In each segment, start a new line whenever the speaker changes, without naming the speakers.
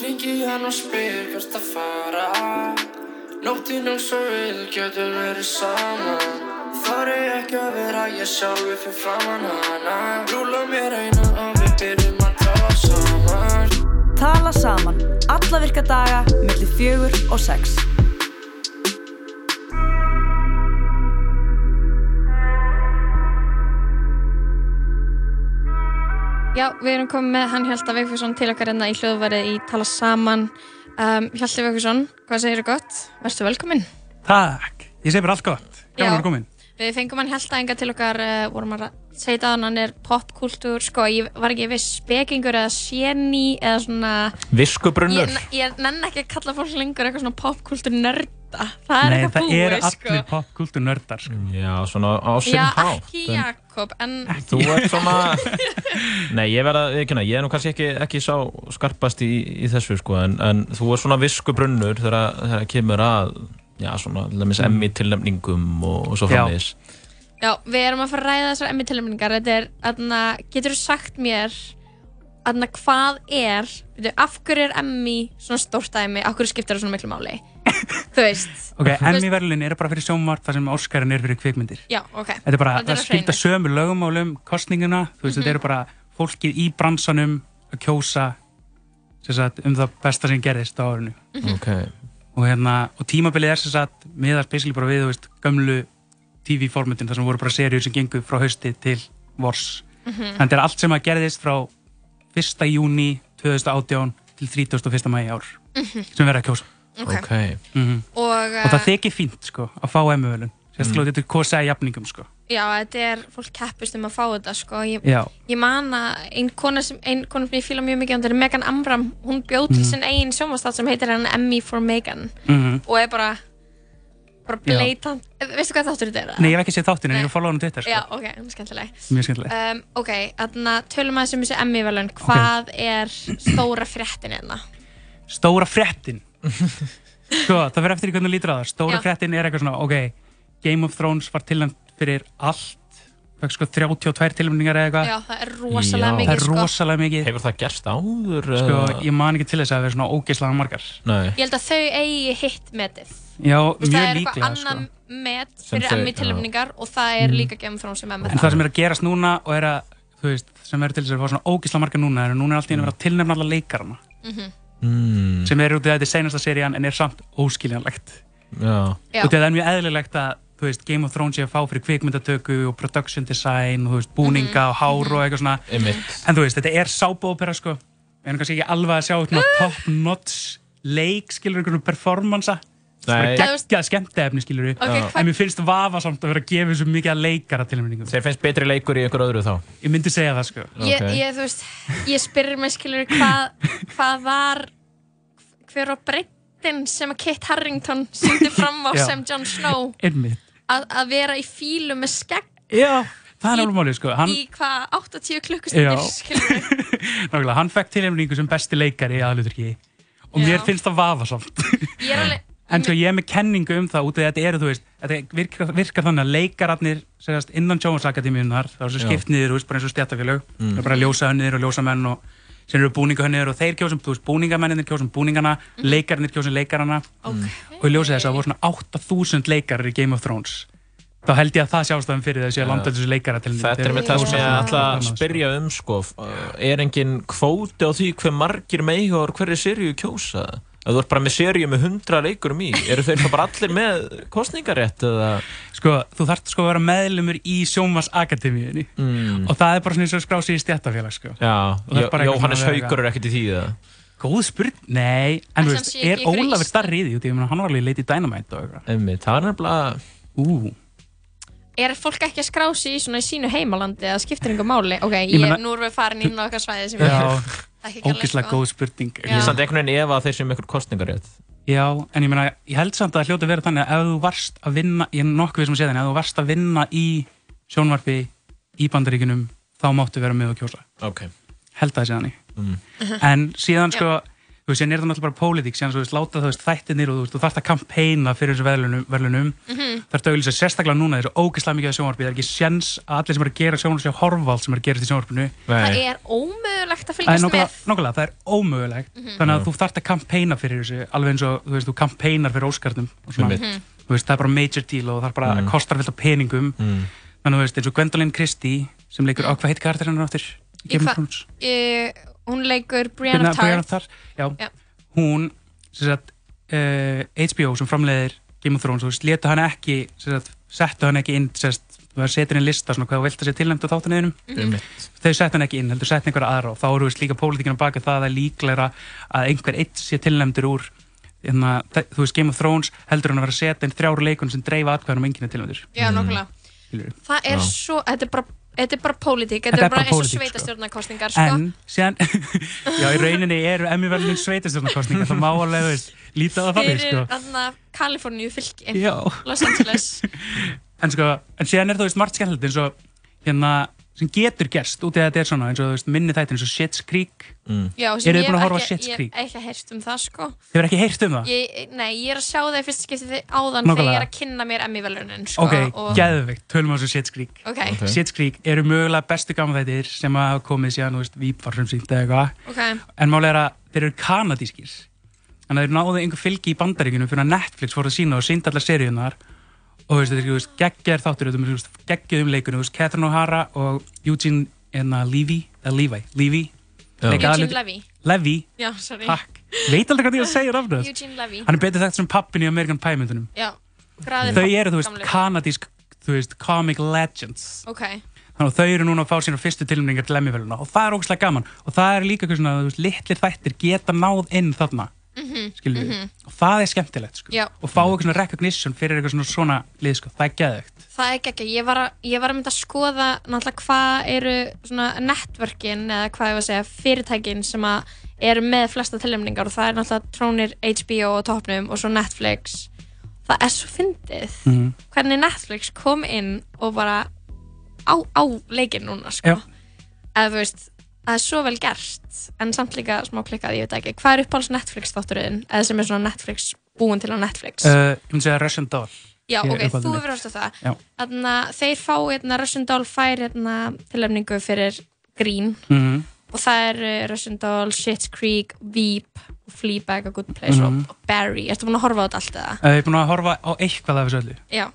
Ringi hann og spyr hvert að fara Nóttin um svo við getum verið saman Þarri ekki að vera ég sjálfi fyrir framan hana Rúla mér eina og við byrjum að tala saman
Tala saman alla virka daga millir fjögur og sex
Já, við erum komið með hann Hjalta Vigfússon til okkar enna í hljóðvarið í Tala Saman. Um, Hjalti Vigfússon, hvað segir þú gott? Verstu velkominn.
Takk, ég segi bara allt gott
Já.
Gaman að komin
Við fengum hann Hjalta enga til okkar, uh, vorum að segja það, hann er popkultúr, sko, ég var ekki viss spekingur eða séni eða svona...
Viskubrunnur
Ég, ég nenn ekki að kalla fólk lengur eitthvað svona popkultúr nörda. Það er
Nei,
eitthvað
það
búið,
eru
sko.
allir popkultur nördar sko.
Já, svona á sinn
Já,
hátt
ekki
en
Jakob, en
Þú ert svona Nei, ég verð að viðkynna, ég er nú kannski ekki, ekki sá skarpast í, í þessu sko en, en þú er svona viskubrunnur þegar það kemur að Já, svona, til dæmis emmi tilnefningum og, og svo
Mm. Já.
framvegis
já, við erum að fara að ræða þessar emmi tilnæmningar. Þetta er, aðna, getur þú sagt mér, aðna, hvað er, veitu, af hverju er emmi svona stórt dæmi, af hverju skiptir það svona miklu máli? þú veist,
Ok, Emmy verðlun eru bara fyrir sjómvart þar sem Óskarinn er fyrir kvikmyndir
já, ok.
Þetta er bara,
Þetta er
það
á
skipta
hreinu. Mhm.
sömu lögumálum kostninguna, þú veist, þetta eru bara fólkið í bransanum að kjósa sem sagt, um það besta sem gerðist á árinu
Mhm.
Ok,
og, hérna, og tímabilið er sem sagt miðast basically bara við, þú veist, gömlu TV-formutin, þar sem voru bara seríur sem gengu frá hausti til vors
Mhm.
Þannig þetta er allt sem að gerðist frá 1. júni 2018 til 31. mæi ár sem verða að kjósa Mhm.
ok,
Mhm. Ok. Og, eh,
og það
þig?
þykir fínt, sko, að fá emmuvelun sérstaklega mm. þetta er kosa í jafningum, sko
Já, þetta er, fólk keppist um að fá þetta, sko. Ég,
Já,
ég man að ein kona sem, ein kona sem ég fíla mjög mikið, hún er Megan Amram, hún bjóð
Mhm.
til sinn eigin sjómastátt sem heitir hann Emmy for Megan
mm
og er bara, bara
Já.
blatant, veistu hvað þáttur þetta er? eða?
Nei, ég hef ekki séð þáttinn en
Nei.
ég er að follow hann á Twitter, sko
Já, ok, hún er skemmtileg.
Mjög skemmtileg.
Um, ok, þannig að tölum aðeins um þessi Emmy velun. Hvað er stóra fréttin hérna?
Stóra fréttin. Sko, það fyrir eftir í hvernig þú lítur að það. Stóra
Já.
fréttin er eitthvað svona, ok, Game of Thrones var tilnæmt fyrir allt, fekk sko 32 tilnæmningar eða eitthvað.
Já, það er rosalega
Já.
mikið,
Það er
sko.
rosalega mikið.
Hefur það gerst áður?
Sko,
eða?
ég man ekki til þess að það vera svona ógeðslega margar.
Nei,
Ég held að þau eigi hitt metið.
Já,
Þú veist, það
mjög
er eitthvað
líklega, sko.
annað met
Sem
fyrir
þau-
Emmy tilöfningar og það er líka Game of Thrones sem Emmy
Mhm. En það sem er að gerast núna og er að, þú veist, sem er til þess að fá svona ógeðslega margar núna, er að núna er allt í einu verið að tilnefna alla leikarana,
Mhm.
mm,
sem er út í þetta senasta serían en er samt óskiljanlegt.
já
Já.
og það er mjög eðlilegt að þú veist, Game of Thrones ég að fá fyrir kvikmyndatöku og production design og þú veist, búninga
Mhm.
og hár og eitthvað svona
Einmitt.
en þú veist, þetta er sábópera sko við erum kannski ekki alveg að sjá svona
Ah.
top notch leik, skilur einhvern performansa það
Nei.
er geggjað skemmtefni, skilur við
Ok, hvað-
en mér finnst vafasamt að vera að gefa svo mikið að leikara til
Þeir finnst betri leikur í einhver öðru þá
ég myndi segja það sko
Ég,
Ok.
ég, þú veist, ég spyrir mig skilur hvað, hvað var hver á breyttin sem að Kit Harington syndi fram á
Já.
sem Jon Snow
einmitt,
að, að vera í fílu með skegg
já, það er
Í-
alveg málið sko hann,
í hvað 80
Já.
klukkustundir skilur við.
nákvæmlega, hann fekk tilnæmningu sem besti leikari í aðluturki og mér
Já.
finnst það vafasamt
ég er alveg
En sko ég er með kenningu um það út af því að þetta eru, þú veist, þetta virkar, virkar þannig að leikararnir segjast, innan sjómasakademíunar, þá er þessu
Já. Mm.
skipt niður, þú veist, bara eins og stjættafélög, það er bara ljósahönnir og ljósamenn og sem eru búningahönnir og þeir kjósum, þú veist, búningamennir kjósum búningana, leikararnir kjósum leikarana
Ok.
og í ljósið þess að það voru svona 8000 leikarar í Game of Thrones. Þá held ég að það sjástæðum fyrir þessi að landa þessu leikara til
Þetta er með það sem ég ætla að spyrja um sko, f- er engin kvóti á því hver margir megi og hverri seríu kjósa? Ef þú ert bara með seríu með hundra leikurum í, eru þeir þá bara allir með kostningarétt eða?
Sko, þú þarft sko að vera meðlumur í sjómasakademíunni
Mm,
og það er bara svona eins og skrási í stjættafélag, sko.
já,
það er
Jó-
bara eitthvað
Jóhannes
svona að vera
Haugur er ekkert í því það.
Góð spurning, nei, en
Ætli
þú
hann
veist,
sé ekki
er
í einhverju
Ólafur
Ísland-
starri í því, út í, ég meina, hann var alveg í Lady Dynamite og eitthvað.
Einmitt, það er nefnilega,
Ú,
er fólk ekki að skrá sig í svona í sínu heimalandi eða skiptir einhver máli ok, ég,
meina-
nú erum við farin inn á okkar svæði sem
já,
er ekki
ógislega góð spurning.
Ah. Já.
ég er samt einhvern veginn ef að þeir sem ykkur kostningarétt.
Já, en ég meina, ég held samt að það hljóta að vera þannig að ef þú varst að vinna, ég er nokkuð við sem að segja þannig, ef þú varst að vinna í sjónvarpi í bandaríkunum, þá máttu vera með og kjósa.
Ok, Mm.
Mhm.
Held að það sé þannig. En síðan, sko, þú veist, en er það náttúrulega bara pólitík síðan, þú veist, láta þú veist, þættinir og þú veist, þú þarft að kampæna fyrir þessu verðlunum, verðlunum. Mm
Mhm.
-hmm. þarft að auðvitað sérstaklega núna þessu ógeðslega mikið af sjónvarpi, það er ekki sjens að allir sem eru að gera sjónvarpi séu að horfa á allt sem eru að gera í sjónvarpinu
það er ómögulegt að
það er
fylgjast
nokkulega,
með Mhm.
nokkulega, það er ómögulegt þannig að þú þarft að kampæna fyrir þessu alveg eins og, þú veist, þú kampænar fyrir óskarnum og svona,
Einmitt.
Mhm.
þú veist, það er bara major deal og það er bara mm. kostar fullt af peningum þannig að þú veist, eins og Gwendolyn Christie sem
Mhm.
leikur á hvað heitir karakterinn hennar aftur í Game
hva-
of Thrones
uh, hún leikur Brianna of
Brianna
Tarth
Tarth, já.
Já.
hún sem sagt, uh, HBO sem framleiðir Game of Thrones, þú veist, letu hann ekki sem sagt, settu hann ekki inn sem sagt, þú veist, setur inn lista svona hvað þú vilt að sé tilnæmt á þáttanæðinum þau settu hann ekki inn, heldur settu einhverja aðra og þá eru veist líka pólitíkina baka það að það er líklegra að einhver eitt sé tilnæmdur úr hérna, þe- þú veist, Game of Thrones heldur hann að vera að setja inn þrjár leikun sem dreifa atkvæðanum enginn er tilnæmdur
já,
Mm.
nokkulega
skilurðu.
það
Já.
er svo, þetta er bara þetta er bara
Þetta
pólitík,
er
þetta er bara
bara
eins og
pólitík, sko.
sveitastjórnarkostningar sko.
en síðan, já í rauninni eru emmi verðlun sveitastjórnarkostninga það má alveg, þú veist, lítið að það
fyrir
þannig sko.
þarna Kaliforníu fylki
Já.
Los Angeles
en sko, en síðan er það veist margt skemmtilegt eins og hérna sem getur gerst út í að þetta er svona eins og þú veist minni þættir eins og Shit's Creek
já, sem
Eruð þið
ég
búin að
hef
horfa á
ekki-
Schitt's Creek?
ég hef ekki heyrt um það sko
hefur ekki heyrt um það?
ég, nei, ég er að sjá það í fyrsta skipti þi- áðan
Nákvæmlega.
þegar ég er að kynna mér Emmy velunin sko,
ok,
og,
geðveikt, tölum á þessu Shit's Creek
ok,
Ok.
Shit's Creek eru mögulega bestu gaman þættir sem að hafa komið síðan, þú veist, Víp var sem sínt eða eitthvað
ok
en málega er að þeir eru kanadískir þannig að þeir náðu einhver fylgi í bandaríkjunum fyrir að Netflix fór að sína og sínd allar seríunar og þú veist, þeir eru geggjar þáttur þú veist, geggjuðum leikunum, þú veist, Catherine O'Hara og Eugene hérna, Levy, eða Levi, Levy leika
Eugene
aðalhlut-
Levy
Levy,
já, sorry,
takk Veit aldrei hvað ég að segja rafnöð
Eugene Levy
Hann er betur þekkt sem pappin í Amerikan Pie-myndunum
já, graðið
Þau eru, þú veist,
gamli.
kanadísk þú veist, comic legends
ok,
þannig að þau eru núna að fá sína fyrstu tilnæmingar til emmiföluna og það er ógæslega gaman og það er líka eitthvað svona, þú veist, litlir þættir geta náð inn þarna skilur við, og það er skemmtilegt sko.
Mhm, Já.
og fá eitthvað svona recognition fyrir eitthvað svona svona lið, sko. það er geðvegt
það er ekki ég var, að, ég var að mynda að skoða náttúrulega hvað eru svona networkin eða hvað ég var að segja, fyrirtækin sem að eru með flesta tilnefningar og það er náttúrulega trónir HBO og topnum og svo Netflix það er svo fyndið
Mhm.
hvernig Netflix kom inn og bara á, á leikinn núna sko.
Já.
eða þú veist það er svo vel gert en samt líka smá klikkað, ég veit ekki hvað er uppáhalds Netflix þátturinn eða sem er svona Netflix búin til á Netflix
uh, ég myndi segja Russian Doll
Já,
Ég-
ok,
eitthvað
þú
þannig.
hefur hort á það
Já.
Þannig að þeir fá, hérna, Russian Doll fær hérna, tilöfningu fyrir Green
mm
og það eru Russian Doll, Shit's Creek, Veep og Fleabag og Good Place
Mhm.
og, og Barry Ertu búin að horfa á þetta allt eða?
uh, ég er búin að horfa á eitthvað af þessu öllu
Já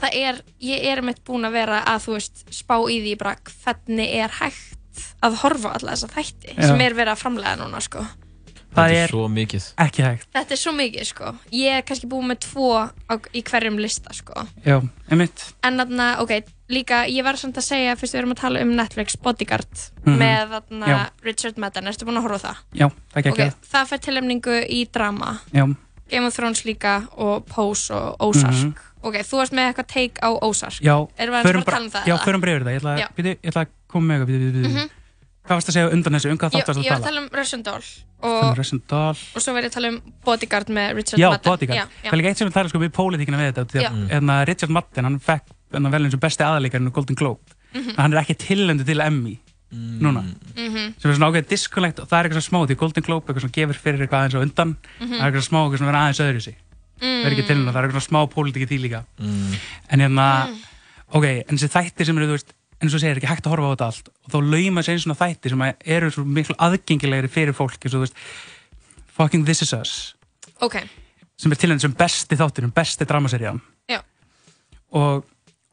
Það er, ég er mitt búin að vera að, þú veist, spá í því bara hvernig er hægt að horfa á alla þessa þætti
Já.
sem er verið að framlega núna, sko
það
Þetta
er
er svo mikið
ekki hægt,
Þetta er svo mikið, sko Ég er kannski búin með tvo á, í hverjum lista, sko
já, einmitt
en þarna, ok, líka ég var samt að segja, fyrst við erum að tala um Netflix Bodyguard með þarna
Mhm. Já.
Richard Madden, ertu búin að horfa á það?
já, það er ekki
ok, það fær tilhemningu í drama
já,
Game of Thrones líka og Pose og Ozark ok, þú varst með eitthvað take á Ozark
Mhm. já,
erum við aðeins
förum
bara að tala um það?
já,
eða?
förum bara yfir það, ég ætla,
Já. Mhm.
að- bíddu, ég ætla að koma með eitthvað bíddu, bíddu, bíddu. hvað varst að segja undan þessu, um hvað
Ég,
þátt varst
ég var að
að tala
tala um Russian Doll
Þannig
og,
Russian Doll
og svo var ég að tala um Bodyguard með Richard
Já,
Madden
bodyguard.
já,
Það er líka eitt sem við tala sko við pólitíkina við þetta því
Já.
að hérna, Richard Madden, hann fekk hérna, velin sem besti aðalíkarinn á Golden Globe
Mhm.
en Mhm. hann er ekki tilhendu til Emmy
Mm.
núna, sem er svona ágæðið diskonlegt og það er eitthvað svona smá því Golden Globe eitthvað svona gefur fyrir eitthvað aðeins á undan
Mhm.
það er eitthvað smá eitthvað svona vera aðeins öðru sig það er ekki tilhendu, það er eitthvað svona smá pólitíki því líka en hérna
Mm.
ok, en þessi þættir sem eru, þú veist eins og þú segir, ekki hægt að horfa á þetta allt og þá lauma sér einn svona þættir sem að eru svo miklu aðgengilegri fyrir fólk eins og þú veist, fucking This Is Us
ok,
sem er tilhengt sem besti þátturinn, besti dramaserían
já,
og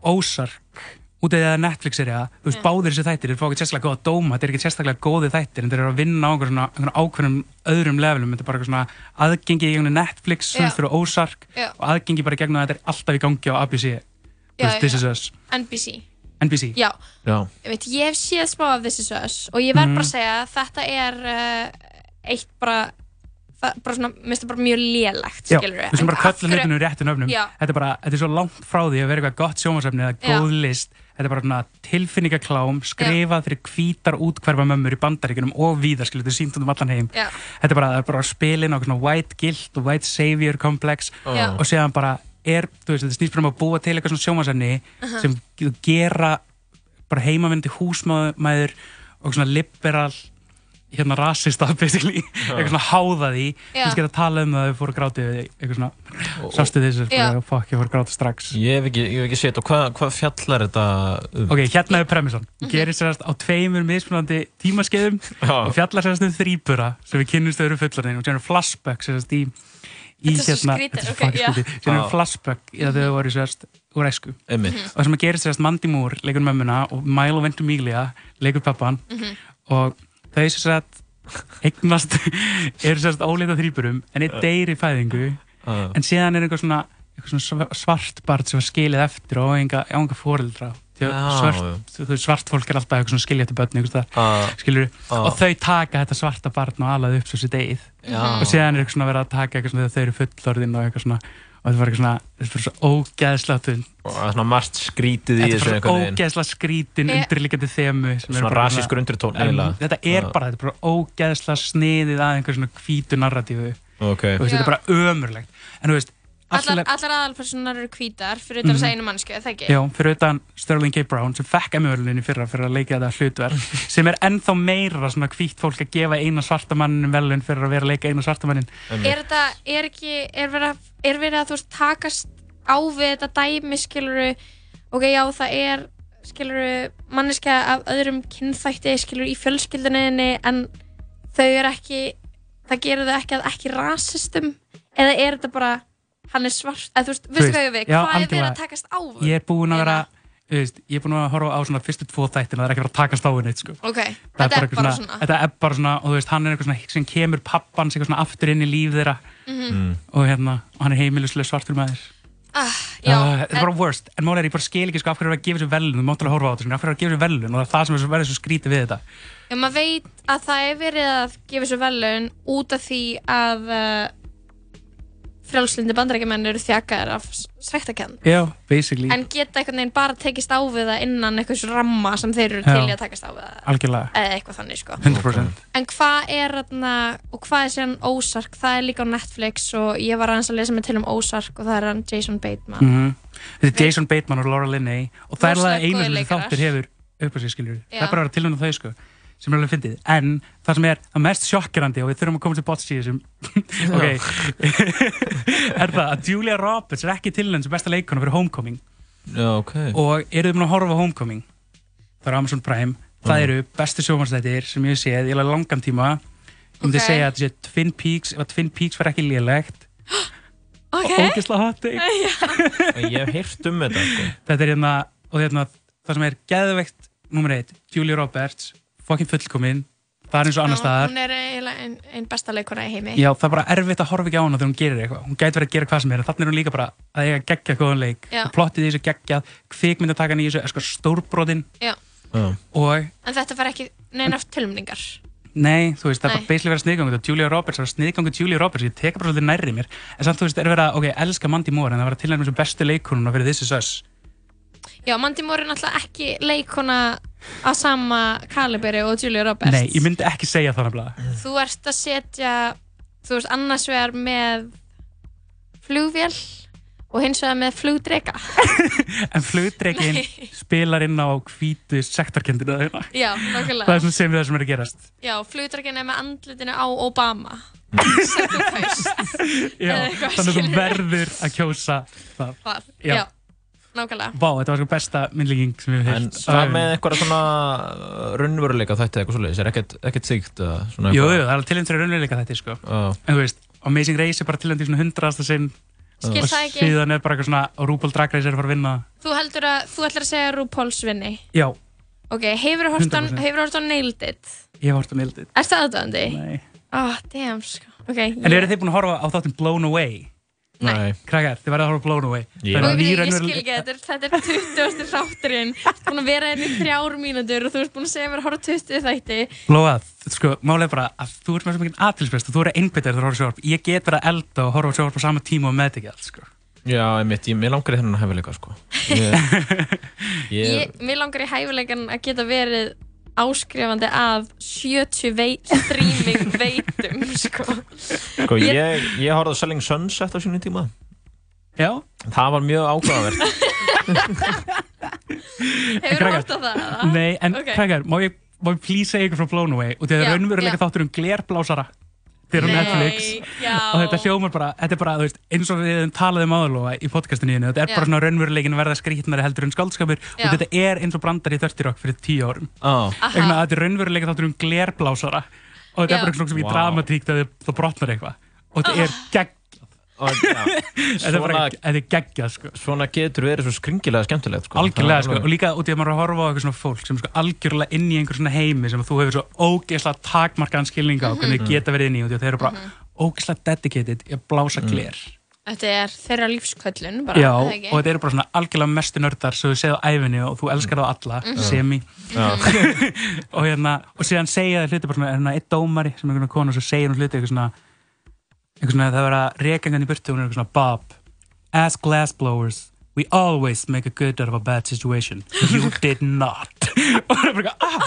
Ozark út af því að það er Netflix-sería, þú veist, báðir þessi þættir þeir fá ekki sérstaklega góða dóma, þeir eru ekki sérstaklega góði þættir en þeir eru að vinna á einhverjum, svona, einhverjum ákveðnum öðrum levelum, þetta er bara eitthvað svona aðgengi í gegnum Netflix, sem
Já.
fyrir Ozark
Já.
og aðgengi bara í gegnum að þetta er alltaf í gangi á ABC, þú
Já,
veist, This
já.
Is Us
NBC
NBC,
já,
Já,
ég, veit, ég hef séð smá af This Is Us og ég verð bara
Mhm.
að segja að þetta er uh, eitt bara það, bara svona, mér finnst það bara mjög lélegt skilur
við sem bara kalla hlutinu réttu nöfnum
Já.
þetta er bara, þetta er svo langt frá því að vera eitthvað gott sjómasöfni eða
Já.
góð list þetta er bara svona tilfinningaklám skrifað fyrir hvítar útkverfa mömmur í bandaríkunum og víðar, skilur, þetta er sínt um allan heim
Já.
þetta er bara, það er bara spilin á eitthvað svona white guilt og white savior komplex
Já.
og séðan bara er, þú veist, þetta snýst bara um að búa til eitthvað svona sjómasöfni
Uh-huh.
sem gera bara heimavindi húsmaður og svona liberal hérna rasista basically, eitthvað svona háða því
Já.
kannski að tala um það að þau fóru að gráti eitthvað svona, sástu þessu
Já.
bara, fuck, ég fóru að gráta strax
Ég hef ekki, ég hef ekki sétt og hvað hva fjallar þetta um?
ok, hérna er premissan,
Mhm.
gerir sérast á tveimur mismunandi tímaskeiðum
Já.
og fjallar sérast um þrýbura sem við kynnumst öðru fullarinn og sérum flashback sérast í, í hérna-
Þetta er svo skrítið,
þetta er
ok,
fucking
já.
skrítið, sérum
Já.
flashback í að þau voru sérast úr æsku
Einmitt.
og það sem að gerist er að Mandy Moore leikur mömmuna og Milo Ventimiglia leikur pappan
Mhm.
og þau sem sagt eignast eru sem sagt óleita þrýburum en er deyr í fæðingu
Uh,
en síðan er eitthvað svona, eitthvað svona sva- svart barn sem var skilið eftir og á enga, á enga foreldra Því að
Já, já.
svört, þú veist, svart fólk er alltaf eitthvað svona skilið eftir börn einhvers staðar,
uh,
skilurðu.
Já.
og þau taka þetta svarta barn og alaði upp svo sér deyð og
já,
síðan er eitthvað svona verið að taka eitthvað svona þegar þau eru fullorðin og eitthvað svona og þetta var eitthvað svona, þetta var svo ógeðslega tunn
og það er svona margt skrítið í
Þetta er bara
þessu einhvern
svo
veginn
ógeðslega skrítin
Eh.
undirlikandi þemu sem er
Svona
bara
rasískur undirtón
En
eiginlega
Þetta er
Já.
bara, þetta er bara ógeðslega sniðið að einhver svona hvítu narratífu og
Ok,
veist, þetta
Já.
er bara ömurlegt en þú veist,
Allar,
allirlega
allar aðalpersonar eru hvítar fyrir þetta að segja einu mannsku, það ekki?
Mhm. Já, fyrir utan Sterling K. Brown sem fekk emjölunin í fyrra fyrir að leika þetta hlutverk sem er ennþá meira svona hvítt fólk að gefa eina svarta mannin velun fyrir að vera að leika eina svarta mannin
einmitt.
Er þetta, er ekki, er verið að, er verið að þú veist takast á við þetta dæmi, skiluru, ok, já, það er, skiluru, manneskja af öðrum kynþætti, skiluru, í fjölskylduninni, en þau eru ekki, það gerir þau ekki að ekki rasistum, eða er þetta bara, hann er svart, eða þú veist, veistu
veist,
hvað ég á við,
já,
hvað er verið
algjörlega.
að takast á við?
Ég er búin að vera, þú veist, ég er búin að horfa á svona fyrstu tvo þættina, það er ekki verið að takast á henni, sko
Ok,
það
þetta er
eitthvað
bara
svona,
svona,
þetta er bara svona og þú veist, hann er eitthvað svona sem kemur pappans eitthvað svona aftur inn í líf þeirra
Mhm.
og hérna, og hann er heimilislega svartur maður
ah, já,
Ah, þetta er
en-
bara worst, en mál er ég bara skil ekki sko af hverju er að gefa sér velun, þú mátt alveg horfa á þetta svona, af hverju er að gefa sér velun og það er það sem er svo- verður svo skrítið við þetta
Já, maður veit að það er verið að gefa svo velun út af því að uh, frjálslindi bandarækjumenn eru þjakaðir af svættakenn
Já, basically,
en geta einhvern veginn bara tekist á við það innan einhvers ramma sem þeir eru til í
Já.
að takast á við það
algjörlega,
eða eitthvað þannig sko
100%
en hvað er þarna og hvað er síðan Ósark það er líka á Netflix og ég var aðeins að lesa mig til um Ósark og það er hann Jason Bateman
mm Þetta er Jason Bateman og Laura Linney og það er
Rosalega
alveg eina
góðir
sem þessi
leikarar.
þáttur hefur upp á sig skiljur, það er
Já.
bara að vera tilvæmna þau sko sem er alveg fyndið, en það sem er það mest sjokkerandi og við þurfum að koma til bots í þessum ok er það að Julia Roberts er ekki tilnæmd sem besta leikona fyrir Homecoming
Já, ok
og eru þið mun að horfa á Homecoming það er Amazon Prime,
Mm.
það eru bestu sjómanstættir sem ég hef séð, ég alveg langan tíma ég myndi
Ok.
segja að þetta sé Twin Peaks ef að Twin Peaks var ekki lélegt
ok,
og ógisla hot take
Ég hef heyrt um þetta sko.
þetta er hérna og hérna, það sem er geðveikt nummer eitt, Julia Roberts fucking fullkomin, það er eins og annars staðar
hún er eiginlega ein, ein besta leikona í heimi
já, það er bara erfitt að horfa ekki á hana þegar hún gerir eitthvað hún gæti verið að gera hvað sem er, en þannig er hún líka bara að eiga geggjað góðan leik,
Já.
og plottið í þessu geggjað kvikmyndatakan í þessu er sko stórbrotin
Já.
Já.
og
en þetta fær ekki neina tilmningar
Nei, þú veist, það er bara
Nei.
basically verið sniðgangu þetta Julia Roberts, það er sniðgangu Julia Roberts ég teka bara svolítið nærri mér en samt þú veist, er verið að, ok, elska Mandy Moore en það var að tilnæmi sem bestu leikonuna fyrir This Is Us
Já, Mandy Moore er náttúrulega ekki leikona á sama kaliberi og Julia Roberts.
Nei, ég myndi ekki segja það nefnilega
Þú ert að setja, þú veist, annars vegar með flugvél og hins vegar með flugdrega.
en flugdrekin
Nei.
spilar inn á hvítu sektarkendina þeirra
Já,
það er
nokkulega.
svona sem við það sem er að gerast
Já, flugdregin er með andlutinu á Obama. Sem þú kaust
Já,
Eða eitthvað,
þannig að þú
skilurðu.
verður að kjósa það
það.
Já.
Já, nákvæmlega.
Vá, þetta var sko besta myndlíking sem við
En
hefum
það með einhverja svona uh, raunveruleika þætti eða eitthvað svoleiðis er ekkert, ekkert þygt eða svona
Jú, jú,
eitthvað?
það er tilnæmi fyrir raunveruleika þetta sko.
Já.
en þú veist, Amazing Race er bara tilnæmi svona hundraðasta sinn
Skil
og
það ekki.
síðan er bara eitthvað svona og RuPaul Drag Race er að fara að vinna það.
Þú heldur að, þú ætlar að segja RuPaul's vinni.
Já,
Ok, hefur hort á
100%.
Nailed It?
ég hef hort um ildið
Er það aðdöndi?
Nei.
Ah, damn, sko. Ok,
En eru þið búin að horfa á þáttum Blown Away?
Nei.
Krakkar, þið verða að horfa á Blown Away
Ég-
Það eru
Og ég,
ný
veit, ég
raunveruleg-
skil ekki þetta, er- þetta er 20. þátturinn Þú ert búin að vera hérna í þrjár mínútur og þú ert búin að segja mér að horfa á 20 þætti
Lóa, sko, málið er bara að þú ert með svo mikið aðtilsprest og þú eru einbyttir þegar þú horfa á sjóvarp Ég get verið að elda og horfa á sjóvarp á sama tíma og með þetta ekki alls, sko
Já, einmitt, ég, mér langar í þennan hefileika sko. ég, ég,
ég, Mér langar í hæfileikan að geta verið áskrifandi af 70 vei, streaming veitum sko.
sko, ég, ég horfði á Selling Sunset á sínum tíma
Já,
Það var mjög ákvæðavert
Hefur þú
krakkar,
hort á það? eða?
nei, en
ok.
krakkar, má ég má ég please segja ykkur frá Blown Away og þetta
Já,
er raunveruleika
já.
þáttur um glerblásara þeir eru
Nei,
Netflix
já.
og þetta hljómar bara, þetta er bara, þú veist, eins og við höfum talað um áðurlóa í podcastinu þínu, þetta er
Já.
bara svona raunveruleikin verða skrítnari heldur en skáldskapur
Já.
og þetta er eins og brandar í 30 rock fyrir 10 árum
Á,
vegna að þetta er raunveruleika þáttur um glerblásara og þetta
Já. Ah.
er bara svona sem í
Vá.
dramatík þegar það brotnar eitthvað og þetta er gegg
og, já.
þetta er bara,
Svona-
þetta er geggjað sko
Svona getur verið svo skringilega skemmtilegt sko.
algjörlega sko,
Það er
og líka út í að maður er að horfa á eitthvað svona fólk sem er sko algjörlega inn í einhver svona heimi sem þú hefur svo ógeðslega takmarkaðan skilninga á
Mhm.
hvernig þið geta verið inn í og þeir eru bara ógeðslega dedicated í að
Mhm.
blása gler
Þetta er þeirra lífsköllun bara,
já,
er það
og
ekki?
þetta eru bara svona algjörlega mestu nördar sem þú séð á æfinni og þú elskar þá alla
Mhm.
semi og hérna, og síðan segja þeir hluti bara svona, er hérna eitt dómari sem er einhvern konu og svo segir hún hluti eitthvað svona eitthvað svona, það vera rekengan í burtu og hún er eitthvað svona, Bob as glassblowers we always make a good out of a bad situation you did not og það er bara eitthvað, ah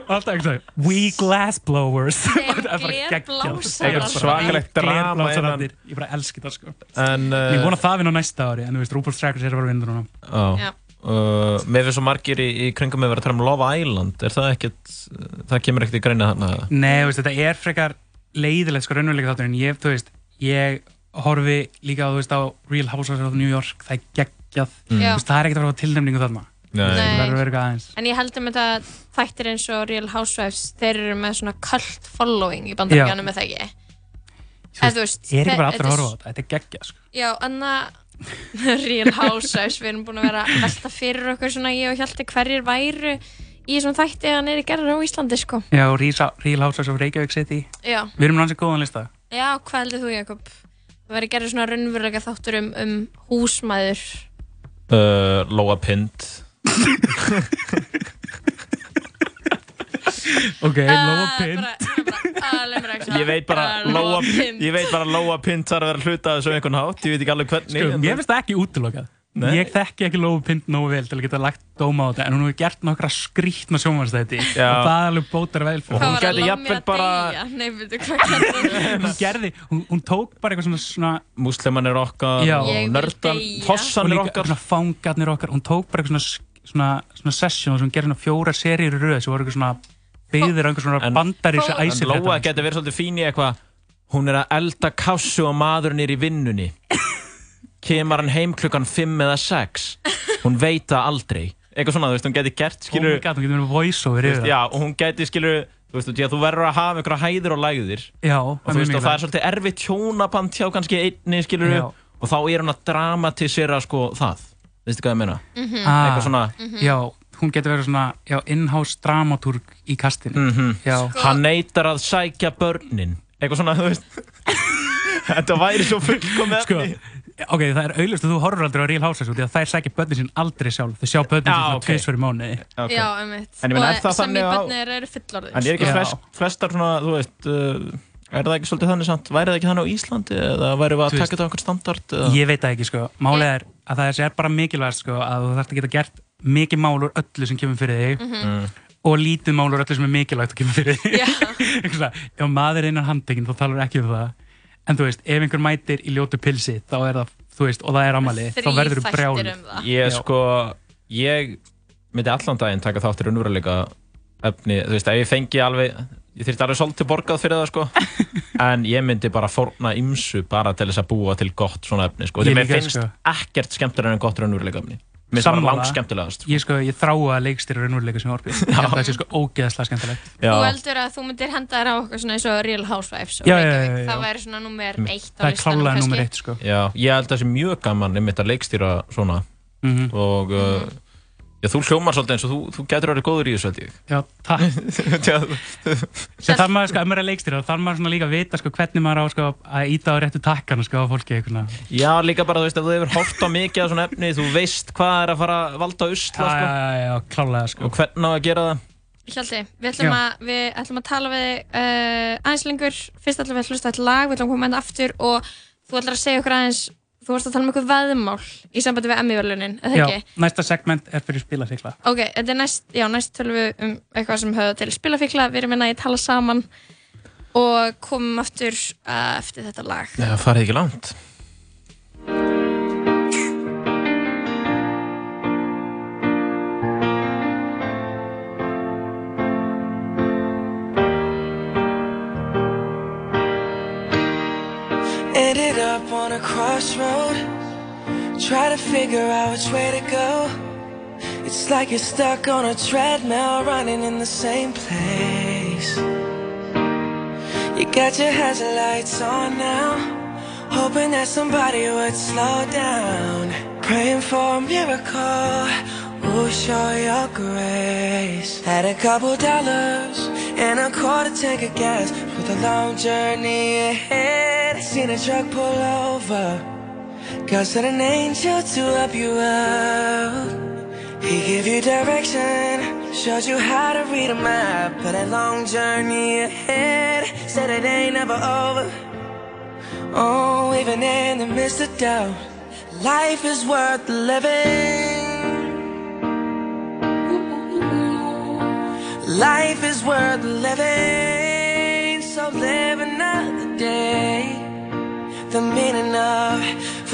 og alltaf eitthvað, svona, we glassblowers
Þeir
Og það er bara geggjað.
glerblásarar.
Þeir eru bara
Svakalegt
þeir
drama
glerblásarar.
innan-
ég bara elski það sko
En, uh,
ég vona það vinna á næsta ári, en þú veist, Rúbúl Strækurs er að vera vindur núna
Já.
Já.
Uh, mér finnst svo margir í, í kringum með að vera að tala um Love Island er það ekkert, það kemur ekkert í greina þarna eða?
Nei, þú veist, þetta er frekar leiðilegt sko raunveruleika þáttur en ég, þú veist, ég horfi líka á, þú veist, á Real Housewives of New York, það er geggjað
Mm.
þú
Já.
veist, það er ekkert að fara á tilnefningu þarna
Nei.
það verður að vera eitthvað aðeins
En ég held um þetta þættir eins og Real Housewives, þeir eru með svona cult following í
Já.
bandaríkjanum með það ekki.
Þú
En þú veist,
er ekki bara allir
þe-
að
þetta er
horfa á þetta, þetta er geggjað sko.
Já, Anna, Real Housewives, við erum búin að vera að velta fyrir okkur svona ég og Hjalti hverjir væru í svona þætti eða neyri gerðar á Íslandi, sko.
Já, og Risa- Real Housewives of Reykjavík City
Já,
Við erum náttúrulega góðan lista
já hvað heldur þú, Jakob? Það væri gerður svona raunverulega þáttur um, um húsmaður.
uh, Lóa Pind
Ok, uh, Lóa
Ah,
Pinn
bara- bara, ah, leið mér ekki svona.
ég veit bara
Ah,
Lóa,
Pind.
ég veit bara að Lóa Pind þarf að vera hluta af þessu á einhvern hátt, ég veit ekki alveg hvernig
Sko, mér finnst það ekki útlokað
Nei.
Ég þekki ekki Lóa Pinn nógu vel til að geta lagt dóma á þetta en hún hefur gert nokkra skrítna sjónvarsþætti og
Já.
það alveg bótar vel fyrir
Og
hana.
hún
Hvað var að
gæti
láta
jafnvel
mér að
bara-
deyja? Nei, veitu, hvað kallar það?
hún, gerði, hún, hún tók bara eitthvað svona, svona
musliman er okkar
Já.
og
Ég vil
nördan,
deyja.
og
fossan er
líka
okkar
svona fangarnir okkar hún tók bara eitthvað svona, svona, svona session sem hún gerði svona fjóra seríur í röð sem voru eitthvað svona byðir einhver svona
En-
bandar í þessu
en
æsir
Lóa getur verið svolítið fín í eitthvað hún er að elda kásu og maðurinn er í vinnunni kemur hann heim klukkan 5 eða 6 hún veit það aldrei eitthvað svona, þú veist, hún getur gert
oh my
skilur,
god, hún getur verið voice over
þú
yfir
veist, já, og hún getur skilur þú veist, því að þú verður að hafa einhverja hæðir og lægðir
það já,
og, þú veist, og það er svolítið erfitt hjónaband hjá kannski einni skilur
Já.
og þá er hún að dramatisera sko það, veistu hvað ég meina
Mhm.
eitthvað
eitthvað svona,
Ah. já, hún getur verið svona já, in-house dramatúrg í kastinu já,
Mhm. hann neytar að sækja börnin eitthvað svona, þú veist þetta væri svo fullkom
sko ok, það er auðvist að þú horfur aldrei á Real Housewives út í að þær sækja börnin sín aldrei sjálf þau sjá börnin sín
Já,
svona
ok.
tvisvar í mánuði
okay.
Já, einmitt.
En ég meina, er það
Og sem í
þannig á-
börnir eru fullorðin. sko.
En er ekki
Já.
flest, flestar svona, þú veist uh, Er það ekki svolítið þannig samt? Væri það ekki þannig á Íslandi eða væri við að
Þú
taka þetta á einhvern standard? Eða?
Ég veit það ekki sko, málið er að það er bara mikilvægt sko að þú þarfst að geta gert mikið mál úr öllu sem kemur fyrir þig
Mm.
og lítið mál úr öllu sem er mikilvægt að kemur fyrir þig
Já.
Einhvers veginn, ef maður er innan handtekinn þá talar ekki um það en þú veist, ef einhver mætir í ljótu pilsi þá er það, þú veist, og það er ammali þá verður þú brjálur
um það.
Ég
Já.
sko, ég myndi allan daginn taka þáttir unnveruleika efni, þú veist, ef ég fengi alveg ég þyrfti alveg svolítið borgað fyrir það sko en ég myndi bara forna ymsu bara til þess að búa til gott svona efni sko,
Ég
því mér
líka,
finnst
sko.
ekkert skemmtilega en gott raunveruleika efni mér finnst bara
Sammála.
langt skemmtilegast
Ég sko, ég þrái að leikstýra raunveruleika sem orfið, ég held að það sé sko ógeðslega skemmtilegt
Þú heldur að þú myndir henda þér á okkur svona eins og Real Housewives og
Já, já, já,
Reykjavík.
já, já.
Það væri svona nummer eitt á
Það er
listanum
klálega
kannski.
nummer eitt sko
Já, ég held að það sé mjög gaman einmitt að leikstýra svona
Mhm.
og uh, já, þú hljómar svolítið eins og þú, þú getur að vera góður í þessu held ég
Já, takk
Já,
Sér þarf maður sko, ef maður er leikstýra þá þarf maður svona líka að vita sko hvernig maður á sko að íta á réttu takkana sko á fólki einhverna
Já, líka bara þú veist að þú hefur hort á mikið af svona efni, þú veist hvað er að fara að valda usla
Já,
sko,
já, já, já, klálega sko
og hvernig á að gera það
Hjalti, við ætlum,
Já.
að, við ætlum að tala við þig uh, aðeins lengur. Fyrst ætlum við að hlusta eitt lag, við ætlum að koma enda aftur og þú ætlar að segja okkur aðeins, þú varst að tala um eitthvað veðmál í sambandi við Emmy-velunin, eða
Já,
ekki?
næsta segment er fyrir spilasíkla
Ok, þetta er næst, já, næst tölum við um eitthvað sem höfðu til spilafíkla, við erum hérna í tala saman og komum aftur uh, eftir þetta lag.
Já, farið ekki langt
Ended up on a crossroad. Try to figure out which way to go. It's like you're stuck on a treadmill running in the same place. You got your headlights on now. Hoping that somebody would slow down. Praying for a miracle. Ooh, show your grace. Had a couple dollars and a quarter tank of gas. With a long journey ahead. Seen a truck pull over. God sent an angel to help you out. He gave you direction, showed you how to read a map. But that long journey ahead said it ain't never over. Oh, even in the midst of doubt, life is worth living. Life is worth living, so live another day the meaning of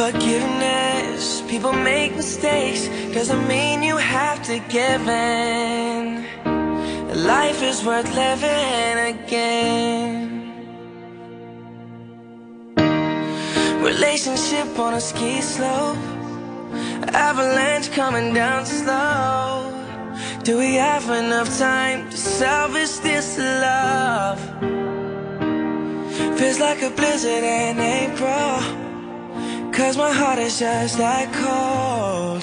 forgiveness. People make mistakes, doesn't mean you have to give in. Life is worth living again. Relationship on a ski slope, avalanche coming down slow. Do we have enough time to salvage this love? Feels like a blizzard in April. Cause my heart is just that cold.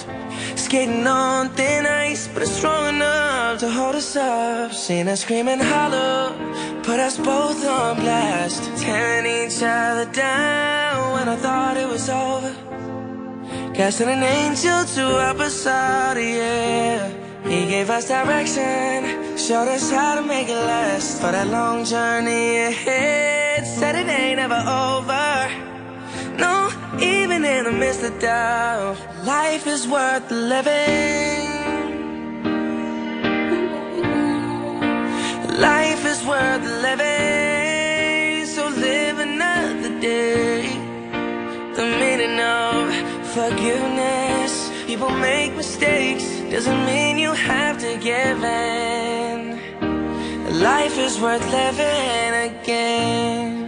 Skating on thin ice, but it's strong enough to hold us up. Seen us scream and holler, put us both on blast. Tearing each other down when I thought it was over. Casting an angel to help us out, yeah. He gave us direction, showed us how to make it last for that long journey ahead. Said it ain't ever over. No, even in the midst of doubt, life is worth living. Life is worth living, so live another day the meaning of forgiveness. People make mistakes, doesn't mean you have to give in. Life is worth living again.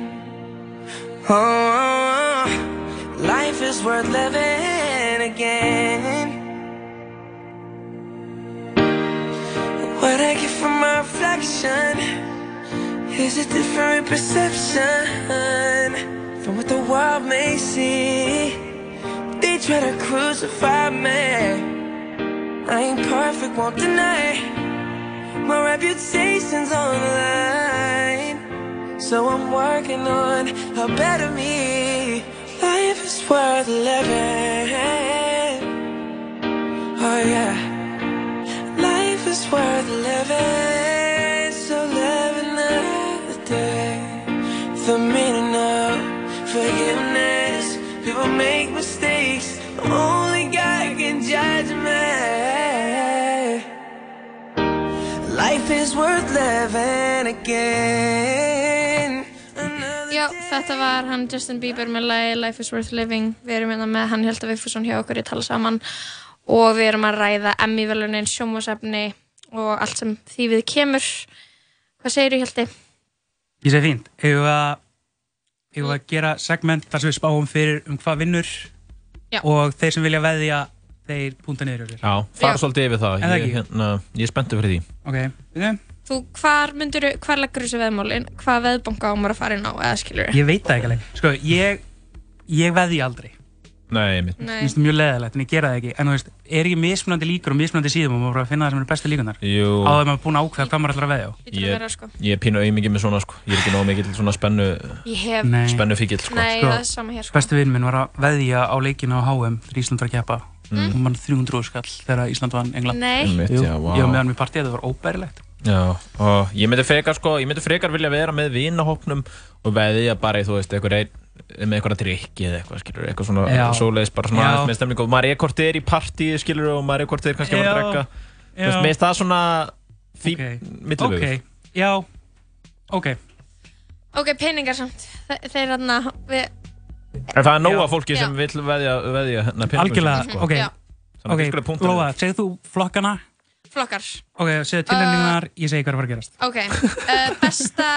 Oh, oh, oh. life is worth living again. What I get from my reflection. Is a different perception from what the world may see. They try to crucify me. I ain't perfect, won't deny. My reputation's on the line. So I'm working on a better me. Life is worth living. Oh yeah. Life is worth living, so live another day. The meaning of forgiveness, people make mistakes. Only God can judge me. Life is worth living again. Another
Já, þetta var hann Justin Bieber með lagi Life is Worth Living. Við erum hérna með hann Hjelda Viffusson hjá okkur í tala saman og við erum að ræða Emmy-velunin, sjómasefni og allt sem því við kemur. Hvað segirðu Hjeldi?
Ég segi fínt, hefur við að hefur við að gera segment þar sem við spáum fyrir um hvað vinnur
Já.
og þeir sem vilja veðja þeir púnta niður yfir
Já, fara
Já.
svolítið yfir það.
En það
Ég,
ekki?
hérna, ég er spenntið fyrir því.
Ok, veitum,
Þú, hvar myndur, hvar leggur þessu veðmálin? Hvað veðbanka á maður að fara inn á, eða skilur
ég veit það ekki alveg Sko, ég, ég veðji aldrei Mér
Nei, mitt.
Nei,
finnst það mjög leðilegt, en ég gera það ekki En þú veist, er ekki mismunandi líkur og mismunandi síðum og maður bara að finna það sem eru bestu líkunar
Jú,
á það maður búin að ákveða hvað maður ætlar að veðja á
lítur að
ég-
vera sko.
ég er pínu auðmikið með svona, sko. Ég er ekki nóg mikið til svona spennu,
Ég hef, nei,
Nei,
spennu fíkil, sko.
Sko.
það er sama hér sko.
bestu vinn minn var að veðja á leikina á HM þegar Ísland var að keppa mm. og mann 300 skall þegar Ísland vann England
Nei,
Einmitt,
Jú,
já, vá.
Ég var með hann í partíð, það var óbærilegt
Já, og ég myndi frekar sko, ég myndi frekar vilja vera með vinahópnum og veðja bara í, þú veist, einhver einn með eitthvað drikki eða eitthvað, skilur, eitthvað svona
Já.
svoleiðis, bara svona
Já.
aðeins með stemningu og maður er hvort þið er í partíu, skilur, og maður er hvort þið er kannski að fara að
Já.
drekka Þú veist, mér finnst það svona fín
Ok.
millivögur
Ok, já, ok
ok, peningar samt. Þe- Þeir hann að,
En það er nóga
Já.
fólki sem
Já.
vill veðja, veðja hérna peningum
Algjörlega,
sínum, sko.
ok,
já,
okay.
Þannig að við skulum punkta
Lóa, segðu þú flokkana
flokkar.
Ok, segðu tilnefningarnar,
Uh.
ég segi hvað er að fara að gerast
Ok, uh, besta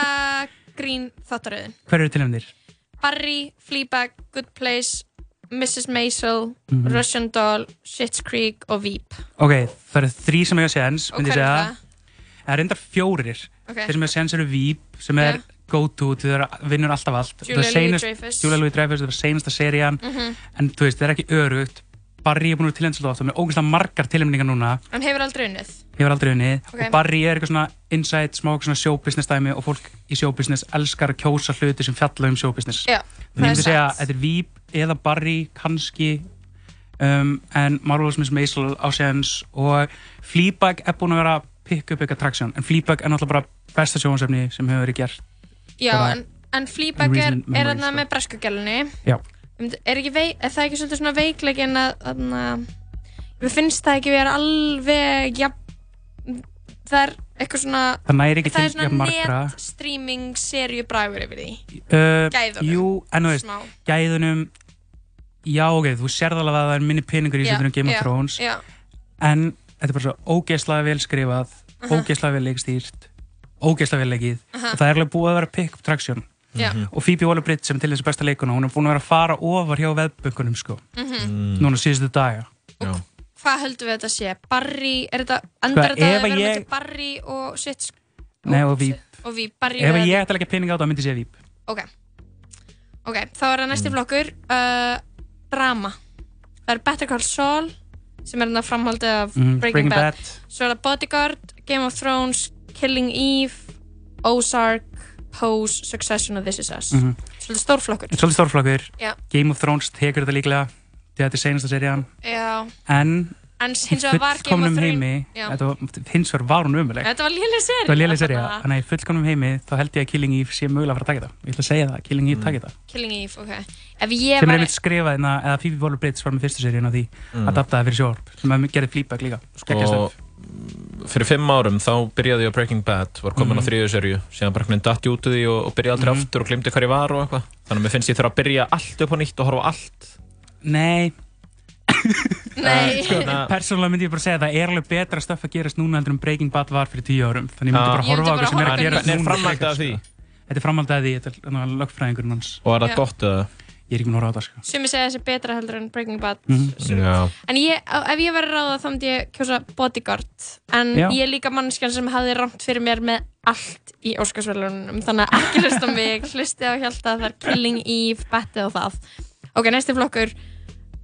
eh, grín þáttaröðin.
Hver eru tilnefnir?
Barry, Fleabag, Good Place Mrs. Maisel,
Mhm.
Russian Doll Schitt's Creek og Veep
Ok, það eru þrý sem eiga séns,
og
myndi ég
hver er
segja.
það?
Það er reyndar fjórir.
Okay.
Þeir sem eiga séns eru Veep, sem er
Já.
go-to, þau eru vinnur alltaf allt.
Julia
Það er seinast-
Louis-Dreyfus Mhm.
Julia Louis-Dreyfus, það var seinasta serían en þú veist, það er ekki örugt Barry er búin að vera tilhengd svolítið oft og með ógeðslega margar tilhengingar núna
hann hefur aldrei unnið
hefur aldrei unnið
Ok.
og Barry er eitthvað svona insight, smá eitthvað svona showbusiness dæmi og fólk í showbusiness elskar að kjósa hluti sem fjalla um showbusiness
já,
Ég myndi segja að
satt.
þetta er Veep eða Barry kannski um, en Marvelous Miss Maisel á séns og Fleabag er búin að vera að pikka upp eitthvað traksjón en Fleabag er náttúrulega bara besta sjóhansefni sem hefur verið gert
já,
bara-
en, en Fleabag er,
Reason
er
memories,
þarna
sko.
með breskugælunni
Já.
er, ekki veik, er það ekki svolítið svona veiklegin að þarna við finnst það ekki vera alveg ja, það er eitthvað svona
það næri ekki
það er
til jafn
svona
margra
net-streaming serju bragur yfir því
uh,
Gæðunum.
jú, en þú veist
smá
gæðunum já ok, þú sérð alveg að það er minni peningur í
Já,
þessu yeah, Game of
já,
Thrones
já,
en þetta er bara svo ógeðslega vel skrifað ógeðslega vel leikstýrt ógeðslega vel leikið og það er alveg búið að vera pick up traction
já,
og Phoebe Waller-Bridge sem er til þessu besta leikuna hún er búin að vera að fara ofar hjá veðböngunum sko,
Mm.
núna síðustu daga
Já.
hvað höldum við að þetta sé Barry, er þetta endar
Sko,
þetta að
ef að
vera
ég-
ég... Barry og shit
Nei, og Veep.
og víp Barry
ef
og
ég ætti að leggja pening á það myndi ég segja víp
ok, ok, þá er það
Mm.
næsti flokkur uh, drama það er Better Call Saul sem er hérna framhaldið af
mm,
Breaking, Bad. svo er það Bodyguard, Game of Thrones Killing Eve, Ozark Pose, Succession og This Is Us
Mhm.
svolítið stór flokkur
svolítið stórflokkur,
Já.
Game of Thrones tekur þetta líklega því að þetta er seinasta serían
já,
en
en
í
hins vegar var Game of
fullkomnum
Thrones
heimi
Já.
þetta var- hins vegar var hún umuleg
þetta var lélega seri
Það var lélega serið, þannig að í fullkomnum heimi þá held ég að Killing Eve sé mögulega að fara að taka það. Ég ætla að segja það, Killing Eve mm. taki það.
Killing Eve, ok ef ég
Sem
var
er einmitt skrifað innan, eða Phoebe Waller-Bridge var með fyrstu seríun á því, adaptaði fyrir sjórp, sem að gerði flýbæk líka.
sko,
Geggjað
fyrir fimm árum þá byrjaði ég á Breaking Bad var komin
Mhm.
á þriðu serju, síðan bara hvernig datt ég út úr því og, og byrjaði aldrei aftur og glimti hvað ég var og eitthvað þannig að mér finnst ég þurfa að byrja allt upp á nýtt og horfa á allt
stöff. Nei,
nei,
Þannig að-
persónulega myndi ég bara segja að það er alveg betra stöff að gerast núna heldur en Breaking Bad var fyrir tíu árum. Þannig ég myndi
Já.
bara
Ég myndi
horfa á
bara
okkur sem er að
horfa á
gerast
hvernig er
núna. sko.
framhaldið af því
Þetta er framaldið því, þetta er lögfræðingurinn hans.
og er það
Já.
gott eða
Ég er ekki mér að horfa á það, sko.
sumi segja þessi betra heldur en Breaking Bad
Mhm.
sumir-
Já.
en ég, ef ég verið ráða þá myndi ég kjósa Bodyguard en
Já.
ég er líka mannskjan sem hafði rámt fyrir mér með allt í Óskarsverðlunum þannig að ekki hlusta á mig, hlusti á Hjalta það er Killing Eve, bettið og það ok, næsti flokkur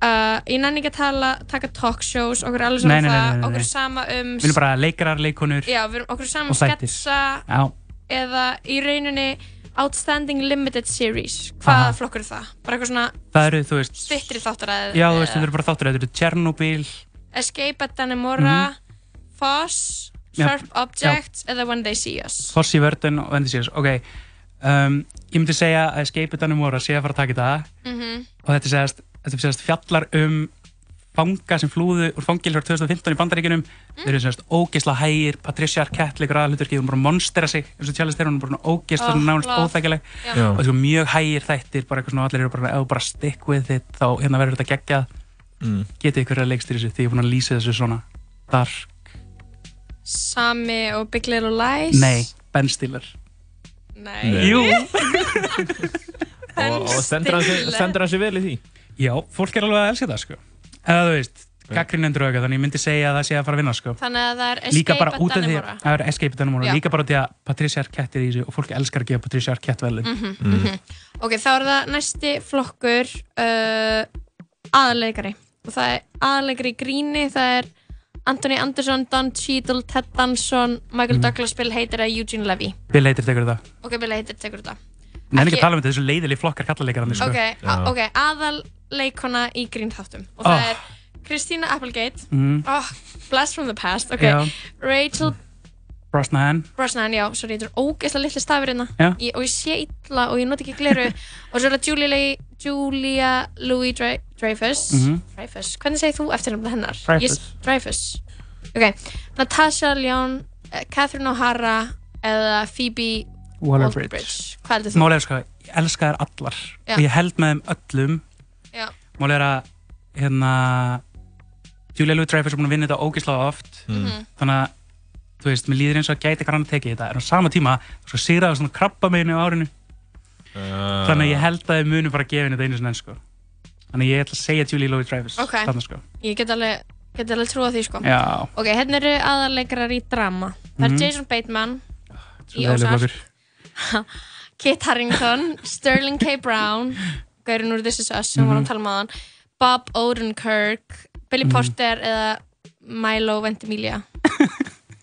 uh, ég nenni ekki að tala, taka talk shows okkur er alveg
Nei, nei,
sama
nei, nei,
það,
nei,
okkur er
nei.
sama um
Við erum bara leikarar, leikonur.
já, við erum okkur er sama um
Og þættir.
sketsa
Já,
eða í rauninni Outstanding Limited Series hvaða
Aha.
flokkur er það? bara eitthvað svona
það eru, þú veist,
stittri þáttaræði
já, þú veist, þetta eru bara þáttur, þetta eru Chernobyl,
Escape at Dannemora
Mhm.
Foss
Já,
Sharp Objects eða When They See Us
Foss í vördun og vendi sér ok, um, ég myndi segja að Escape Danum voru að sé að fara að taka það
Mhm.
og þetta segast, þetta segast fjallar um fanga sem flúðu úr fangilur 2015 í bandaríkunum
Mm.
þeir eru segast ógeðsla hægir, Patricia Arquette leikur aðalhutverkið, hún er bara að monstera sig eins og tjálist þeirra, hún er bara ógeðsla
Oh,
oh, nánast
love.
óþækileg
Já.
Já.
og þetta er mjög hægir þættir, bara eitthvað svona allir eru bara, ef þú bara stick with it, þá hérna verður þetta geggjað
Mm.
getið ykkur að leikstýri þessu, því ég er búin að lýsa þessu svona þar,
Sami og Big Little Lies
nei, Ben Stiller
Nei.
Nei.
Jú,
En
og, og stendur hann sig-
stille.
stendur hann sér vel í því
Já, fólk er alveg að elska það sko eða þú veist, gaggrinendur auka þannig ég myndi segja að það sé að fara að vinna sko
Þannig að það er
líka
Escape
bara
at
út af því
Dannemora
það er Escape at Dannemora,
Já.
líka bara út af því að Patricia Arquette er í þessu og fólk elskar að gefa Patricia Arquette velin
Mhm.
Mm.
Ok, þá er það næsti flokkur uh, aðalegari og það er aðalegari í gríni það er Anthony Anderson, Don Cheadle, Ted Danson
Mhm.
Michael Douglas, Bill Hader eða Eugene Levy
Bill Hader tekur það,
Ok, Bill Hader tekur þetta
nefnir ekki
Ekki-
að tala um þetta þessu leiðileg flokkar kallaleikar sko.
Ok,
Já.
a- ok, aðal leikona í grínþáttum og það
Ah.
er Christina Applegate
mm,
oh, Blast from the Past, ok
Já,
Rachel
Brosnahan
Brosnan, já, sorry, þetta er ógeðslega litli stafir hérna
Já.
Ég- og ég sé illa og ég noti ekki gleru og svo er það Julia, Le- Julia Louis Dre Dreyfus
Mhm.
Dreyfus, hvernig segir þú eftirnafna hennar?
Dreyfus.
Ég s- Dreyfus Ok, Natasha Leon, eh, Catherine O'Hara eða Phoebe
Waller-Bridge
Hvað heldur þú?
Málið er sko, ég elska þær allar
Já.
og ég held með þeim öllum
Já.
Málið er að hérna Julia Louis-Dreyfus er búin að vinna þetta ógislega oft
Mhm.
þannig að sko, þú veist, mér líður eins og að gæti hvað hann að teki þetta en á sama tíma, svo sigraði svona krabba meginu á árinu þannig að ég held að þið munum bara að gefa henni þetta einu sinni enn sko þannig að ég ætla að segja Julie Louis Travis
Ok.
þarna sko
Ég get alveg, get alveg trúa því sko
já,
Ok, hérna eru aðarleikarar í drama Það er
Mhm.
Jason Bateman,
svo
Í
leiðilegur
Ozark.
flokkur.
Kit Harington Sterling K. Brown Gaurinn úr This Is Us sem mm -hmm.
Mhm.
var að tala um aðan Bob Odenkirk Billy Porter eða Milo Ventimiglia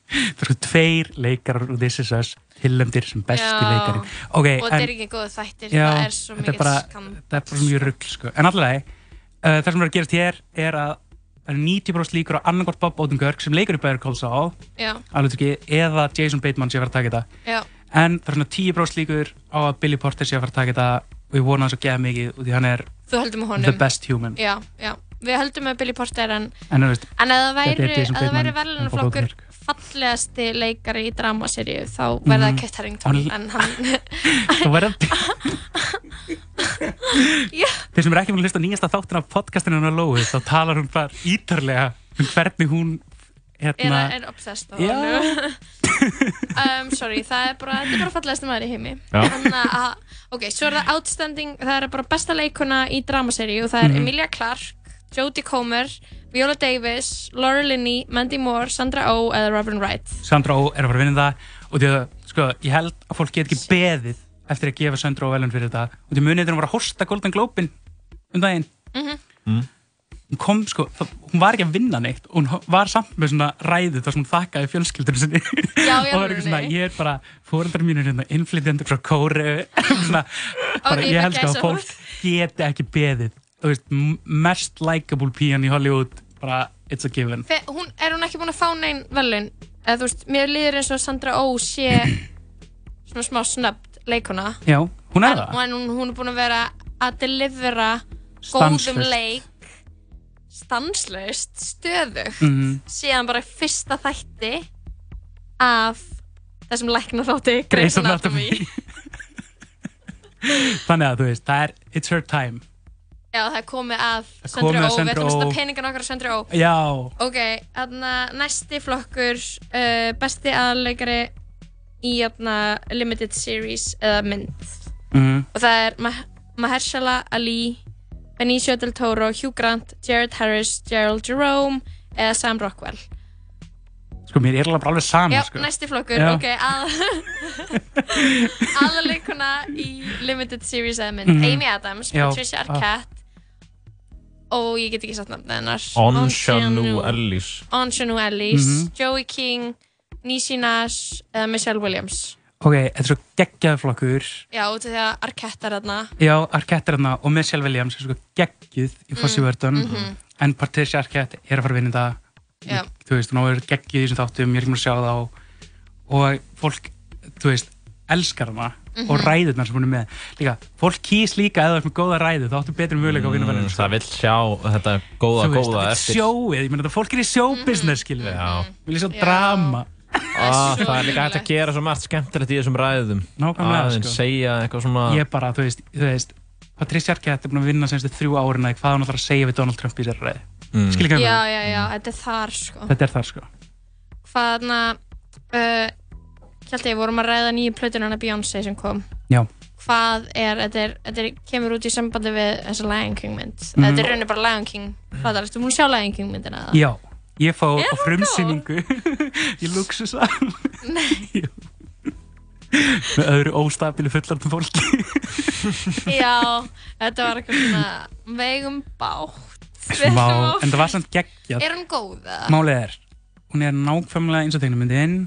það eru Sko, tveir leikarar úr This Is Us tillemdir sem besti
Já.
leikari ok,
og þetta
en
er ekki góð þættir
Já,
það er svo
þetta er
mikið
bara-
skam
það er bara svo mjög rugl sko. en allavega, uh, það sem er að gerast hér er að það eru 90% líkur á annarkort Bob Odenkirk sem leikur í Better Call Saul
já,
alveg, eða Jason Bateman sé að fara að taka þetta
já,
en það er svona 10% líkur á að Billy Porter sé að fara að taka þetta og ég vona hans að geða mikið út í hann er
þú höldum með
the
honum
best human
já, já, við höldum með Billy Porter en,
en þú veist,
en ef það
Þetta er
væri,
Jason
ef það væri
Bateman
verðlunaflokkur
og Bob
fallegasti leikari í dramaseríu þá verða
Mhm.
það Kit Harington
Hann-
en hann,
þú verður
Já.
þeir sem er ekki með að hlusta á nýjasta þáttin af podcastinu hennar Lóu þá talar hún bara ítarlega um hvernig hún
er,
hérna,
er obsessed á
Já.
honum um, sorry, það er bara þetta er bara fallegasti maður í heimi
Já.
Þannig að- ok, svo er það outstanding það er bara besta leikuna í dramaseríu og það er Emilia Clarke, Jodie Comer Viola Davis, Laura Linney Mandy Moore, Sandra Oh eða Robin Wright
Sandra Ó er að fara að vinna það og því að, sko, ég held að fólk get ekki beðið eftir að gefa Sandra Ó velun fyrir þetta og því munið þegar hún var að hosta Golden Globin um daginn
Mhm.
hún kom, sko, það, hún var ekki að vinna neitt og hún ho- var samt með svona ræðu þar sem hún þakkaði fjölskyldunum sinni
Já,
og
í
það var ekki svona,
alvörunni.
ég er bara fóreldrar mínir hérna, innflytjendur frá Kóru svona, bara,
ég
ég
fæ
held sko að
gæsahúð.
fólk geti ekki beðið þú veist, m- mest likeable pían í Hollywood bara, it's a given
Fe, hún, er hún ekki búin að fá neinn velun eða þú veist, mér líður eins og Sandra Ó sé svona smá snöpt leikuna
já, hún er
en,
það
en hún, hún er búin að vera að delivera góðum
Stanslaust.
leik stanslaust, stöðugt
Mhm.
síðan bara í fyrsta þætti af þessum lækna þátti
Grey's
Grey's
Anatomy.
Anatomy
Þannig að þú veist, það er It's her time
Já, það er komið að
Það er komið
Sandra
að
Ó, við
Sandra
ætlum að
Oh.
setja peningan okkar að Sandra Ó
Já,
Ok, þarna næsti flokkur uh, besti aðleikari í þarna limited series eða mynd
mm,
og það er Mah Mahershala Ali Benicio del Toro, Hugh Grant Jared Harris, Gerald Jerome eða Sam Rockwell
sko mér er alveg bara alveg
Já,
sama sko.
næsti flokkur,
Já.
ok að aðleikuna í limited series eða mynd
Mhm.
Amy Adams,
Já,
Patricia
ah.
Arquette og ég get ekki satt nafn hennar
Onshanu Ellis
Anjanou Ellis,
Mhm.
Joey King, Nisi Nash eða Michelle Williams.
Ok, þetta er svo geggjaður flokkur
Já, út af því að Arquette er þarna.
Já, Arquette er hérna og Michelle Williams er svo geggjuð
Mm.
í Fossi Vördun en Patricia Arquette er að fara að vinna þetta
Mhm. Já.
þú veist, hún er geggjuð í þessum þáttum ég er ekki mér að sjá það og, og fólk, þú veist, elskar hana og
Mhm.
ræðurnar sem hún er með líka, fólk kýs líka eða með góða ræðu þá áttu betri möguleika á að vinna verðin
Mm, það vill sjá þetta góða
þú veist,
góða
það er
eftir Mhm.
sjóið, ég meina þetta fólk er í sjóbusiness skilur við,
Já.
við lýsum
Já.
drama
Ah,
svo
það er líka hægt
leiðilegt.
að gera svo margt skemmtilegt í þessum ræðum
Nákvæmlega,
aðeins
sko.
segja eitthvað svona
ég bara, þú veist, þú veist Patricia Arquette er búin að vinna semstu þrjú árin eða hvað hún ætlar að segja við Donald Trump í sér ræði
Mm.
skilur ekki
Já,
hvað
já, já, þetta er þar sko.
þetta er þar sko
Hvaðna, uh, held ég, vorum að ræða nýju plötinu hana Beyoncé sem kom.
já,
Hvað er, þetta er, þetta er, kemur út í sambandi við þessa Lion King mynd.
Mhm.
Þetta er rauninni bara Lion King, hvað er þetta, múin sjá Lion King myndina það?
já, ég fór á
Er hún
frumsýningu í luxusa nei með öðru óstabili fullandum fólki
Já, þetta var eitthvað svona vegum bátt. Við ætlum
Vá,
að-
en það var samt geggjað
Er hún góð eða?
málið er, hún er nákvæmlega eins og tegnumyndin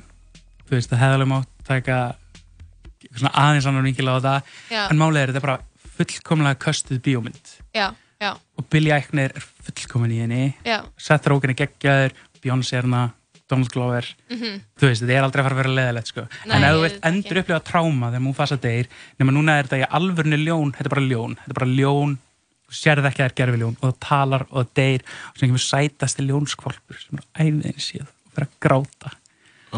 þú veist, það hefðalega mátt taka eitthvað svona aðeins annar vingil á þetta
Já,
En málið er þetta er bara fullkomlega köstuð bíómynd
já, já,
og Billy Eichner er fullkomin í henni
já.
Seth Rogen er geggjaður, Beyoncé er hana Donald Glover,
Mm. Mhm.
þú veist þetta er aldrei að fara að vera leðilegt sko
Nei,
en ef þú
ég
vilt
veit
endur
ekki.
upplifa tráma þegar múfasa deyr nema núna er þetta í alvörni ljón þetta er bara ljón, þetta er bara ljón þú sérð ekki að það er gerfi ljón og það talar og það deyr og sem kemur sætasti ljónskvalpur sem er æðin síð og fyrir að gráta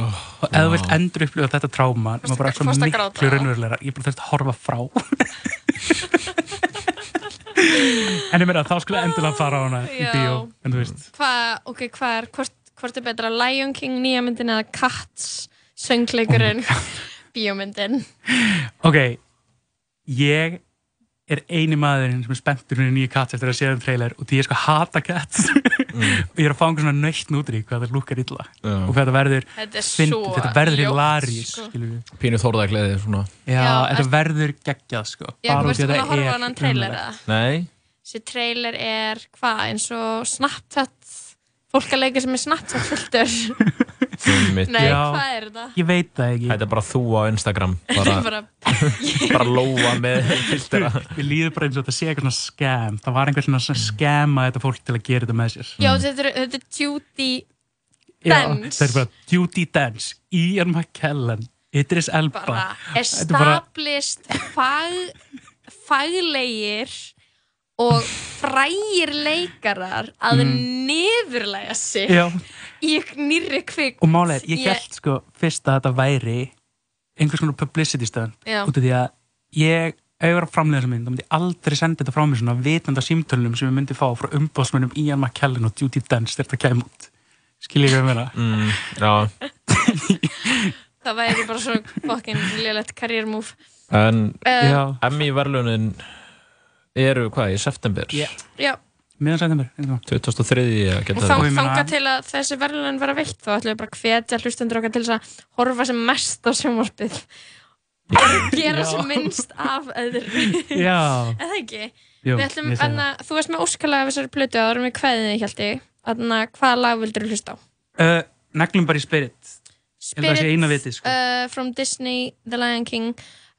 og ef þú vilt endur upplifa þetta tráma nema
Fórstu-
bara svo
fórstu að gráta?
miklu raunverulegra ég bara þurfti að horfa frá en ég meina þá skulle endilega fara á hana í
Já.
bíó en þú veist
Hvað, ok, hvað er, hvort, hvort er betra Lion King nýja myndin eða
Oh
Cats söngleikurinn bíómyndin
Ok, ég er eini maðurinn sem er spenntur hún í nýju katt eftir að séð um trailer og því ég sko hata katt
Mm.
og ég er að fá einhvern svona nöytt nútri hvað það lukkar illa
Já.
og hvað þetta verður
Þetta er
fyndið,
svo
þetta verður
ljótt,
hilarís
sko.
skilur við
Pínu þórðagleði svona
Já,
Já,
þetta
ertu-
verður geggjað sko
Já,
bara út í
þú veist
að
að
þetta
horfa á
er
annan trailer
ömurlegt.
eða?
Nei,
Þessi trailer er hvað, eins og Snapchat Fólk að leika sem er Snapchat filter
einmitt.
Nei,
Já.
hvað er þetta?
Ég veit það ekki
Þetta er bara þú á Instagram
Þetta
Bara,
er bara,
bara lóa með filtera
Við líður bara eins og þetta sé eitthvað svona skam Það var einhvern veginn að skema þetta fólk til að gera þetta með sér
já, þetta er, þetta er Judy
Já,
Dance.
það er bara Judy Dance, Ian McKellen Idris Elba
bara
Þetta er bara-
established fag, faglegir og frægir leikarar að mm. niðurlega sig
Já,
í nýri kvikmynd
og málega, ég
Ég-
held sko fyrst að þetta væri einhvers konar publicity stönd
Já.
út af því að ég ef ég var að framlega þessa mynd, þá myndi ég aldrei senda þetta frá mér svona vitandi af símtölunum sem ég myndi fá frá umbásmönnum Ian McKellen og Judy Dance þegar þetta kæm út skiljið ég að vera
mm, Já
Það væri bara svona fokkin lélegt karriérmúf
En
um,
Já,
Emmy verðlunin eru hvað í september
Já.
Já,
miðan sættum mér
2003
og
geta
þá
það
ég meina-
þanga til að þessi verðlun vera veitt þá ætlum við bara að hvetja hlustendur okkar til þess að horfa sem mest á sjónvarpið og gera
Já.
sem minnst af öðru
Já,
eða ekki
jú,
við ætlum,
ég segi
anna, þú varst með óskalega af þessari plötu áður með kveðinu Hjalti anna, hvaða lag vildur þú hlusta á?
það uh, Neglum bara í spirit, Ég held að það sé eina vitið, sko.
uh, from Disney, The Lion King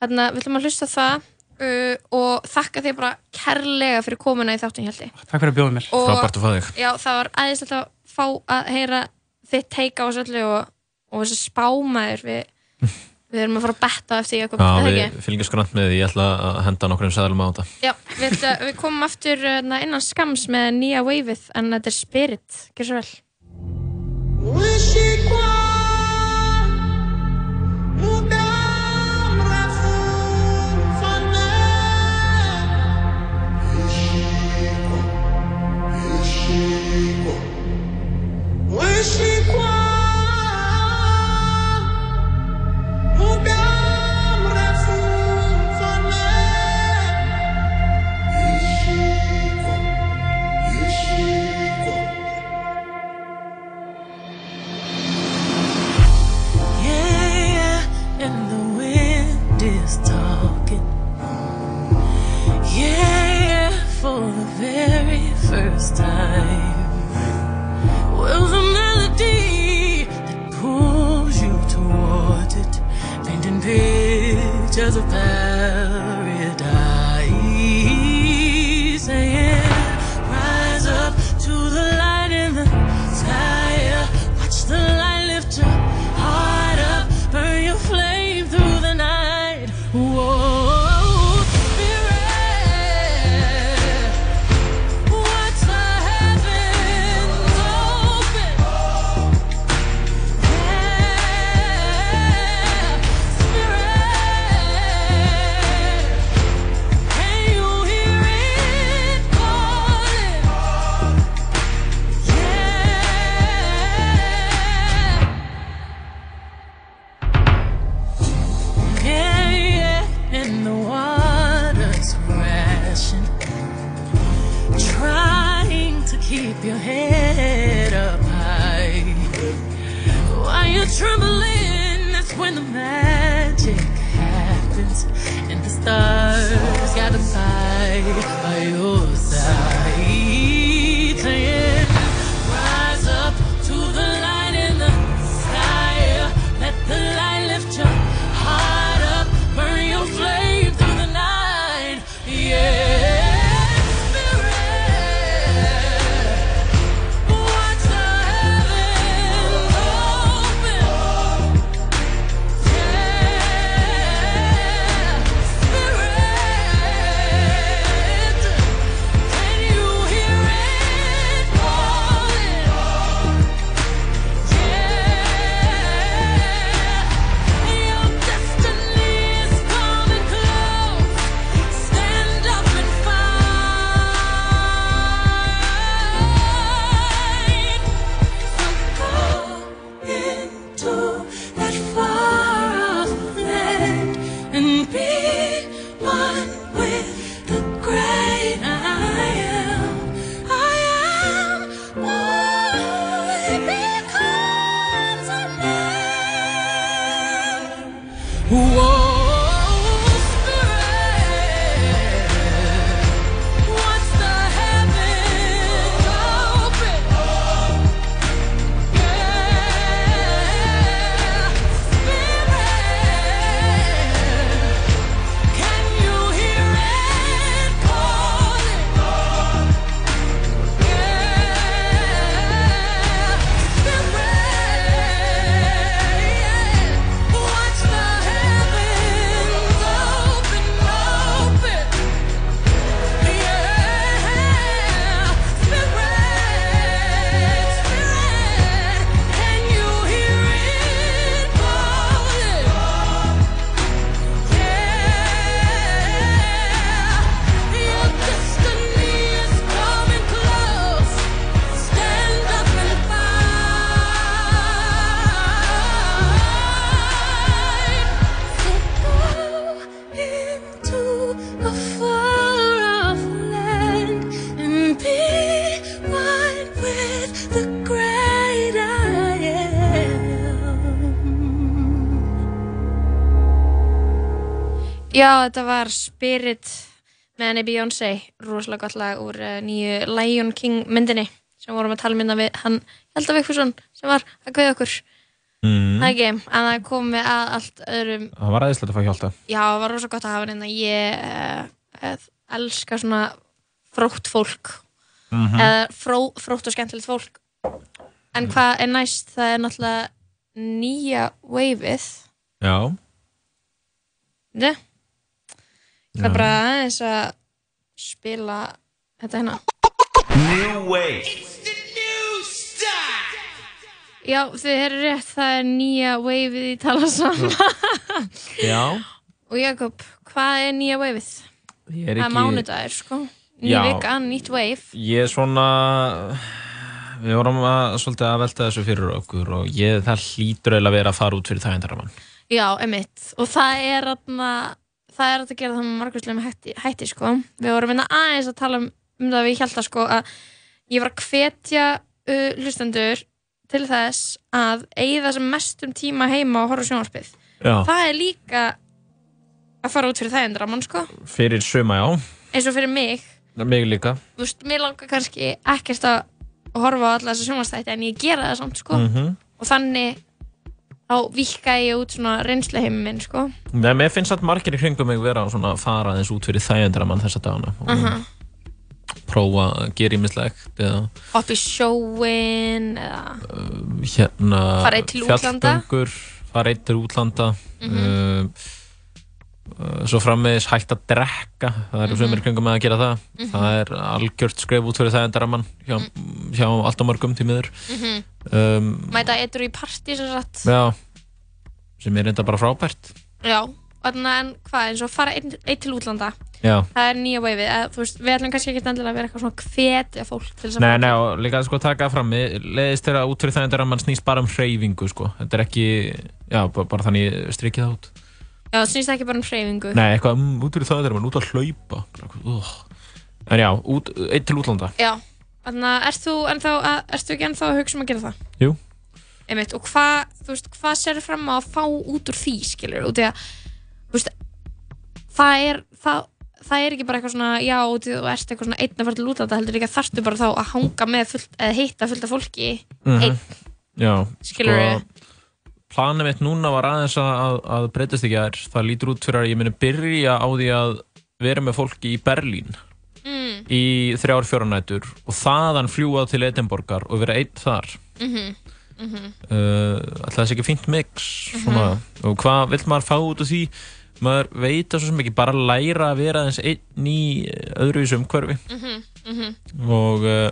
anna, við ætlum að hlusta á það uh, og þakka þér bara kærlega fyrir komuna í þáttin Hjalti
takk fyrir að bjóða mér
og
Frábært að fá þig
já, það var aðeins að fá að heyra þitt teika á þessu öllu og, og þessi spámaður við, við erum að fara að betta eftir
Já,
Jakob, er það
við
ekki?
fylgjast grann með því, ég ætla að henda nokkur um sæðalum á þetta.
Já, við, ætla- við komum aftur uh, na, innan skams með nýja waveið en þetta er Spirit, gerð svo vel
Yeah, and the wind is talking. Yeah, for the very first time. Will's a melody that pulls you towards it, painting pictures of paradise. Yeah, rise up to the light in the fire. Watch the light lift your heart up, burn your flame through the night. Whoa, spirit. What's the heavens open? Yeah, spirit. Can you hear it calling? Yeah. Okay, yeah, and the water's crashing. Trying to keep your head up high. While you're trembling, that's when the magic happens. And the stars gotta fight by your side. Saying, Rise up to the light in the sky. Let the light lift your heart up. Burn your flame through the night. Yeah. Spirit, watch the heavens open. Yeah. Spirit, oh,
Já, þetta var Spirit með henni Beyoncé, rosalega gott lag úr uh, nýju Lion King myndinni sem vorum að tala mynda við hann Helda Vikfússon sem var að kauða okkur
mm.
það er ekki, en það kom við að allt öðrum
Það var aðeinslega að fá hjálta
já, það var rosalega gott að hafa henni ég uh, uh, elska svona frótt fólk mm
Mhm.
fró, frótt og skemmtilegt fólk en hvað er næst það er náttúrulega nýja waveið
Já,
Nei. Það
Já.
er bara aðeins að spila þetta hérna. Já, þið eru rétt, það er nýja waveið í tala saman.
já
Og Jakob, hvað er nýja waveið?
Ég er
Það er
ekki
mánudagur, sko. Ný
Já.
vika, nýtt wave.
Ég er svona Við vorum að, svolítið að velta þessu fyrir okkur og ég, það hlýtur eiginlega að vera að fara út fyrir þægindaraman
Já, emitt. Og það er aðna, það er hægt að gera það með margvíslega hætti, hætti, sko. Við vorum hérna aðeins að tala um, um það við held að, sko, að ég var að hvetja uh, hlustendur til þess að eigða sem mestum tíma heima og horfa á sjónvarpið.
Já,
Það er líka að fara út fyrir þægindra mann, sko.
fyrir suma já
Eins og fyrir mig,
Mig líka
þú veist, mér langar kannski ekkert að horfa á alla þessa sjónvarpstætti en ég gera það samt, sko.
mm -hmm.
Og þannig þá vikka ég út svona reynsluheiminn minn, sko.
Nei, mér finnst að margir í kringum mig vera svona að fara aðeins út fyrir þægindaraman þessa dagana og
Mhm.
prófa að gera ímislegt eða
upp í sjóin eða
hérna
Fara einn til útlanda. Mhm.
fjallgöngur, fara einn til útlanda mm svo framvegis hægt að drekka það
Mhm.
eru sömur kringum með að gera það það er algjört skref út fyrir þægindaraman hjá,
Mhm.
hjá allt á mörgum tímiður um,
mæta eitthvað í partí sem sagt
já sem er reynda bara frábært
já, og þarna en hvað eins og fara einn einn til útlanda
já
það er nýja veifið, eða, þú veist, við ætlum kannski ekki endilega að vera eitthvað svona hvetja fólk til þess að
Nei,
fara.
nei, og líka sko taka það fram mér leiðist þeirra út fyrir þægindaraman snýst bara um hreyfingu sko. þetta er ekki, já, bara, bara þannig strikið það út
já, það snýst ekki bara um hreyfingu
Nei, eitthvað um, út fyrir það er maður út að hlaupa Úh. En já, út, eitt til útlanda
já, þannig að ert þú ennþá, að, ert þú ekki ennþá að hugsa um að gera það
Jú.
Einmitt, og hvað, þú veist, hvað serðu fram á að fá út úr því, skilur, út í að þú veist, það er það, það er ekki bara eitthvað svona já, út í að þú ert eitthvað svona einn að fara til útlanda heldur líka þarftu bara þá að hanga með fullt, eða hitta fullt af fólki einn,
Já, sko,
skilur
planið mitt núna var aðeins að, að, að breytast ekki aðeins það lítur út fyrir að ég muni byrja á því að vera með fólki í Berlín
Mm.
í þrjár fjóranætur og þaðan fljúa til Edinborgar og vera einn þar mm
Mhm.
-hmm. uh, Alltaf þessi ekki fínt mix svona, og hvað vill maður fá út af því maður veit að svo sem ekki bara læra að vera aðeins einn í öðruvísu umhverfi
Mhm.
og uh,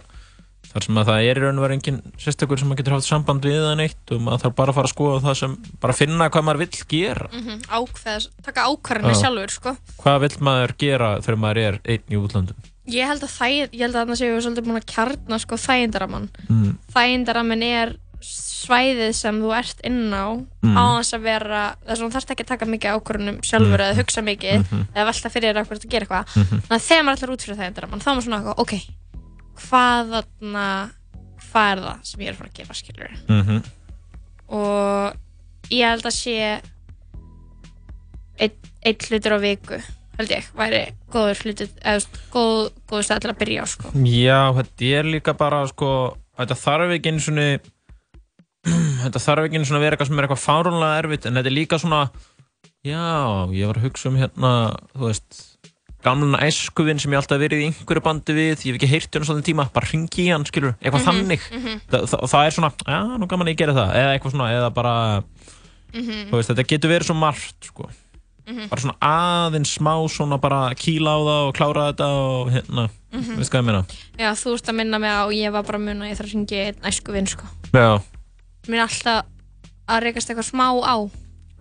þar sem að það er í raun og veru engin sérstakur sem maður getur haft samband við eða neitt og maður þarf bara að fara að skoða það sem bara finna hvað maður vill gera
-hmm. ákveða, taka ákvarðinu
Já.
sjálfur sko.
hvað vill maður gera þegar maður er einn í útlandum
ég held að það ég held að þannig séu við svolítið búin að kjarna sko, þægindaramann
mm.
þægindaramann er svæðið sem þú ert inn á
Mm.
á þess að vera þess að þú þarft ekki að taka mikið ákvarðunum sjálfur
Mm.
eða hugsa mikið
Mhm.
eða velta fyrir þér ákvarðinu að gera eitthvað þannig að þegar maður ætlar út fyrir þægindaramann þá er maður svona eitthvað, ok, hvað þarna hvað er það sem ég er að fara að gera skilur
Mm -hmm.
og ég held að sé einn ein hlutur á viku held ég, væri góður hlutur eða þú veist, góð, góður stað til að byrja á sko.
Já, þetta er líka bara sko, þetta þarf ekki einu svona þetta þarf ekki einu svona að vera eitthvað sem er eitthvað fárunlega erfitt en þetta er líka svona já, ég var að hugsa um hérna þú veist, gamlan æskuvin sem ég alltaf verið í einhverju bandi við ég hef ekki heyrt hérna svona tíma, bara ringi í hann skilur,
Mhm.
eitthvað þannig Þa, það, það er svona, já, nú gaman að ég gera það eða eitthvað svona, eða bara þú veist, þetta getur verið svo margt sko.
Mhm.
bara svona aðeins smá svona bara kýla á það og klára þetta og hérna, veist hvað ég meina
já, þú ert að minna mig á ég var bara að muna að ég þarf að ringi einn æsku vinn sko.
Já,
mér er alltaf að reykast eitthvað smá á en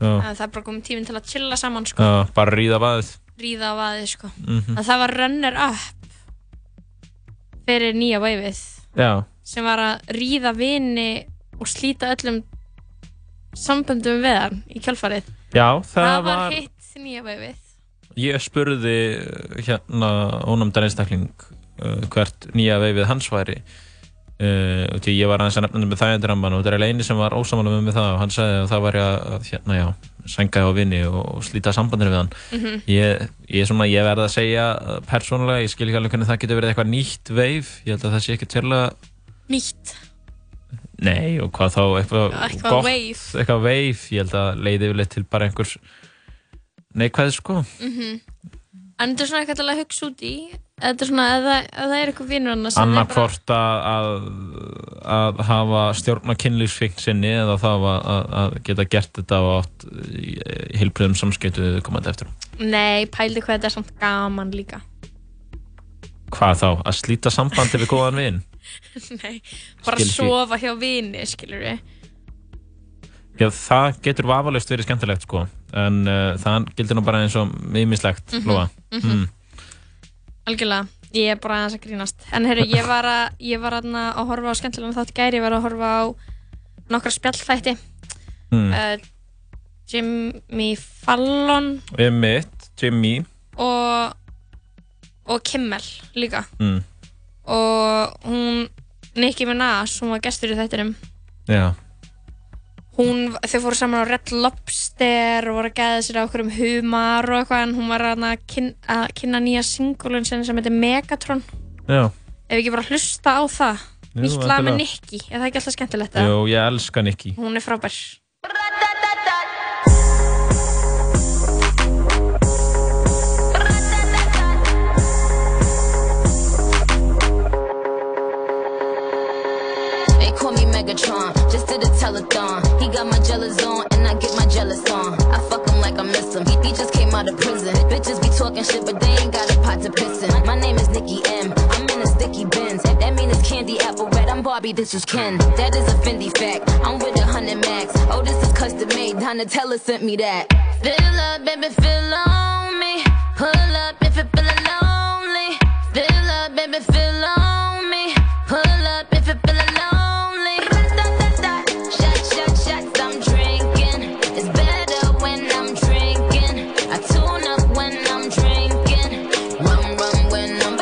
já,
það er bara komið tíminn til að chilla saman sko,
já, bara ríða vaðið
ríða á aðið sko.
mm
en það var runner up fyrir nýja væfið
Já,
sem var að ríða vini og slíta öllum samböndum við hann í kjálfarið
já, það,
það
var,
var hitt nýja veifið
Ég spurði eh, uh, hérna ónumdar einstakling uh, hvert nýja veifið hans væri Uh, og því ég var aðeins að nefna þetta með þægindiramman og þetta er eini sem var ósamála með mig um það og hann sagði að það var ég að, að hérna, já, sænga á vini og, og slíta sambandinu við hann
Mhm.
ég, ég, er svona, ég verð að segja uh, persónulega, ég skil ekki alveg hvernig það getur verið eitthvað nýtt veif, ég held að það sé ekki tjörlega
nýtt
nei og hvað þá eitthvað,
Eitthvað
gott,
wave.
eitthvað veif, ég held að leiði yfirleitt til bara einhvers neikvæð sko
Mhm. en þetta er svona eitthvað til að hugsa út í þetta er svona, ef það, ef það er eitthvað vinnur annars
annarkvort að, að, að hafa stjórna kynlýfsfing sinni eða þá að, að, að geta gert þetta á átt eh, í hilbriðum samskiptu komandi eftir.
nei, pældi hvað þetta er samt gaman líka
Hvað þá? Að slíta sambandi við góðan vin?
nei, bara
Skil því.
sofa hjá vini skilur við
Já, það getur vafalaust verið skemmtilegt sko, en uh, það gildir nú bara eins og mimislegt, mm -hmm. lofa.
algjörlega, ég er bara aðeins að grínast en herru, ég var að, ég var að, að horfa á skemmtilega þátt í gæri, ég var að horfa á nokkra spjallþætti
Mm.
uh, Jimmy Fallon
Emmett, Jimmy,
og og Kimmel líka
mm.
og hún Nicki Minaj, hún var gestur í þættinum
já,
hún, þau fóru saman á Red Lobster og voru að geða sér á okkur um humar og eitthvað en hún var þarna að kyn, að kynna nýja singulun sinni sem heitir Megatron
já.
ef ekki bara hlusta á það
Jú,
nýtt lag
endilega.
með Nicki, er það ekki alltaf skemmtilegt að
Jú, ég elska Nicky.
hún er frábær
They call me Megatron, just did a telethon. He got my jealous on, and I get my jealous on. I fuck him like I miss him. He, he just came out of prison. Bitches be talking shit, but they ain't got a pot to piss in. My name is Nikki M. I'm in a sticky bins. That mean it's candy apple red. I'm Barbie, this is Ken. That is a Fendi fact. I'm with a hundred max. Oh, this is custom made. Donatella sent me that. Fill up, baby, fill on me. Pull up if you're feeling lonely. Fill up, baby, fill on me. Pull up if you're feeling lonely. Shot, shot, shots I'm drinking. It's better when I'm drinking. I tune up when I'm drinking. Rum, rum when I'm.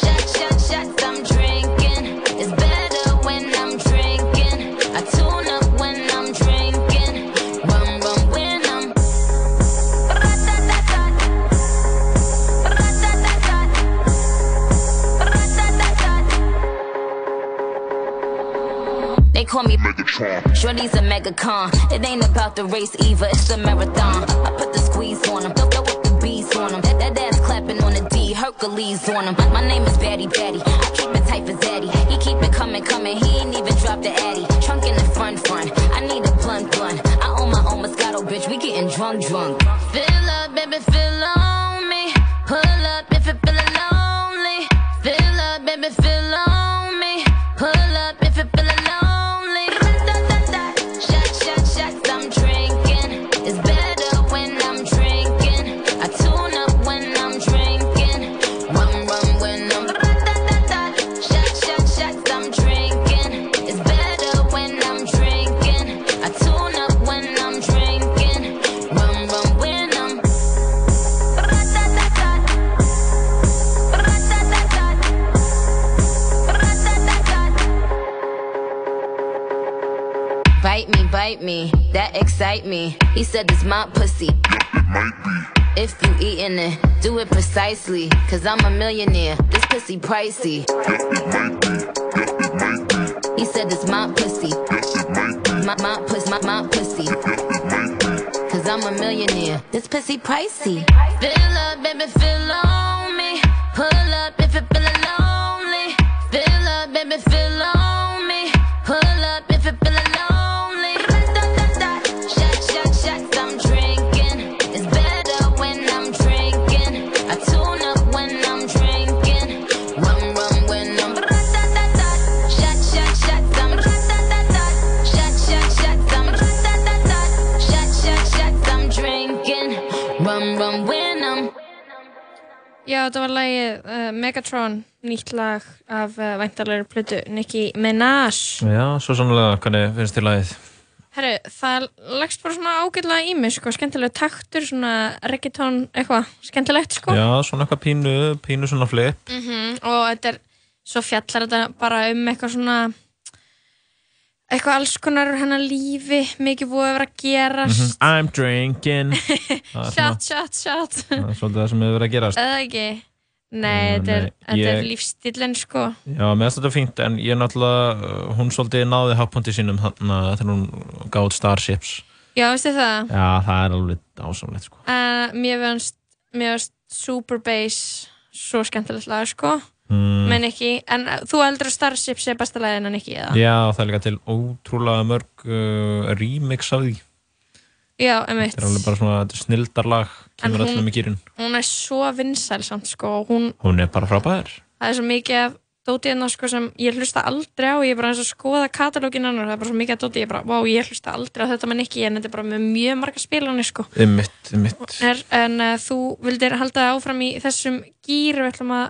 Shot, shot, shots I'm drinking. It's better when I'm drinking. I tune up when I'm drinking. Rum, rum when I'm. They call me Megatron. Shorty's a mega con. It ain't about the race either, it's the marathon. I put the squeeze on them, throw throw up the bees on them. That, that ass clapping on the D, Hercules on them. My name is Batty Batty. I keep it tight for Zaddy. He keep it coming, coming. He ain't even dropped the Addy. Trunk in the front, front. I need a blunt, blunt. I own my own Moscato, bitch. We getting drunk, drunk. Fill up, baby, fill on me. Pull up if you're feeling lonely. Fill up, baby, fill on me. Pull up if you're feeling lonely. Shot, shot, shots I'm drinking. It's better when I'm drinking. I tune up when I'm drinking. Rum, rum when I'm. Shot, shot, shots I'm drinking. It's better when I'm drinking. I tune up when I'm drinking. Rum, rum when I'm. Bite me, bite me, that excite me. He said it's my pussy. If you eatin' it, do it precisely. Cause I'm a millionaire, this pussy pricey. He said it's my pussy. My, my pussy, my, my pussy. Cause I'm a millionaire, this pussy pricey. Fill up, baby, fill on me. Pull up if you're feeling lonely. Fill up, baby, fill on me. Pull up if you're feeling lonely. Shot, shot, shots I'm drinking. It's better when I'm drinking. I tune up when I'm drinking. Rum, rum when I'm. Shot, shot, shots I'm. Shot, shot, shots I'm. Shot, shot, shots I'm drinking. Rum, rum when I'm.
Já, þetta var lagið uh, Megatron, nýtt lag af uh, væntalegri plötu Nicki Minaj.
Já, svo sannlega, hvernig finnst þér lagið?
Herru, það leggst bara svona ágætlega í mig, sko, skemmtilega taktur, svona reggaeton, eitthvað, skemmtilegt, sko.
Já, svona eitthvað pínu, pínu svona flip.
Og þetta er, svo fjallar þetta bara um eitthvað svona eitthvað alls konar úr hennar lífi mikið búið að vera að gerast
I'm drinking Það er svona-
shot, shot, shot
það er svolítið það sem hefur verið að gerast
eða ekki nei,
Mm,
þetta er,
nei,
ég... er
ég-
lífstillin sko
Já, mér finnst þetta fínt en ég náttúrulega, uh, hún svolítið náði hafpunkti sínum þarna þegar hún gáð Starships
já, veistu það,
Já, það er alveg dásamlegt sko
uh, mér finnst mér finnst Superbass svo skemmtilegt lag sko
mm.
með Nicky, en uh, þú heldur að Starship sé besta lagið en Nicky eða?
Já, það er líka til ótrúlega mörg uh, remix af því
já einmitt,
Þetta er alveg bara svona þetta er snildarlag
En
kemur
hún-
öllum í gýrin
hún er svo vinsæl samt sko, hún,
Hún er bara frábær
það er svo mikið af dótið hennar sko sem ég hlusta aldrei á ég er bara eins og að skoða katalógin hennar það er bara svo mikið af dótið, ég er bara, vá, ég hlusta aldrei á þetta með Nicky, en þetta er bara með mjög marga spilunni sko
Ymmit, ymmit
er, en uh, þú vildir halda áfram í þessum gýr við ætlum að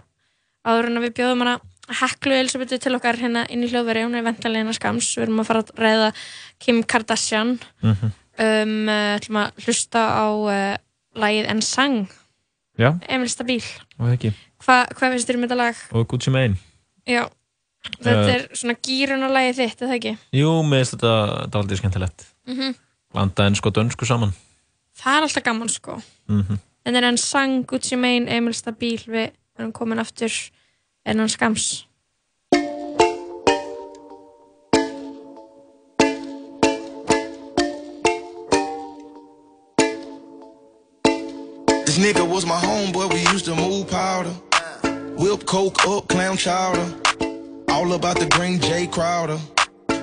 áður en að við bjóðum hana Heklu Elisabetu til okkar hérna inn í hljóðveri hún er ventanlega hennar skams, við erum að fara að ræða Kim Kardashian
Mhm.
um, uh, ætlum að hlusta á uh, lagið En Sang
Já,
Emil Stabíl,
og ekki
Hva, hvað finnst þér um þetta lag?
Og Gucci Mane
Já, þetta
Eh.
er svona gýrunarlagið þitt, eða ekki?
Jú, mér finnst þetta þetta er aldrei skemmtilegt
Mhm.
Blanda ennsko og dönsku saman
Það er alltaf gaman sko
mm
en er En Sang, Gucci Mane, Emil Stabíl við erum komin aftur en hann skams
This nigga was my homeboy, we used to move powder. Whip coke up, clam chowder. All about the green J Crowder.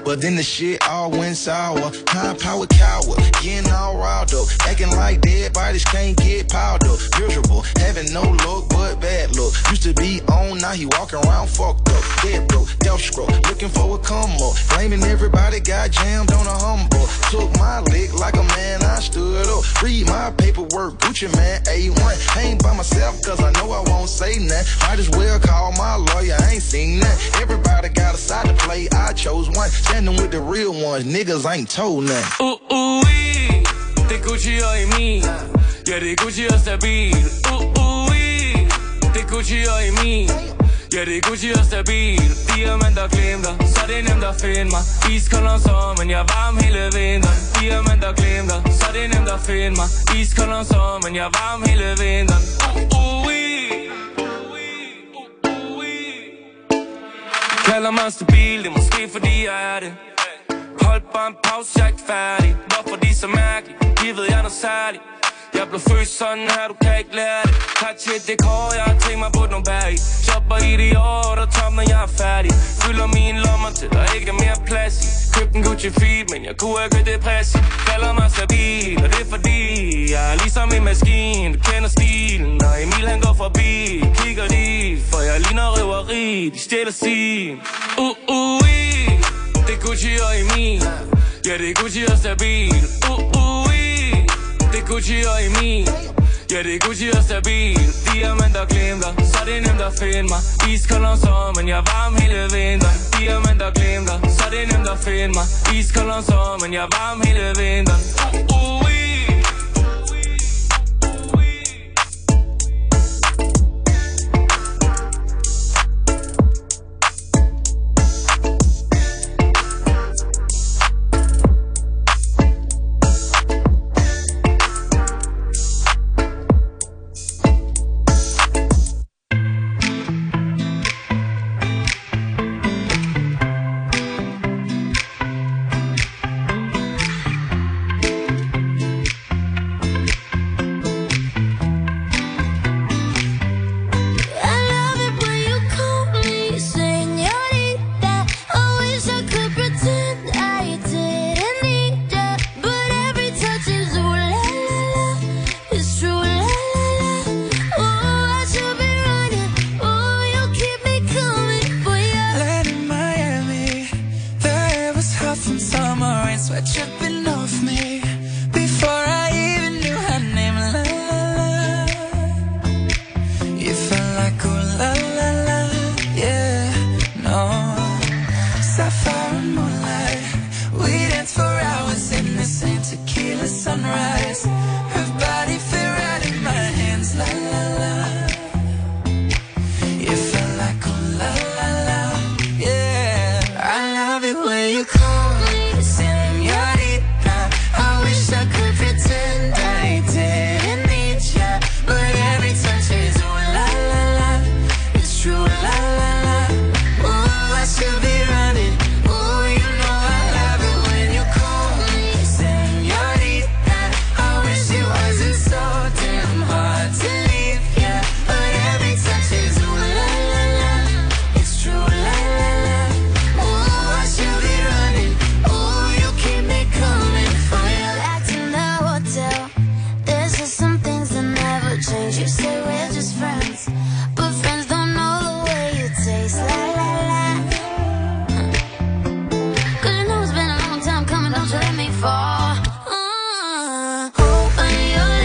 But then the shit all went sour. High power coward, getting all riled up. Acting like dead bodies can't get piled up. Miserable, having no luck but bad luck. Used to be on, now he walking around fucked up. Dead broke, death stroke, looking for a come up. Blaming everybody got jammed on a humble. Took my lick like a man, I stood up. Read my paperwork, Gucci man, A1. Ain't by myself, cause I know I won't say nothing. Might as well call my lawyer, I ain't seen nothing. Everybody got a side to play, I chose one. Standing with the real ones, niggas ain't told nothing.
Ooh, ooh, wee. Uh, Det er Gucci og Emil Ja, det er Gucci og Stabil Ooh, ooh, wee. Det er Gucci og Emil Ja, det er Gucci og Stabil Diamanter glimter, så det er nemt at finde mig Iskold om sommeren, jeg er varm hele vinteren Diamanter glimter, så det er nemt at finde mig Iskold om sommeren, jeg er varm hele vinteren Uh, Ooh, ooh, wee. Uh, Kalder mig stabil, det er måske fordi jeg er det Hold bare en pause, jeg er ikke færdig Hvorfor de så mærkelige? De ved jeg er noget særligt Jeg blev født sådan her, du kan ikke lære det Cartier dekor, jeg har tænkt mig på nogle bær i Shopper i de år, der er tom, når jeg er færdig Fylder mine lommer til der ikke er mere plads i Købte en Gucci feed, men jeg kunne ikke det pres i Kalder mig stabil, og det er fordi Jeg er ligesom en maskine, du kender stilen Når Emil han går forbi, kigger lige For jeg ligner røveri, de stjæler sin Uh, uh, i. Det er Gucci og Emil Ja, det er Gucci og Stabil Uh, uh, i. Det er Gucci og Emil Ja, det er Gucci og Stabil Diamanter glimter, så det er nemt at finde mig Iskold om sommeren, jeg er varm hele vinteren Diamanter glimter, så det er nemt at finde mig Iskold om sommeren, jeg er varm hele vinteren Uh, uh, i.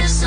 Uh,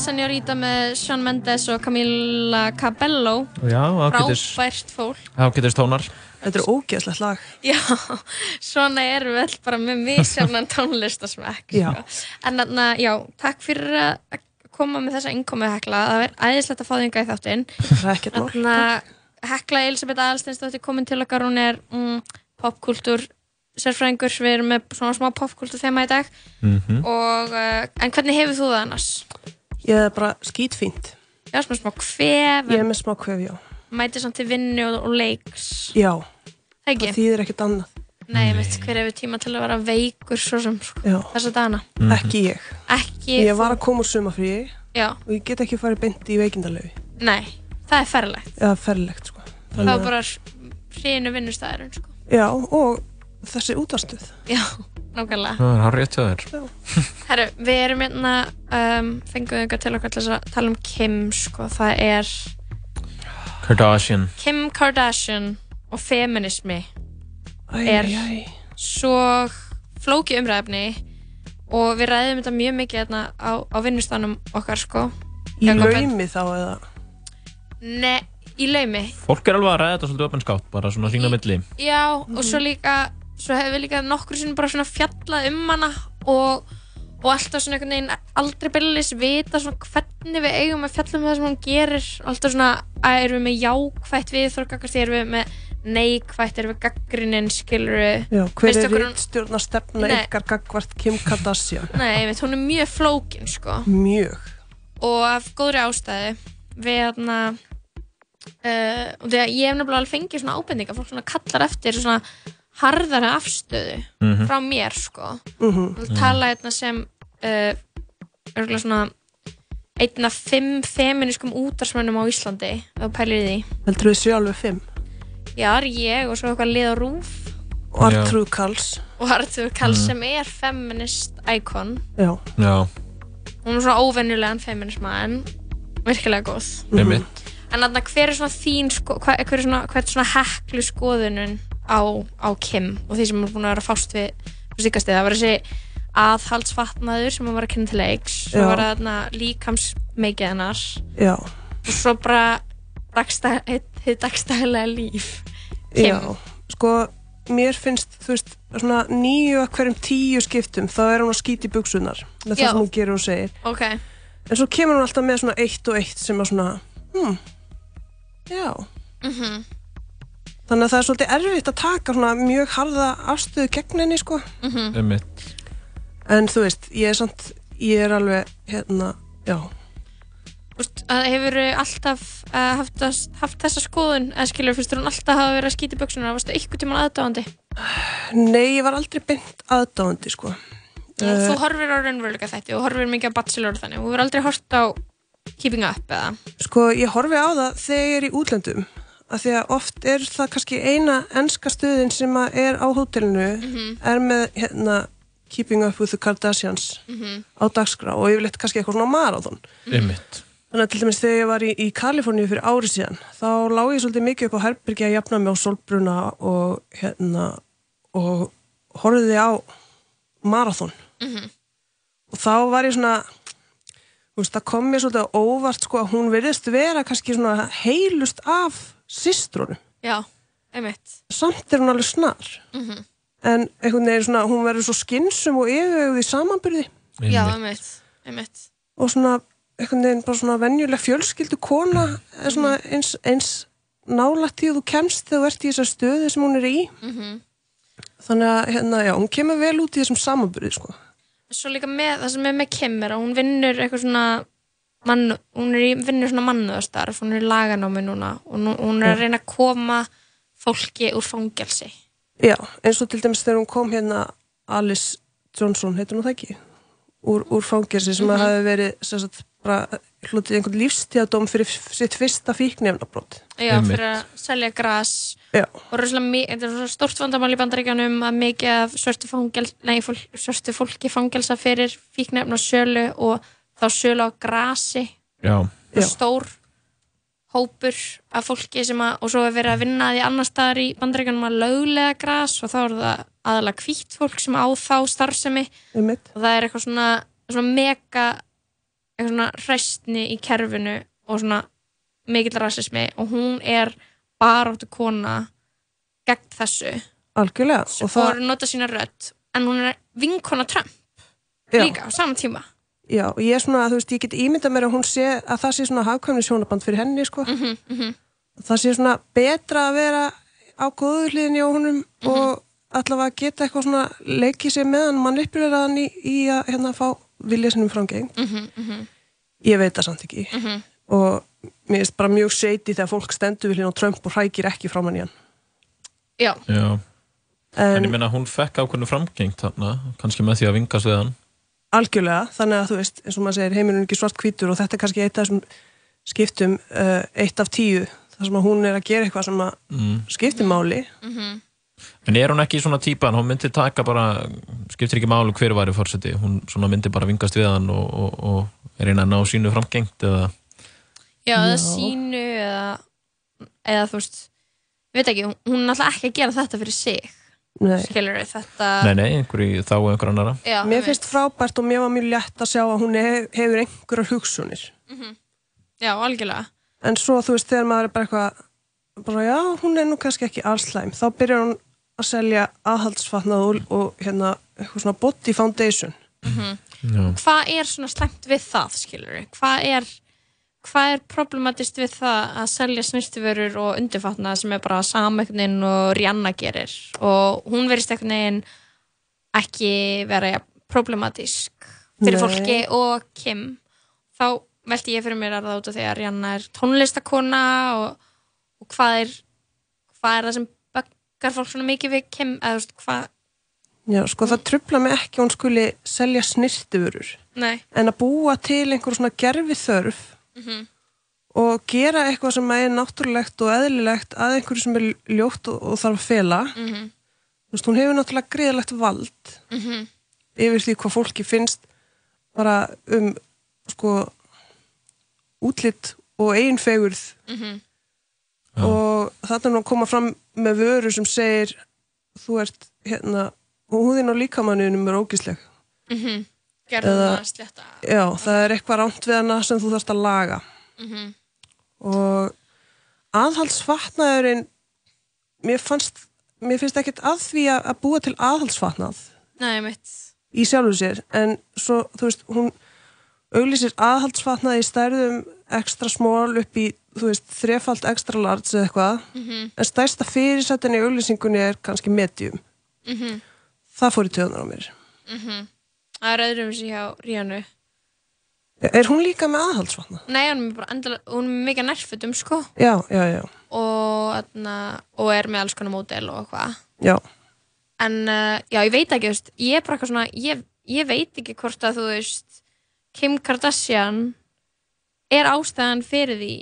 Senorita með Shawn Mendes og Camila Cabello
Já, ágætis,
frábært fólk
ágætis tónar
Þetta er ógeðslegt lag.
já, svona erum við öll bara með misjafnan tónlistasmekk
Já.
sko. en þarna, já, takk fyrir að- að koma með þessa innkomu hekla það er æðislegt að fá þingar í þáttinn
Það er ekkert mál.
Þarna, Hekla Elisabeth Aðalsteinsdóttir komin til okkar, hún er mm, popkultúr sérfræðingur, við erum með svona smá popkultúr þema í dag og, uh, en hvernig hefur þú það annars?
Ég er bara skítfínt.
Já, svona smá kvef,
Ég
yeah.
er með smá kvef, já.
mætið samt til vinnu og, og leiks,
Já,
það
það
ekki?
þýðir ekkert annað.
Nei, veit, hver hefur tíma til að vera veikur svo sem sko,
Já,
þessa dagana?
ekki ég.
Ekki,
Ég var að koma úr sumafríi
já,
og ég get ekki farið beint í veikindalegu.
nei, það er ferlegt,
Eða ferlegt, sko.
það
að-
var bara hrinu vinnustæðurinn, sko,
Já, og þessi útvarstuð.
já, nákvæmlega.
Það er hann rétt hjá þér
Herru, við erum hérna um, fengum ykkur til okkar til þess að tala um Kim sko, það er
Kardashian
Kim Kardashian og feminismi
Æ,
Er-
æ, æ.
svo flóki umræfni og við ræðum þetta mjög mikið hérna á, á vinnustanum okkar sko
Í
Jakob,
laumi þá eða...
Nei, í laumi
Fólk er alveg að ræða þetta svolítið öpinskátt bara svona sína
Í-
milli
Já,
Mhm.
og svo líka svo hefur við líka nokkur sinnum bara svona fjallað um hana og, og alltaf svona einhvern veginn aldrei byrjulis vita svona hvernig við eigum að fjalla um það sem hún gerir alltaf svona, að erum við með jákvætt við þorgakast, erum við með neikvætt erum við gaggrinin, skilur við
Já, hver
Veistu
er
okkur hún-
rittstjórna stefna
Nei.
ykkar gagvart Kim Kardashian?
Nei, einmitt, hún er mjög flókin sko
Mjög.
og af góðri ástæðu við hérna uh, og því að ég hef nefnilega alveg fengið svona ábendinga fólk svona kallar eftir svona harðara afstöðu frá mér sko
Mhm.
og tala hérna sem uh, örgulega svona einna fimm feminískum útarsmönnum á Íslandi ef þú pælir í því
Heldur við séu alveg fimm.
já, það er ég og svo eitthvað lið á rúf
Og
Já.
Artrú Karls.
og Arthur Kall sem er feminist íkon
Já,
Já,
hún er svona óvenjulegan feminisma en virkilega góð
Mhm.
einmitt
En þarna, hver er svona þín, sko, hver, hver er svona, hver er svona heklu skoðunum á, á Kim og því sem er búin að vera að fást við síkastíð, það var þessi aðhaldsfatnaður sem hún var að kynna til leiks svo
Já.
var það þarna líkamsmeikið hennar
já,
og svo bara dagstæ, þið dagstæðilega líf Kim.
já. Sko, mér finnst, þú veist, svona nýju að hverjum tíu skiptum, þá er hún að skýti í buksunar með það
Já.
sem hún gerir og segir.
ok,
En svo kemur hún alltaf með svona eitt og eitt sem að svona, hmm, já. Mhm. Þannig að það er svolítið erfitt að taka svona mjög harða afstöðu gegn henni, sko.
Mhm.
Einmitt
En þú veist, ég er samt, ég er alveg, hérna, já,
Úst, að hefur alltaf uh, haft, þess- haft þessa skoðun eða skilur, finnst þér hún alltaf hafa verið að skýta í buksunar varstu ykkur tíma aðdáandi
Nei, ég var aldrei beint aðdáandi sko.
Eh.
Uh, þú horfir á raunveruleika þætti og horfir mikið á Bachelor og þannig og þú verður aldrei hort á Keeping Up eða
Sko, ég horfi á það þegar ég er í útlöndum af því að oft er það kannski eina enska stöðin sem að er á hótelinu er með hérna Keeping Up with the Kardashians á dagskrá og yfirleitt kannski eitthvað svona marathon.
Einmitt
Þannig að til dæmis þegar ég var í, í Kaliforníu fyrir ári síðan þá lág ég svolítið mikið upp á herbergi að jafna mig á solbruna og hérna og horfði á marathon og þá var ég svona þú veist, það kom mér svolítið á óvart sko, að hún virðist vera kannski svona heilust af systrunum
Já, einmitt
samt er hún alveg snar
Mhm.
en einhvern veginn svona, hún verður svo skinsum og yfirvegð í samanbyrði
Já,
Einmitt
einmitt, einmitt.
og svona einhvern veginn bara svona venjuleg fjölskyldu kona er svona eins, eins nálægt því að þú kemst þegar þú ert í þessar stöðu sem hún er í
Mhm.
þannig að hérna, já, hún kemur vel út í þessum samanbyrði sko.
Svo líka með, það sem er með Kim er að hún vinnur eitthvað svona mann, hún er í, vinnur svona mannöðastarf hún er í laganámi núna og nú, hún er að reyna að koma fólki úr fangelsi
Já, eins og til dæmis þegar hún kom hérna Alice Johnson, heitir hún það ekki úr, úr fangelsi sem
Mhm.
að hafi verið sem sagt, bara hlutið einhvern lífstíðadóm fyrir f- sitt fyrsta fíknefnabrót
Já,
Einmitt.
fyrir að selja gras
Já,
og rosalega mi- þetta er svona stórt vandamál í bandaríkjanum að mikið af svörtu, fangel, nei, fólk, svörtu fólki fangelsa fyrir fíknefn og sölu og þá sölu á grasi
Já,
Já.
og stór hópur af fólki sem að og svo er verið að vinna að því annar staðar í bandaríkjanum að löglega gras og þá er það aðalega hvítt fólk sem á þá starfsemi
einmitt
og það er eitthvað svona, svona mega eitthvað svona hræstni í kerfinu og svona mikill rasismi og hún er baráttu kona gegn þessu
algjörlega og
og
það,
er að nota sína rödd en hún er vinkona Trump
Já.
líka á sama tíma
já, og ég er svona, þú veist, ég get ímyndað mér að hún sé að það sé svona hafkvæmni sjónaband fyrir henni, sko
Mhm.
það sé svona betra að vera á góðu hliðin í honum
Mhm.
og allavega geta eitthvað svona leikið sér meðan mann uppbyrðar hann í, í að hérna fá vilja sinum framgeng ég veit það samt ekki og mér finnst bara mjög seiti þegar fólk stendur við hliðin á Trump og hrækir ekki framann í hann
já,
Já. En ég
en
meina hún fekk ákveðnu framgengt þarna, kannski með því að vingast við hann.
algjörlega þannig að þú veist, eins og maður segir, heimurinn er ekki svart hvítur og þetta er kannski eitt af þessum skiptum uh, eitt af tíu þar sem að hún er að gera eitthvað sem að
Mm.
skiptir máli
En er hún ekki svona típan, hún myndi taka bara, skiptir ekki málu hver væri fórseti, hún svona myndi bara vingast við hann og, og, og er einn að ná sínu framgengt eða,
já, eða sínu eða, eða þú veist ég veit ekki, hún- hún er alltaf ekki að gera þetta fyrir sig
Nei.
skilur þetta
nei nei, einhverju þá og einhver annara.
Mér
já, einmitt.
finnst frábært og mér var mjög létt að sjá að hún hef, hefur einhverjar hugsunir.
já, algjörlega
En svo þú veist þegar maður er bara eitthvað, bara já, hún er nú kannski ekki allslæm. Þá byrjar hún að selja aðhaldsfatnað og, og hérna eitthvað svona body foundation.
hvað er svona slæmt við það skilur hvað er, hvað er problematist við það að selja snirtivörur og undirfatna sem er bara samögnin og Rihanna gerir og hún verist einhvern veginn ekki vera jafn problematísk fyrir
Nei.
fólki og Kim þá velti ég fyrir mér að það út af því að Rihanna er tónlistakona og, og hvað er hvað er það sem böggar fólk svona mikið við Kim eða þú veist hvað,
Já, sko það trubla mig ekki að hún skuli selja snirtivörur.
nei,
En að búa til einhver svona gerfi þörf
Mhm.
og gera eitthvað sem er náttúrulegt og eðlilegt að einhverju sem er ljótt og, og þarf að fela. Þú veist, hún hefur náttúrulega gríðalegt vald yfir því hvað fólki finnst bara um sko útlitt og einfegurð og þarna er hún að koma fram með vöru sem segir þú ert hérna og húðin á líkamanninum er ógisleg
Mhm. gerðu
Eða-
það slétta
Já, það er eitthvað rámt við hana sem þú þarft að laga
Mhm.
og aðhaldsfatnaðurinn mér fannst mér finnst ekkert að því að, að búa til aðhaldsfatnað
nei, mitt
í sjálfu sér en svo, þú veist, hún auglýsir aðhaldsfatnað í stærðum ekstra smól upp í þú veist, þrefald ekstra large eða eitthvað
Mhm.
en stærsta fyrirsættin í auglýsingunni er kannski medium það fór í töðunar á mér
Það er öðrum sem hjá Ríanu
Er hún líka með aðhaldsfatnað?
Nei, hún er bara endalega, hún er mega nærfutum sko
Já, já, já,
og, atna, og er með alls konar módel og eitthvað
já
En uh, já, ég veit ekki, þú veist, ég er bara eitthvað svona ég, ég veit ekki hvort að þú veist Kim Kardashian er ástæðan fyrir því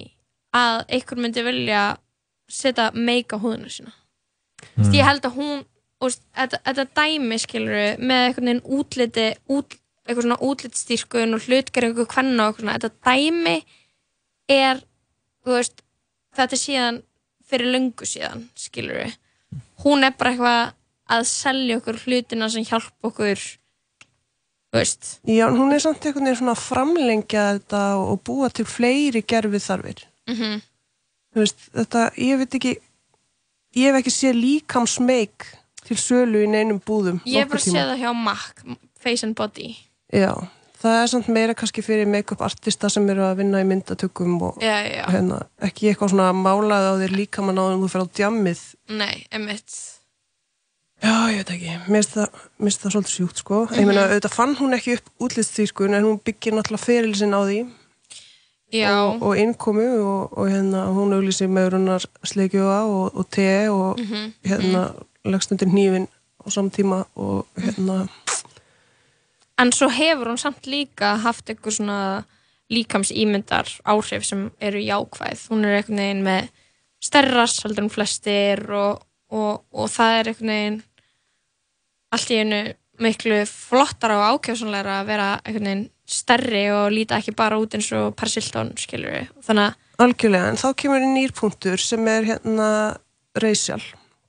að einhver myndi vilja setja meika húðina sína mm. Ég held að hún þú veist, þetta, þetta dæmi skilur með einhvern veginn útliti út, eitthvað svona útlitstýrkun og hlutgeringu kvenna og eitthvað svona, þetta dæmi er þú veist, þetta er síðan fyrir löngu síðan skilur hún er bara eitthvað að selja okkur hlutina sem hjálpa okkur þú veist
Já, en hún er samt einhvern veginn svona að framlengja þetta og og búa til fleiri gerfið þarfir. Þú veist, þetta, ég veit ekki, ég hef ekki séð líkamsmeik til sölu í neinum búðum.
ég er bara að sé
það.
það hjá MAC Face and Body
Já, það er samt meira kannski fyrir make-up artista sem eru að vinna í myndatökum og
já, já, já,
hérna, ekki eitthvað svona málaði á þér líkamann áður en þú fer á djammið.
nei, emitt
Já, ég veit ekki, mér finnst það, mér finnst það svolítið sjúkt sko. Ég meina,
Mhm.
auðvitað fann hún ekki upp útlistýrkun en hún byggir náttúrulega ferilsinn á því.
já,
og, og innkomu og, og hérna hún auglýsi maurunar sleikjóa og, og te og
Mhm,
hérna leggst undir hnífin á samtíma og
Mhm.
hérna
en svo hefur hún samt líka haft einhver svona líkamsýmyndar áhrif sem eru jákvæð hún er einhvern veginn með stærra heldur en flestir og, og, og það er einhvern veginn allt í einu miklu flottara og ákjöfsanlegra að vera einhvern veginn stærri og líta ekki bara út eins og persiltón skilur við þannig að
algjörlega en þá kemur einn nýr punktur sem er hérna reysjál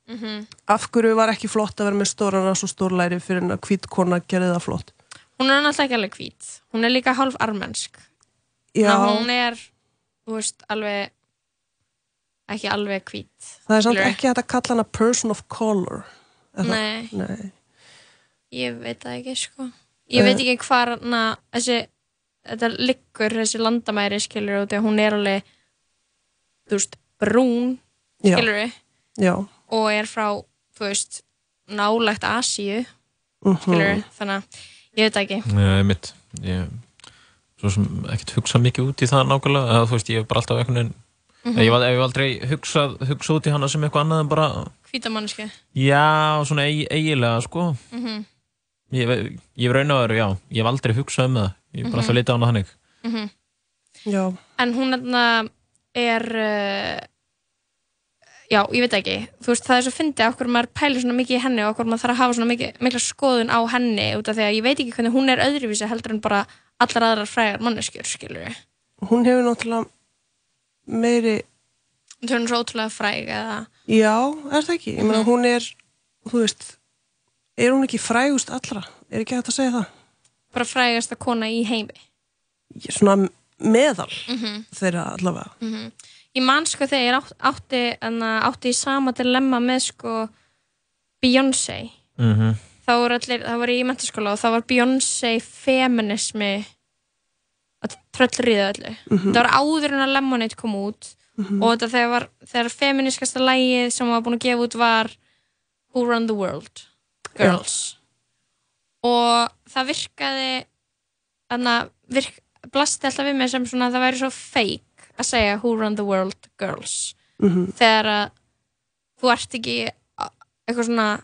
Mhm.
af hverju var ekki flott að vera með stóran og stórlæri fyrir en að hvít kona gerði það flott
hún er náttúrulega ekki alveg hvít hún er líka hálf armensk
Já.
Ná, hún er, þú veist, alveg ekki alveg hvít
Það er samt
Skilurðu?
ekki hægt að kalla hana person of color er það?
Nei,
Nei.
ég veit það ekki sko Ég
Eh.
veit ekki hvar na, þessi, þetta liggur þessi landamæri skilur út því að hún er alveg þú veist, brún
Já.
skilur
Já.
og er frá, þú veist nálægt Asíu
Mhm.
skilur þannig að ég veit það ekki
Nei, mitt ég, Svo sem ekkert hugsa mikið út í það nákvæmlega eða, Þú veist, ég hef bara alltaf einhvern veginn mm
Mhm.
-hmm. Ég hef al- ég hef aldrei hugsað hugsa út í hana sem eitthvað annað en bara
Hvítamanniski
Já, svona eig, eigilega, sko
mm -hmm.
Ég, ve- ég hef raun og veru, já Ég hef aldrei hugsað um það Ég hef bara
Mhm.
alltaf litið á hana þannig
Já.
En hún þarna er uh, já, ég veit það ekki þú veist, það er svo fyndið af hverju maður pælir svona mikið í henni og af hverju maður þarf að hafa svona mikið, mikla skoðun á henni út af því að ég veit ekki hvernig hún er öðruvísi heldur en bara allar aðrar frægar manneskjur, skilur við
Hún hefur náttúrulega meiri
Þú er svo ótrúlega fræg eða
Já, er það ekki? Ég
Mhm.
meina hún er, þú veist, er hún ekki frægust allra? Er ekki hægt að segja það?
bara frægasta kona í heimi
Ég, svona meðal
mm
þeirra allavega.
-hmm. Ég man sko þegar ég átt- átti, enna, átti í sama dilemma með sko Beyoncé
mm -hmm.
þá voru allir, þá voru ég í mentaskóla og þá var Beyoncé feminismi að tröllriða öllu
Mhm.
það var áður en að Lemonade kom út
Mhm.
og þetta þegar, var, þegar feminiskasta lægið sem var búin að gefa út var Who Run The World Girls og það virkaði þannig að virk, blasti alltaf við mér sem svona það væri svo fake að segja Who Run The World Girls
Mhm.
þegar að þú ert ekki a- eitthvað svona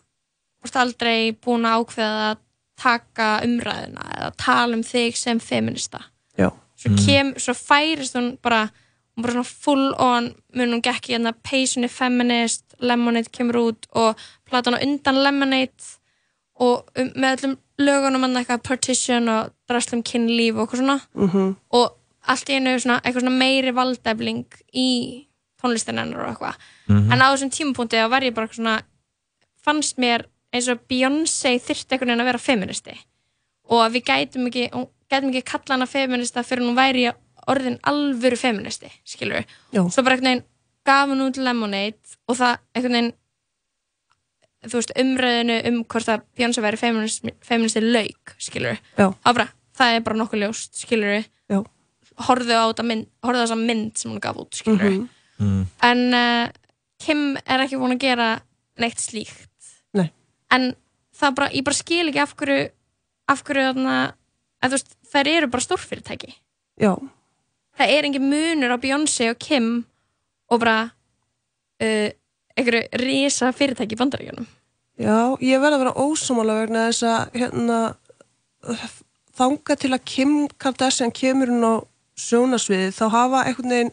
þú ert aldrei búin að ákveða að taka umræðuna eða tala um þig sem feminista
Já.
svo, kem, svo færist hún bara hún bara svona full on mun hún gekk í hérna peysunni feminist Lemonade kemur út og platan á undan Lemonade og um, með öllum lögunum hann eitthvað partition og draslum kynlíf og eitthvað svona
Mhm.
og allt í einu svona, eitthvað svona meiri valdæfling í tónlistin hennar og eitthvað
Mhm.
en á þessum tímapunkti þá var ég bara svona fannst mér eins og Beyoncé þyrfti einhvern veginn að vera feministi og að við gætum ekki, hún- gætum ekki kalla hana feminista fyrir hún væri orðin alvöru feministi, skilur við
Já.
svo bara einhvern veginn gaf hún út Lemonade og það einhvern veginn þú veist, umræðinu um hvort að Beyoncé væri feminist, feministi lauk, skilur
Já.
Það var bara, það er bara nokkuð ljóst, skilur
Já.
horfðu á þetta mynd, horfðu á þessa mynd sem hún gaf út, skilur
Mhm.
en uh, Kim er ekki búin að gera neitt slíkt
Nei.
en það bara, ég bara skil ekki af hverju af hverju þarna að þú veist, þær eru bara stórfyrirtæki
Já.
það er engin munur á Beyoncé og Kim og bara uh, einhverju risa fyrirtæki í bandaríkjunum
Já, ég verð að vera ósámála vegna þess að hérna þanga til að Kim Kardashian kemur hún á sjónasviði þá hafa einhvern veginn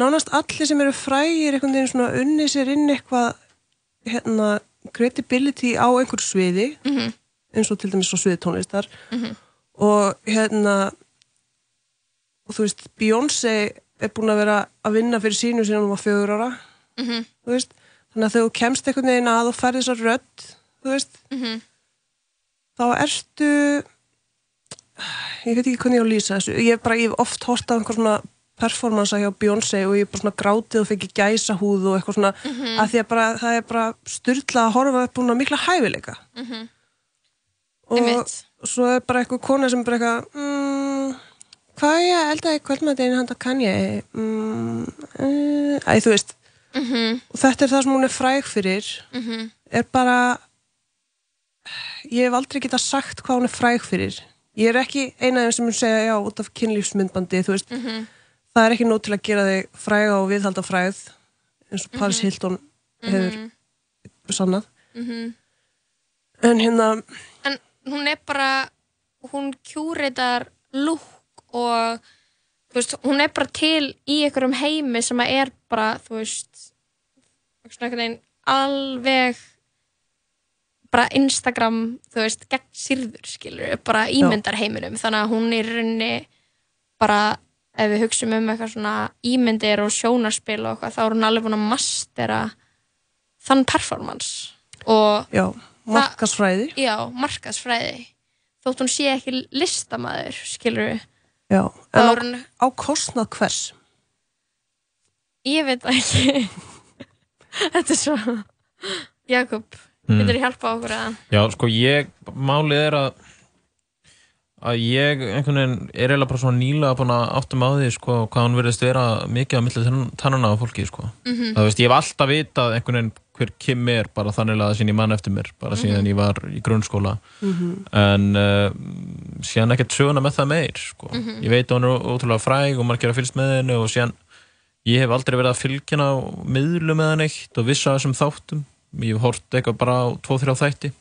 nánast allir sem eru frægir einhvern veginn svona unni sér inn eitthvað hérna credibility á einhver sviði
Mhm.
eins og til dæmis á sviði tónlistar
Mhm.
og hérna og þú veist Beyoncé er búin að vera að vinna fyrir sínu síðan hún var fjögur ára
Mhm.
þú veist þannig að þegar þú kemst einhvern veginn að og færði þessar rödd þú veist
Mhm.
þá ertu ég veit ekki hvernig ég á að lýsa þessu ég hef bara, ég hef oft hort á einhver svona performansa hjá Beyoncé og ég hef bara svona grátið og fekk gæsa húð og eitthvað svona mm
Mhm.
að því að bara, það er bara styrla að horfa upp hún á mikla hæfileika og
Einmitt.
svo er bara eitthvað kona sem er bara eitthvað mm, hvað á ég að elda í kvöldmætinu handa kann ég mm, uh, æ, þú veist
Mhm.
og þetta er það sem hún er fræg fyrir
Mhm.
er bara ég hef aldrei geta sagt hvað hún er fræg fyrir ég er ekki eina af þeim sem mun segja já út af kynlífsmyndbandi þú veist
Mhm.
það er ekki nóg til að gera þig fræga og viðhalda fræð eins og Paris Hilton hefur
Mhm.
sannað
Mhm.
en hérna,
en hún er bara hún kjúritar lúk og þú veist, hún er bara til í einhverjum heimi sem að er bara þú veist svona einhvern veginn alveg bara Instagram þú veist, gegn sýrður skilur bara ímyndar heiminum þannig að hún er í rauninni bara ef við hugsum um eitthvað svona ímyndir og sjónarspil og eitthvað þá er hún alveg búin að mastera þann performance og
já markasfræði
já, markaðsfræði þótt hún sé ekki listamaður skilur
Já, en
Þá
á,
er hún-
á kostnað hvers?
Ég veit það ekki Þetta er svo Jakob,
Mm.
getur þú hjálpa okkur að
Já, sko, ég, málið er að að ég einhvern veginn er eiginlega bara svona nýlega búin að áttum á því, sko, hvað hann verðist vera mikið á milli tann- tannana á fólki, sko
Mhm.
það veist, ég hef alltaf vitað einhvern veginn hver Kim er, bara þannig að sín ég mann eftir mér bara síðan ég var í grunnskóla
Mhm.
en uh, síðan ekkert söguna með það meir, sko
Mhm.
ég veit að hann er ó- ótrúlega fræg og margir að fylgst með henni og síðan ég hef aldrei verið að fylgjana á miðlum með hann eitt og vissa þessum þáttum ég hef hort eitthvað bara á 2-3 þætti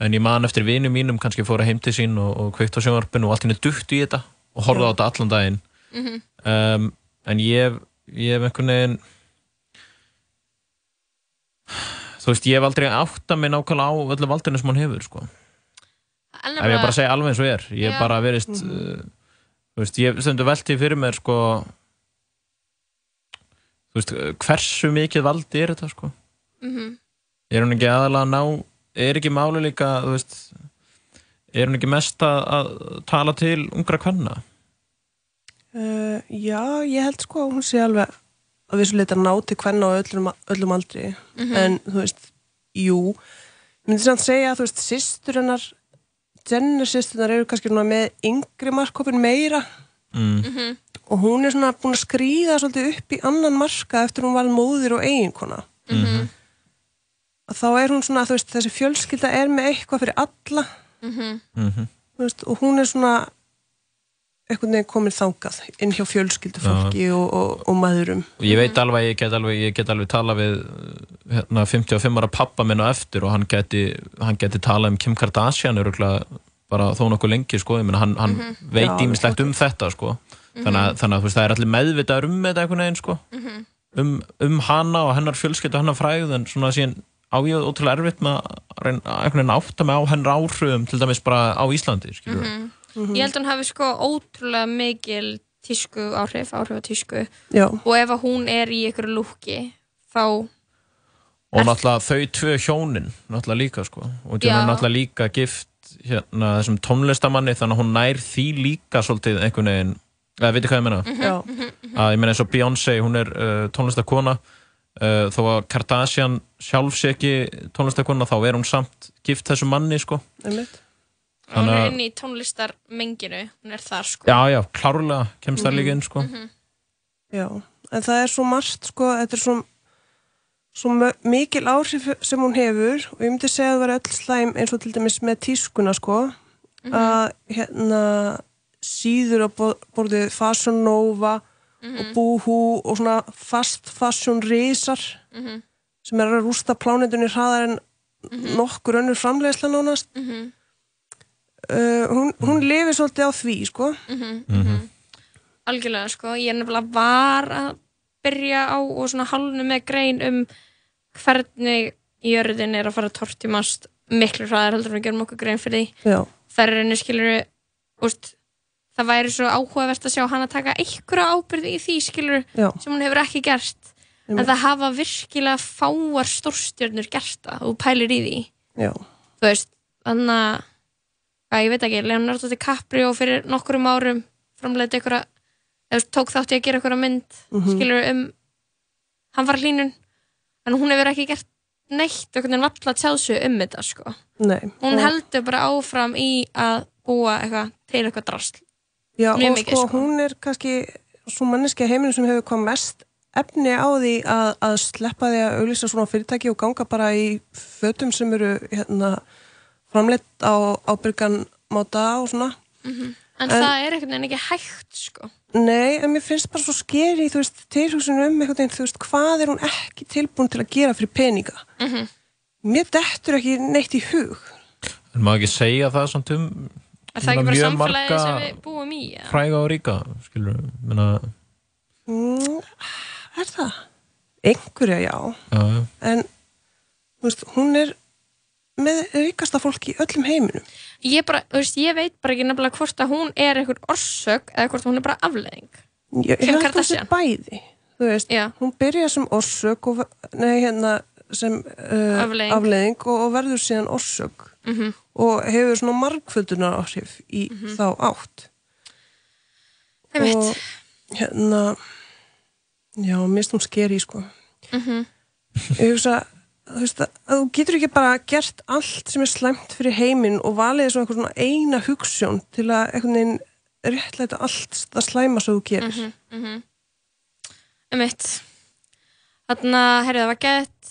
en ég man eftir vinum mínum kannski fóra heim til sín og, og kveikt á sjónvarpinu og allt henni dutt í þetta og horfði á þetta allan daginn
Mhm.
um, en ég hef, ég hef einhvern veginn þú veist, ég hef aldrei átta mig nákvæmlega á öllu valdinu sem hann hefur sko. ef ég bara segja alveg eins og er ég hef
Já.
bara verist uh, þú veist, ég stundu velti fyrir mér sko, þú veist, uh, hversu mikið valdi er þetta sko?
Mhm.
er hún ekki aðalega að ná er ekki máli líka þú veist, er hún ekki mest að, að tala til ungra kvenna
Uh, já, ég held sko að hún sé alveg að við svo leita ná til hvernig á öllum, öllum aldri
Mhm.
en þú veist, jú ég myndi samt segja að þú veist, systur hennar Jenner systurnar eru kannski svona með yngri markkopin meira
mm.
Mhm.
og hún er svona búin að skrýða svolítið upp í annan marka eftir hún var móðir og eiginkona
Mhm.
að þá er hún svona, þú veist, þessi fjölskylda er með eitthvað fyrir alla
Mhm.
Mhm.
Þú veist, og hún er svona einhvern veginn komin þangað inn hjá fjölskyldufólki og, og, og maðurum
og ég veit alveg að ég get alveg, ég get alveg tala við uh, hérna, 55 ára pappa minn á eftir og hann geti, hann geti talað um Kim Kardashian öruglega bara þó nokkuð lengi sko, ég meina hann, hann
Mhm. Já,
veit
alveg
ímislegt um þetta sko þannig að, þannig að þú veist, það er allir meðvitaður um þetta einhvern veginn sko
Mhm.
um, um hana og hennar fjölskyld og hennar fræð en svona síðan á ég ótrúlega erfitt með að reyna að einhvern veginn átta mig á hennar áhrifum til dæmis bara á Íslandi skilur
Mhm. Ég held að hún hafi sko ótrúlega mikil tísku áhrif, áhrif á tísku
Já.
og ef að hún er í ykkur lúki
og
þá
náttúrulega þau tvö hjónin náttúrulega líka sko og hún
Já.
er náttúrulega líka gift hérna þessum tónlistamanni þannig að hún nær því líka svolítið einhvern veginn eða veitir hvað ég menna
Mhm, Já. mhm,
að ég menna eins og Beyoncé hún er uh, tónlistakona uh, þó að Kardashian sjálf sé ekki tónlistakona þá er hún samt gift þessum manni sko
Einmitt.
hún
Þannig
er
að-
inn í tónlistarmenginu hún er þar sko
já já klárlega kemst það
Mhm,
líka inn sko
mhm.
Já, en það er svo margt sko, þetta er svo, svo mö- mikil áhrif sem hún hefur og ég myndi segja að það vera öll slæm eins og til dæmis með tískuna sko
Mhm.
að hérna síður á bo- borðið Fashion Nova og Boohoo og svona fast fashion risar
Mhm.
sem er að rústa plánetunni hraðar en nokkur önnur framleiðsla nánast
Mhm.
uh, hún, hún lifir svolítið á því sko
Mhm, mhm. algjörlega sko ég er nefnilega var að byrja á og svona hálnu með grein um hvernig jörðin er að fara að tortimast miklu hraðar heldur en við gerum okkur grein fyrir því
Já.
þær er henni skilur úst, það væri svo áhugavert að sjá hann að taka einhverja ábyrði í því skilur
Já.
sem hún hefur ekki gert en
Einmitt.
það hafa virkilega fáar stórstjörnur gert það og pælir í því
Já.
þú veist, þannig að að ég veit ekki, Leonardo DiCaprio fyrir nokkurum árum framleiði einhverja eða þú veist, tók þátt í að gera einhverja mynd
Mhm.
skilur um hann var hlínun, en hún hefur ekki gert neitt, einhvern veginn valla tjáð sig um þetta sko
Nei,
hún
og-
heldur bara áfram í að búa eitthvað til eitthvað drasl
Já,
Mjög
og
mikið,
sko,
sko.
hún er kannski svo manneskja heiminn sem hefur hvað mest efni á því að, að sleppa því að auglýsa svona fyrirtæki og ganga bara í fötum sem eru hérna, framleitt á ábyrgan máta og svona.
en,
En-
það er einhvern veginn ekki hægt sko
Nei, en mér finnst bara svo skeri, þú veist, tilhugsunum um einhvern veginn, þú veist, hvað er hún ekki tilbúin til að gera fyrir peninga?
Mhm.
Mér dettur ekki neitt í hug.
en maður ekki segja það samt um
er það ekki bara
mjög
samfélagið
marga
sem við búum í ja?
fræga og ríka skilur minna,
Mm, er það? Einhverja, já.
já, já.
en þú veist, hún er með ríkasta fólk í öllum heiminum
ég, bara, þú veist, ég veit bara ekki nefnilega hvort að hún er einhver orsök eða hvort hún er bara afleðing
ég, ég
Kim
held að það sé
Kardashian.
bæði þú veist,
Já.
hún byrja sem orsök og, ver- nei, hérna, sem uh,
Afleiðing.
og, og verður síðan orsök
Mhm.
og hefur svona margföldunar áhrif í þá átt
Einmitt.
og hérna já, mist hún skeri sko
mhm,
ég hugsa þú veist að að þú getur ekki bara gert allt sem er slæmt fyrir heiminn og valið svo eitthvað svona eina hugssjón til að einhvern veginn réttlæta allt það slæma sem þú gerir
Mhm. Einmitt. Þannig að, heyrðu, það var gett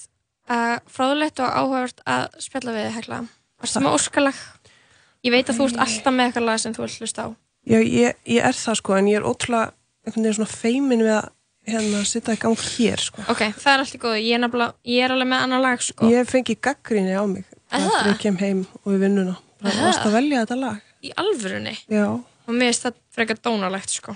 uh, fráðulegt og áhugavert að spjalla við þig, Hekla. Varstu með óskalag? Ég veit að þú ert alltaf með eitthvað lag sem þú vilt hlusta á.
já, ég, ég er það sko en ég er ótrúlega einhvern veginn svona feimin við að hérna sitta í gang hér sko
Ok, það er allt í góðu. Ég er, nefnilega, ég er alveg með annar lag, sko.
ég fengi gaggrinni á mig
Aha.
eftir ég kem heim og við vinnuna bara
Aha.
varst að velja þetta lag
Í alvörunni.
já,
Og mér finnst það frekar dónalegt, sko.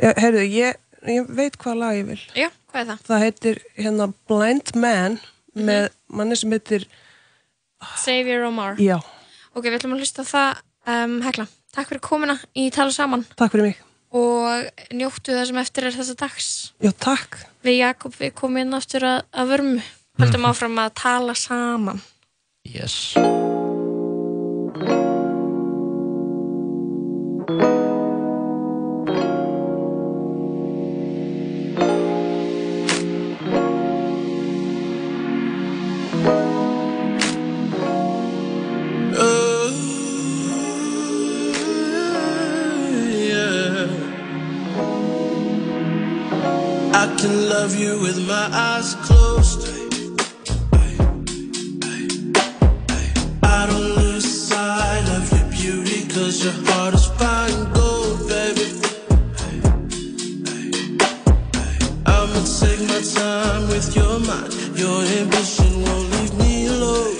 ég, heyrðu, ég, ég veit hvað lag ég vil
Já, hvað er það? Mhm.
það heitir hérna Blind Man með manni sem heitir
Xavier Omar.
já,
Ok, við ætlum að hlusta á það, um, Hekla. Takk fyrir komuna í Tala Saman
takk fyrir mig
og njóttu það sem eftir er þessa dags.
já, takk,
Við Jakob, við komum inn aftur að, að vörmu. Haldum
Mhm.
áfram að tala saman.
Yes.
Oh, I can love you with my eyes closed. I don't lose sight of your beauty, cause your heart is fine gold, baby. I'ma take my time with your mind. Your ambition won't leave me alone.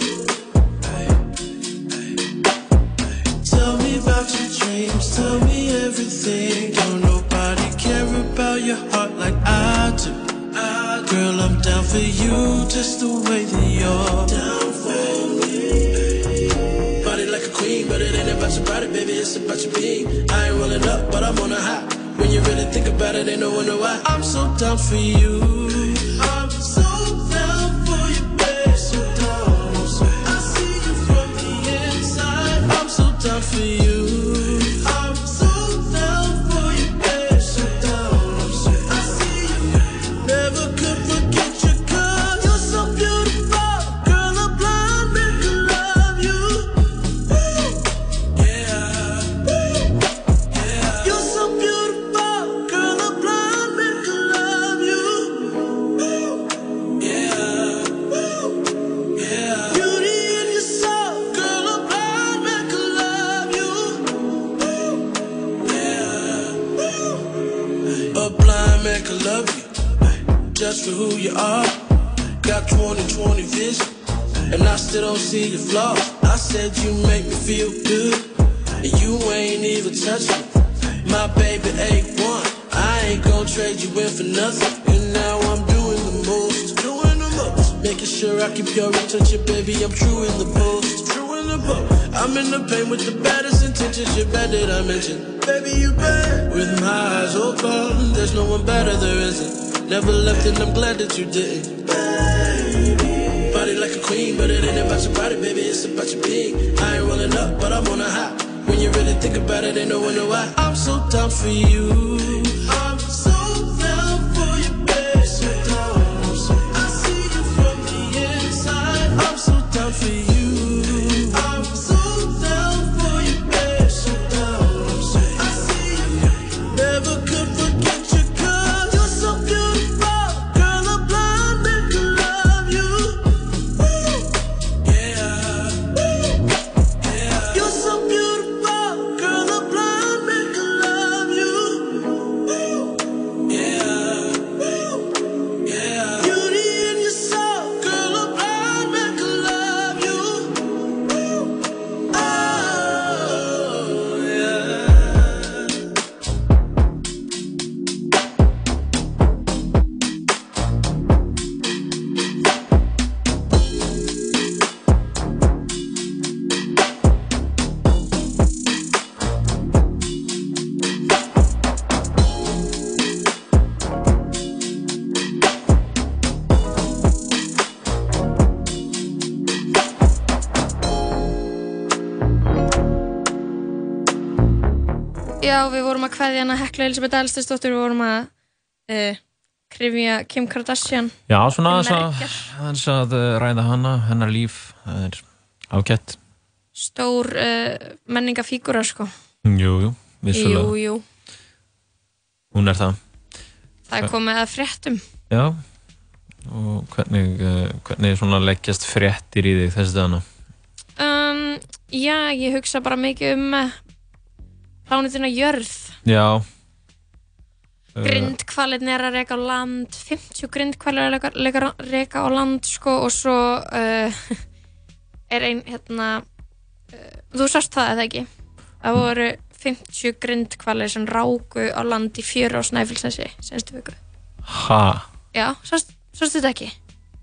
Tell me about your dreams, tell me everything. Don't nobody care about your heart like I do. I- Girl, I'm down for you just the way that you're down for me. Body like a queen, but it ain't about your body, baby, it's about your being. I ain't rolling up, but I'm on a high. When you really think about it, ain't no wonder why. I'm so down for you. I'm so down for you, babe. So down, so I see you from the inside. I'm so down for you. I'm so down for you, babe. So down, so I see you. Never could forget you, cause you're so beautiful. Girl, I'm blind and can love you. Ooh, yeah. Ooh. You're so beautiful, girl. A blind man can love you. Ooh, yeah, ooh, yeah. Beauty in your soul, girl. A blind man can love you. Ooh, yeah, ooh. A blind man can love you just for who you are. Got 20/20 vision, and I still don't see your flaws. I said you make me feel good, and you ain't even touch me. My baby ain't one. I ain't gon' trade you in for nothing. And now I'm doing the most, doing the most. Making sure I keep your attention, baby. I'm true in the post, true in the post. I'm in the pain with the baddest intentions. You're bad that I mentioned, baby. You bad. With my eyes open, there's no one better. There isn't. Never left, and I'm glad that you didn't. Body like a queen, but it ain't about your body, baby. It's about your being. I ain't rolling up, but I'm on a high. When you really think about it, ain't no wonder why I'm so down for you. I'm so down for you, babe. So down, so I see you from the inside. I'm so down for you. I'm so down for you, babe. So down, so I see you. Never could forget you, girl. You're so beautiful, girl. A blind man can love you. Ooh, yeah. Ooh. You're so beautiful, girl. A blind man can love you. Ooh,
Já, við vorum að kveðja hana Hekla Elisabeth Elstinsdóttir, við vorum að uh, krifja Kim Kardashian
Já, svona aðeins
Merkjar.
að, aðeins að eh, ræða hana, hennar líf, það er ágætt.
stór uh, menningafígura sko
Jú, jú,
Jú,
vissulega.
jú,
Hún er það.
það er komið að fréttum
Já, og hvernig, eh, hvernig svona leggjast fréttir í þig þessi dagana?
um, Já, ég hugsa bara mikið um uh, plánetina jörð
Já. Eh,
grindkvalirni er að reka á land 50 grindkvalir er að reka- reka, reka á land sko og svo uh, er ein hérna uh, þú sást það eða ekki
Mm.
það voru 50 grindkvalir sem ráku á land í fjöru á Snæfellsnesi senstu viku
Ha,
já, sást, sástu þetta ekki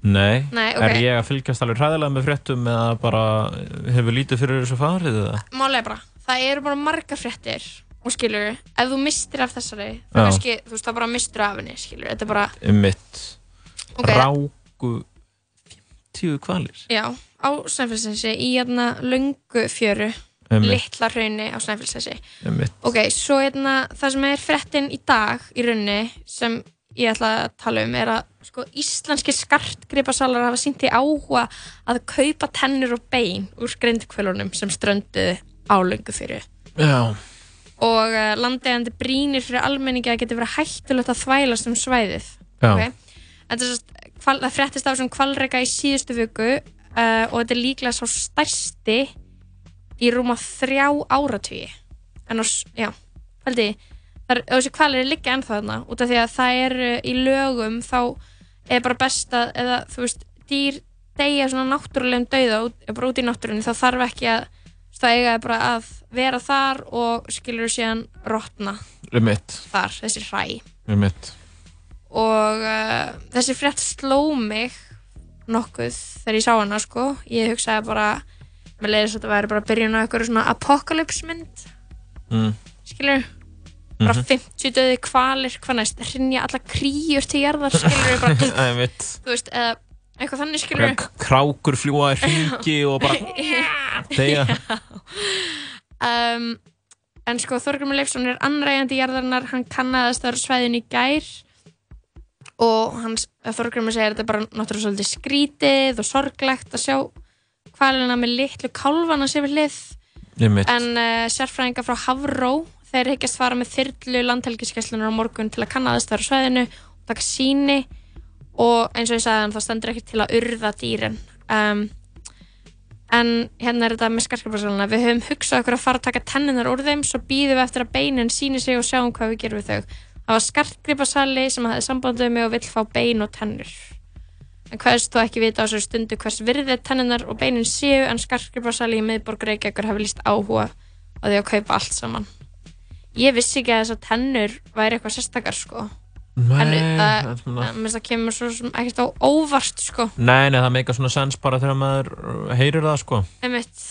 nei.
Nei, ok.
Er ég að fylgjast alveg hræðilega með fréttum eða bara hefur lítið fyrir þessu farið eða?
málega bara, það eru bara margar fréttir og skilur, ef þú mistir af þessari þá
Já.
kannski, þú veist, það bara mistur af henni skilur, þetta er bara,
Um mitt.
ok,
Ráku 50 kvalir.
já á Snæfellsnesi í hérna löngu fjöru
Um mitt.
litla hraunni á Snæfellsnesi
Um mitt.
ok, svo hérna, það sem er frettin í dag í raunni sem ég ætla að tala um er að sko, íslenski skartgripasalar hafa sínt í áhuga að kaupa tennur og bein úr grindkvölunum sem strönduðu álöngu fyrir
Já.
og uh, landeigandi brýnir fyrir almenningi að geti verið hættulegt að þvælast um svæðið
Já.
ok? En þess að hval, það fréttist af sem kvalreka í síðustu viku uh, og þetta er líklega sá stærsti í rúma þrjá áratugi en á, s- já, hældi þar, og þessi kvalir er líka ennþá þarna út af því að það er uh, í lögum þá er bara best að eða þú veist, dýr deyja svona náttúrulegum dauða út, eh, bara út í náttúrunni þá þarf ekki að þú veist, þá eiga þau bara að vera þar og skilur síðan rotna
Um mitt.
þar, þessi hræ
Um mitt.
og uh, þessi frétt sló mig nokkuð þegar ég sá hana sko ég hugsaði bara með leiðis að þetta væri bara byrjun á eitthvað svona apokalipsmynd
Mm. Mhm.
skilur bara 50 döði kvalir hvað næst, rinja alla kríur til jarðar skilur bara,
Um mitt.
þú veist, eða eitthvað þannig skilur
Bara k- krákur fljúa í hringi og bara deyja
um, en sko Þorgrymur Leifsson er anræðandi jarðarinnar hann kannaðast þar svæðin í gær og hans Þorgrymur segir að þetta er bara náttúrulega svolítið skrítið og sorglegt að sjá hvalina með litlu kálfana sér við hlið
Einmitt.
en uh, sérfræðinga frá Havró þeir hyggjast fara með þyrlu landhelgiskeslunar á morgun til að kannaðast þar svæðinu og taka síni og eins og ég sagði hann það stendur ekki til að urða dýrin um, en hérna er þetta með skarskaparsalana við höfum hugsað okkur að fara að taka tenninar úr þeim svo býðum við eftir að beinin síni sig og sjáum hvað við gerum við þau það var skartgripasali sem hafði sambandið mig og vill fá bein og tennur en hvaðist þú ekki vita á þessari stundu hvers virði tenninar og beinin séu en skartgripasali í miðborg Reykjavíkur hafi líst áhuga á því að kaupa allt saman ég vissi ekki að þessar tennur væri eitthvað sérstakar sko en
Nei,
uh,
en svona-
uh, það kemur svo sem ekkert á óvart sko,
nei, nei, það meika svona sens bara þegar maður uh, heyrir það sko
einmitt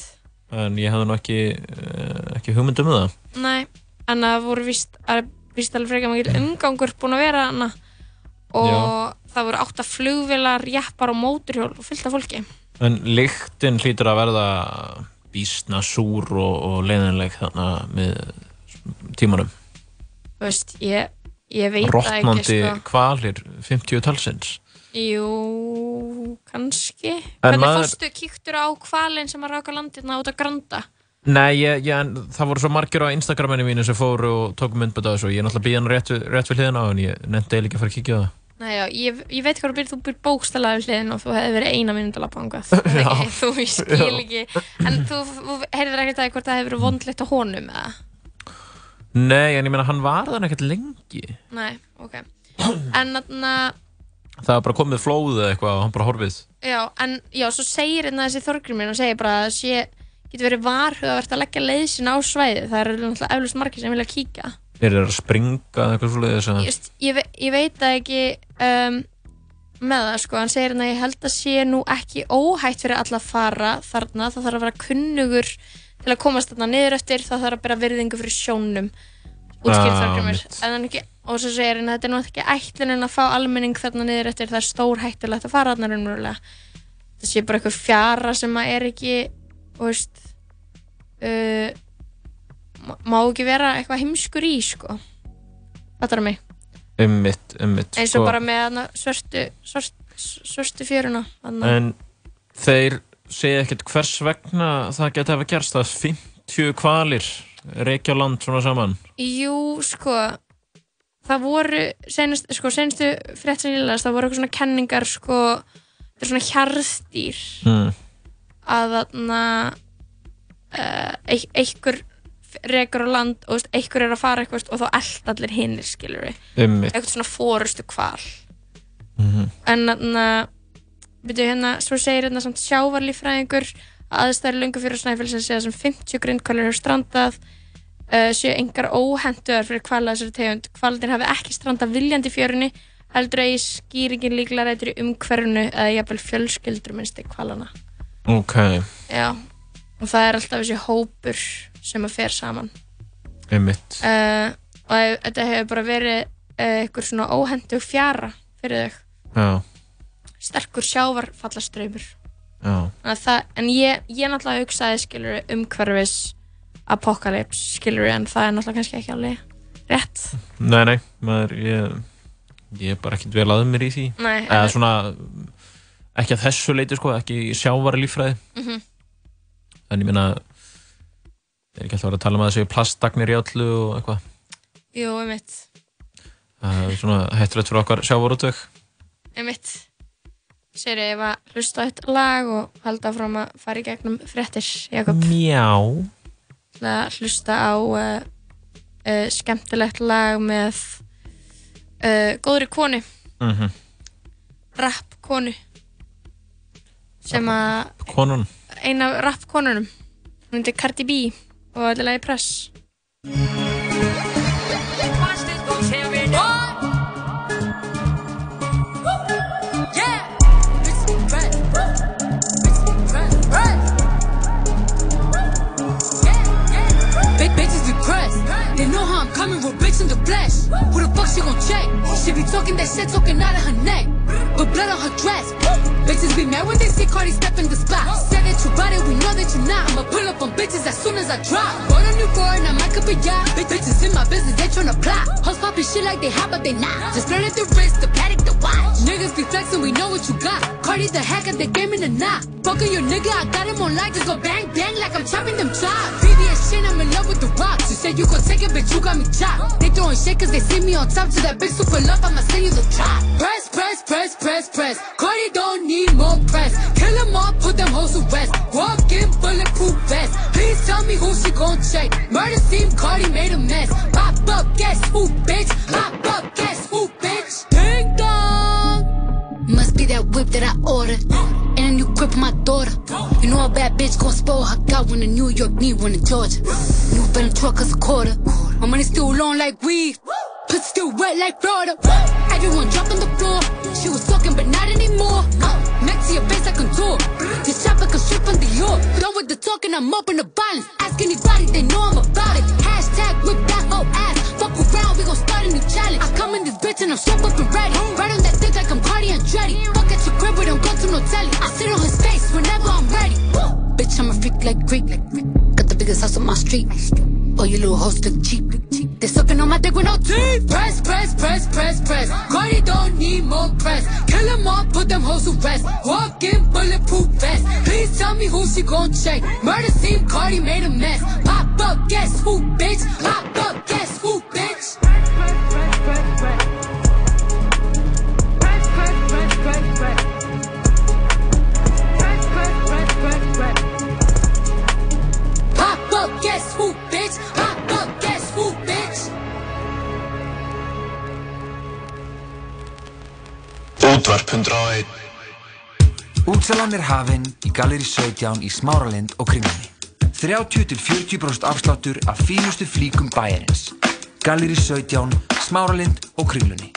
en ég hefði nú ekki, uh, ekki hugmynd um það
Nei, en það voru víst, að- víst alveg frekar mikil umgangur búin að vera hana og það voru átta flugvilar, jeppar og móturhjól og fullt af fólki.
en lyktin hlýtur að verða bísna súr og, og leiðinleg þarna með tímanum
Þú veist, ég, ég veit það ekki,
rotnandi
sko.
kvalir 50 talsins
Jú, kannski.
En
Hvernig
maður-
fórstu, kíktur á kvalin sem að ráka landirna út að granda?
Nei, ég, ég, en það voru svo margir á Instagraminu mínu sem fóru og tóku myndbönd á þessu og ég er náttúrulega býðan rétt, við- rétt við hliðina á en ég nefndi eiginlega ekki að fara að kíkja á það
Nei, já, ég, ég veit hvað þú byrð, þú byrð bókstælaði við hliðin og þú hefði verið eina mínúti að lappa angað.
Já.
Þú, ég skil ekki. En þú, þú heyrðir ekkert að því hvort það hefur verið vondlegt á honum eða?
Nei, en ég meina hann var þannig ekkert lengi
Nei, ok. En þarna,
það var bara komið flóð eða eitthvað og hann bara horfið
Já, en já, svo segir hérna þessi þorgrymir og segir bara að það sé, getur verið varhugavert að leggja leiðsinn á svæðið það eru náttúrulega eflust margir sem vilja kíkja
er það að springa eða eitthvað svoleiðis
ég,
að...
veist, ég, ve- ég veit það ekki um, með það sko, hann segir hérna ég held að sé nú ekki óhætt fyrir alla að fara þarna, það þarf að vera kunnugur til að komast þarna niður eftir það þarf að bera virðingu fyrir sjónum útskýrt
Ah,
þorgrymir
mitt.
en hann ekki og svo segir hann að þetta er náttúrulega ekki ætlunin að fá almenning þarna niður eftir það er stór hættulegt að fara þarna raunverulega það sé bara eitthvað fjara sem að er ekki þú veist uh, má- má ekki vera eitthvað heimskur í sko Þetta er mig
ummitt, ummitt
eins og bara með hana, svörtu svört, svörtu fjöruna hana.
En þeir segja ekkert hvers vegna það geti hafa gerst að 50 kvalir reykja á land svona saman
Jú, sko það voru, senast, sko, senstu frétt sem ég las, það voru eitthvað svona kenningar sko, þetta er svona hjarðdýr
mm.
að þarna uh, einhver rekur á land og veist, einhver er að fara eitthvað veist, og þá eld allir hinnir skilur við
Einmitt.
eitthvað svona fórustu kval
Mhm.
en þarna byrju hérna, svo segir hérna samt sjávarlífræðingur aðstæður lungu fyrir snæfél sem segja sem 50 grindkvalir hefur strandað uh, séu engar óhenduðar fyrir kvala þessari tegund kvalir hafi ekki strandað viljandi í fjörunni heldur að í skýringin líklega rætur í umhverfinu eða jafnvel fjölskyldur minnsti kvalana
Ok,
Já, og það er alltaf þessi hópur sem að fer saman
ummitt
uh, og ef- þetta hefur bara verið uh, einhver svona óhendug fjara fyrir þau,
Já,
sterkur sjávarfallaströymur
já,
Þannig að það, en ég, ég náttúrulega hugsaði skilur umhverfis apokalips skilur en það er náttúrulega kannski ekki alveg rétt
nei, nei maður, ég, ég er bara ekkert vel að mér í því
Nei,
eða
en-
svona ekki að þessu leiti sko, ekki í sjávarlíffræði
Mhm.
en ég meina er ekki alltaf að vera að tala um að það séu plastagnir í allu og eitthvað
Jú, einmitt,
það er svona hættulegt fyrir okkar sjávarútveg
einmitt Sér ég var hlusta á eitt lag og halda fram að fara í gegnum fréttir, Jakob
Já
ætla að hlusta á uh, uh, skemmtilegt lag með uh, góðri konu,
Mhm.
rapp konu sem að
Konan
eina af rapp konunum hún heitir Cardi B og þetta er lagi press
Watch this go tearing up. Yeah. Bitch, we red. Bitch, we red. Red. Yeah, yeah. Big bitches depressed. They know how I'm coming with bitch in the flesh. Who the fuck she gon' check? She be talking that shit, talking out of her neck. But blood on her dress. Bitches be mad when they see Cardi step in the spot. Said that you bought it, we know that you're not. I'ma pull up on bitches as soon as I drop. Bought a new car and I might could be yacht. Bitch, bitches in my business, they tryna plot. Hoes poppin' shit like they hot, but they not. Just learn at the wrist, the paddock, the watch. Niggas be flexing, we know what you got. Cardi the hacker, they game in the knot. Fuckin' your nigga, I got him on like just go bang bang like I'm chopping them chops. BBS shit, I'm in love with the rocks. You said you gon' take it, bitch, you got me chopped. They throwin' shit 'cause they see me on top. To that big super love, I'ma send you the drop. Press, press, press, press, press. Cardi don't need more press. Kill 'em all, put them hoes to rest. Walk in bulletproof vest. Please tell me who she gon' check. Murder scene, Cardi made a mess. Pop up, guess who, bitch? Pop up, guess who, bitch? Ding dong. Must be that whip that I ordered. And a new grip on my daughter. You know a bad bitch gon' spoil her. Got one in New York, need one in Georgia. New Bentley truck is a quarter. My money still long like weed. Pussy still wet like Florida. Everyone drop on the floor. She was talking, but not anymore. Uh, next to your face, I contour. This shop, I can strip on the york. Done with the talking, I'm open to violence. Ask anybody, they know I'm about it. Hashtag whip that whole ass. Fuck around, we gon' start a new challenge. I come in this bitch and I'm straight up and ready. Right on that dick like I'm Cardi and Dreddy. Fuck at your crib, we don't go to no telly. I sit on his face whenever I'm ready. Woo! Bitch, I'm a freak like Greek. Got the biggest house on my street. Oh, you little hoes look cheap. They sucking on my dick with no teeth. Press, press, press, press, press. Cardi don't need more press. Kill 'em all, put them hoes to rest. Walk in bulletproof vest. Please tell me who she gon' check. Murder scene, Cardi made a mess. Pop up, guess who, bitch? Pop up, guess who, bitch? Pop up, guess who, bitch? Pop up, guess who, bitch?
Útvarp 101 Útsalan er hafinn í Galeri 17 í Smáralind og kringlunni. 30-40% afsláttur af fínustu flíkum bæjarins. Galeri 17, Smáralind og kringlunni.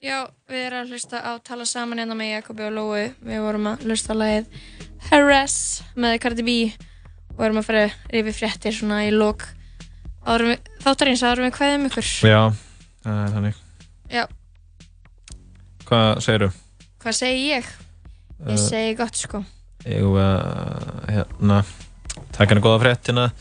Já, við erum að hlusta á Tala saman hérna með Jakobi og Lóu Við vorum að hlusta á lagið Harass með Cardi B og erum að fara yfir fréttir svona í lók þáttarins árum við kveðum ykkur
Já, það er þannig
Já,
Hvað segiru?
hvað segi ég? Ég
Eh,
segi gott sko
Ég var hérna Takk hann góða fréttina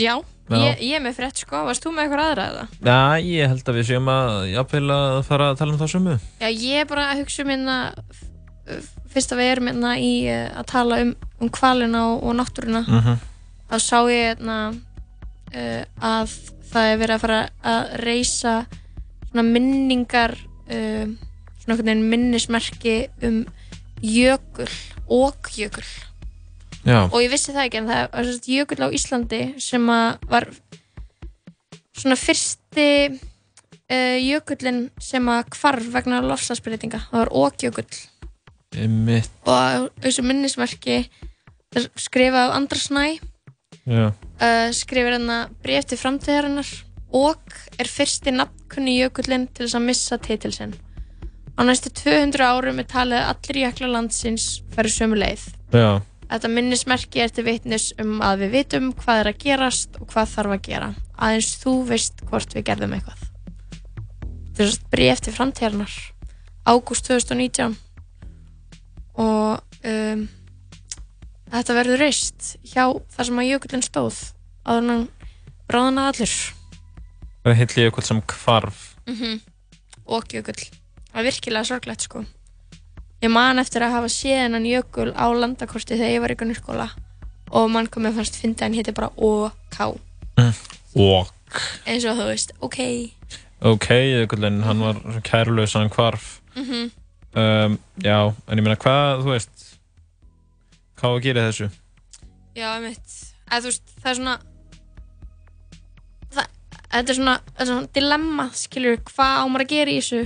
Já,
Já.
Ég, ég er með frétt sko, varst þú með eitthvað aðra eða?
Já, ég held að við séum að jafnvel að fara að tala um það sumu.
Já, ég er bara að hugsa um hérna f- fyrst að við erum hérna í eh, að tala um, um kvalina og, og náttúruna
Mhm.
þá sá ég hérna uh, að það er verið að fara að reysa svona minningar uh, svona einhvern veginn minnismerki um jökul og jökul
Já.
og ég vissi það ekki en það var sem sagt jökull á Íslandi sem að var svona fyrsti uh, jökullin sem að hvarf vegna lofslagsbreytinga það var ókjökull
Mitt,
og á þessu minnismerki það er skrifað af Andra Snæ
já.
uh, skrifir hérna bref til framtíðarinnar og er fyrsti nafnkunni jökullin til þess að missa titil sinn. Á næstu 200 árum er talið að allir jökla landsins færi sömu leið.
Já.
Þetta minnismerki er til vitnis um að við vitum hvað er að gerast og hvað þarf að gera. Aðeins þú veist hvort við gerðum eitthvað. Þetta er svona bref til framtíðarinnar. Ágúst 2019 og um, þetta verður reist hjá þar sem að jökullin stóð áður en hann bráðan að allur
Það er heill jökull sem kvarf.
Mhm. og jökull það er virkilega sorglegt sko ég man eftir að hafa séð hennan jökul á landakorti þegar ég var í gunnurskóla og mann komið fannst fyndi hann héti bara OK
Mm. Og,
eins og þú veist, OK
ok, jökullin, hann var svo kærlaus að hann kvarf.
Mhm.
um, já, en ég meina, hvað, þú veist, hvað á að gera í þessu?
já, einmitt, eða þú veist, það er svona það, þetta er svona, þetta er svona dilemma, skilur hvað á maður að gera í þessu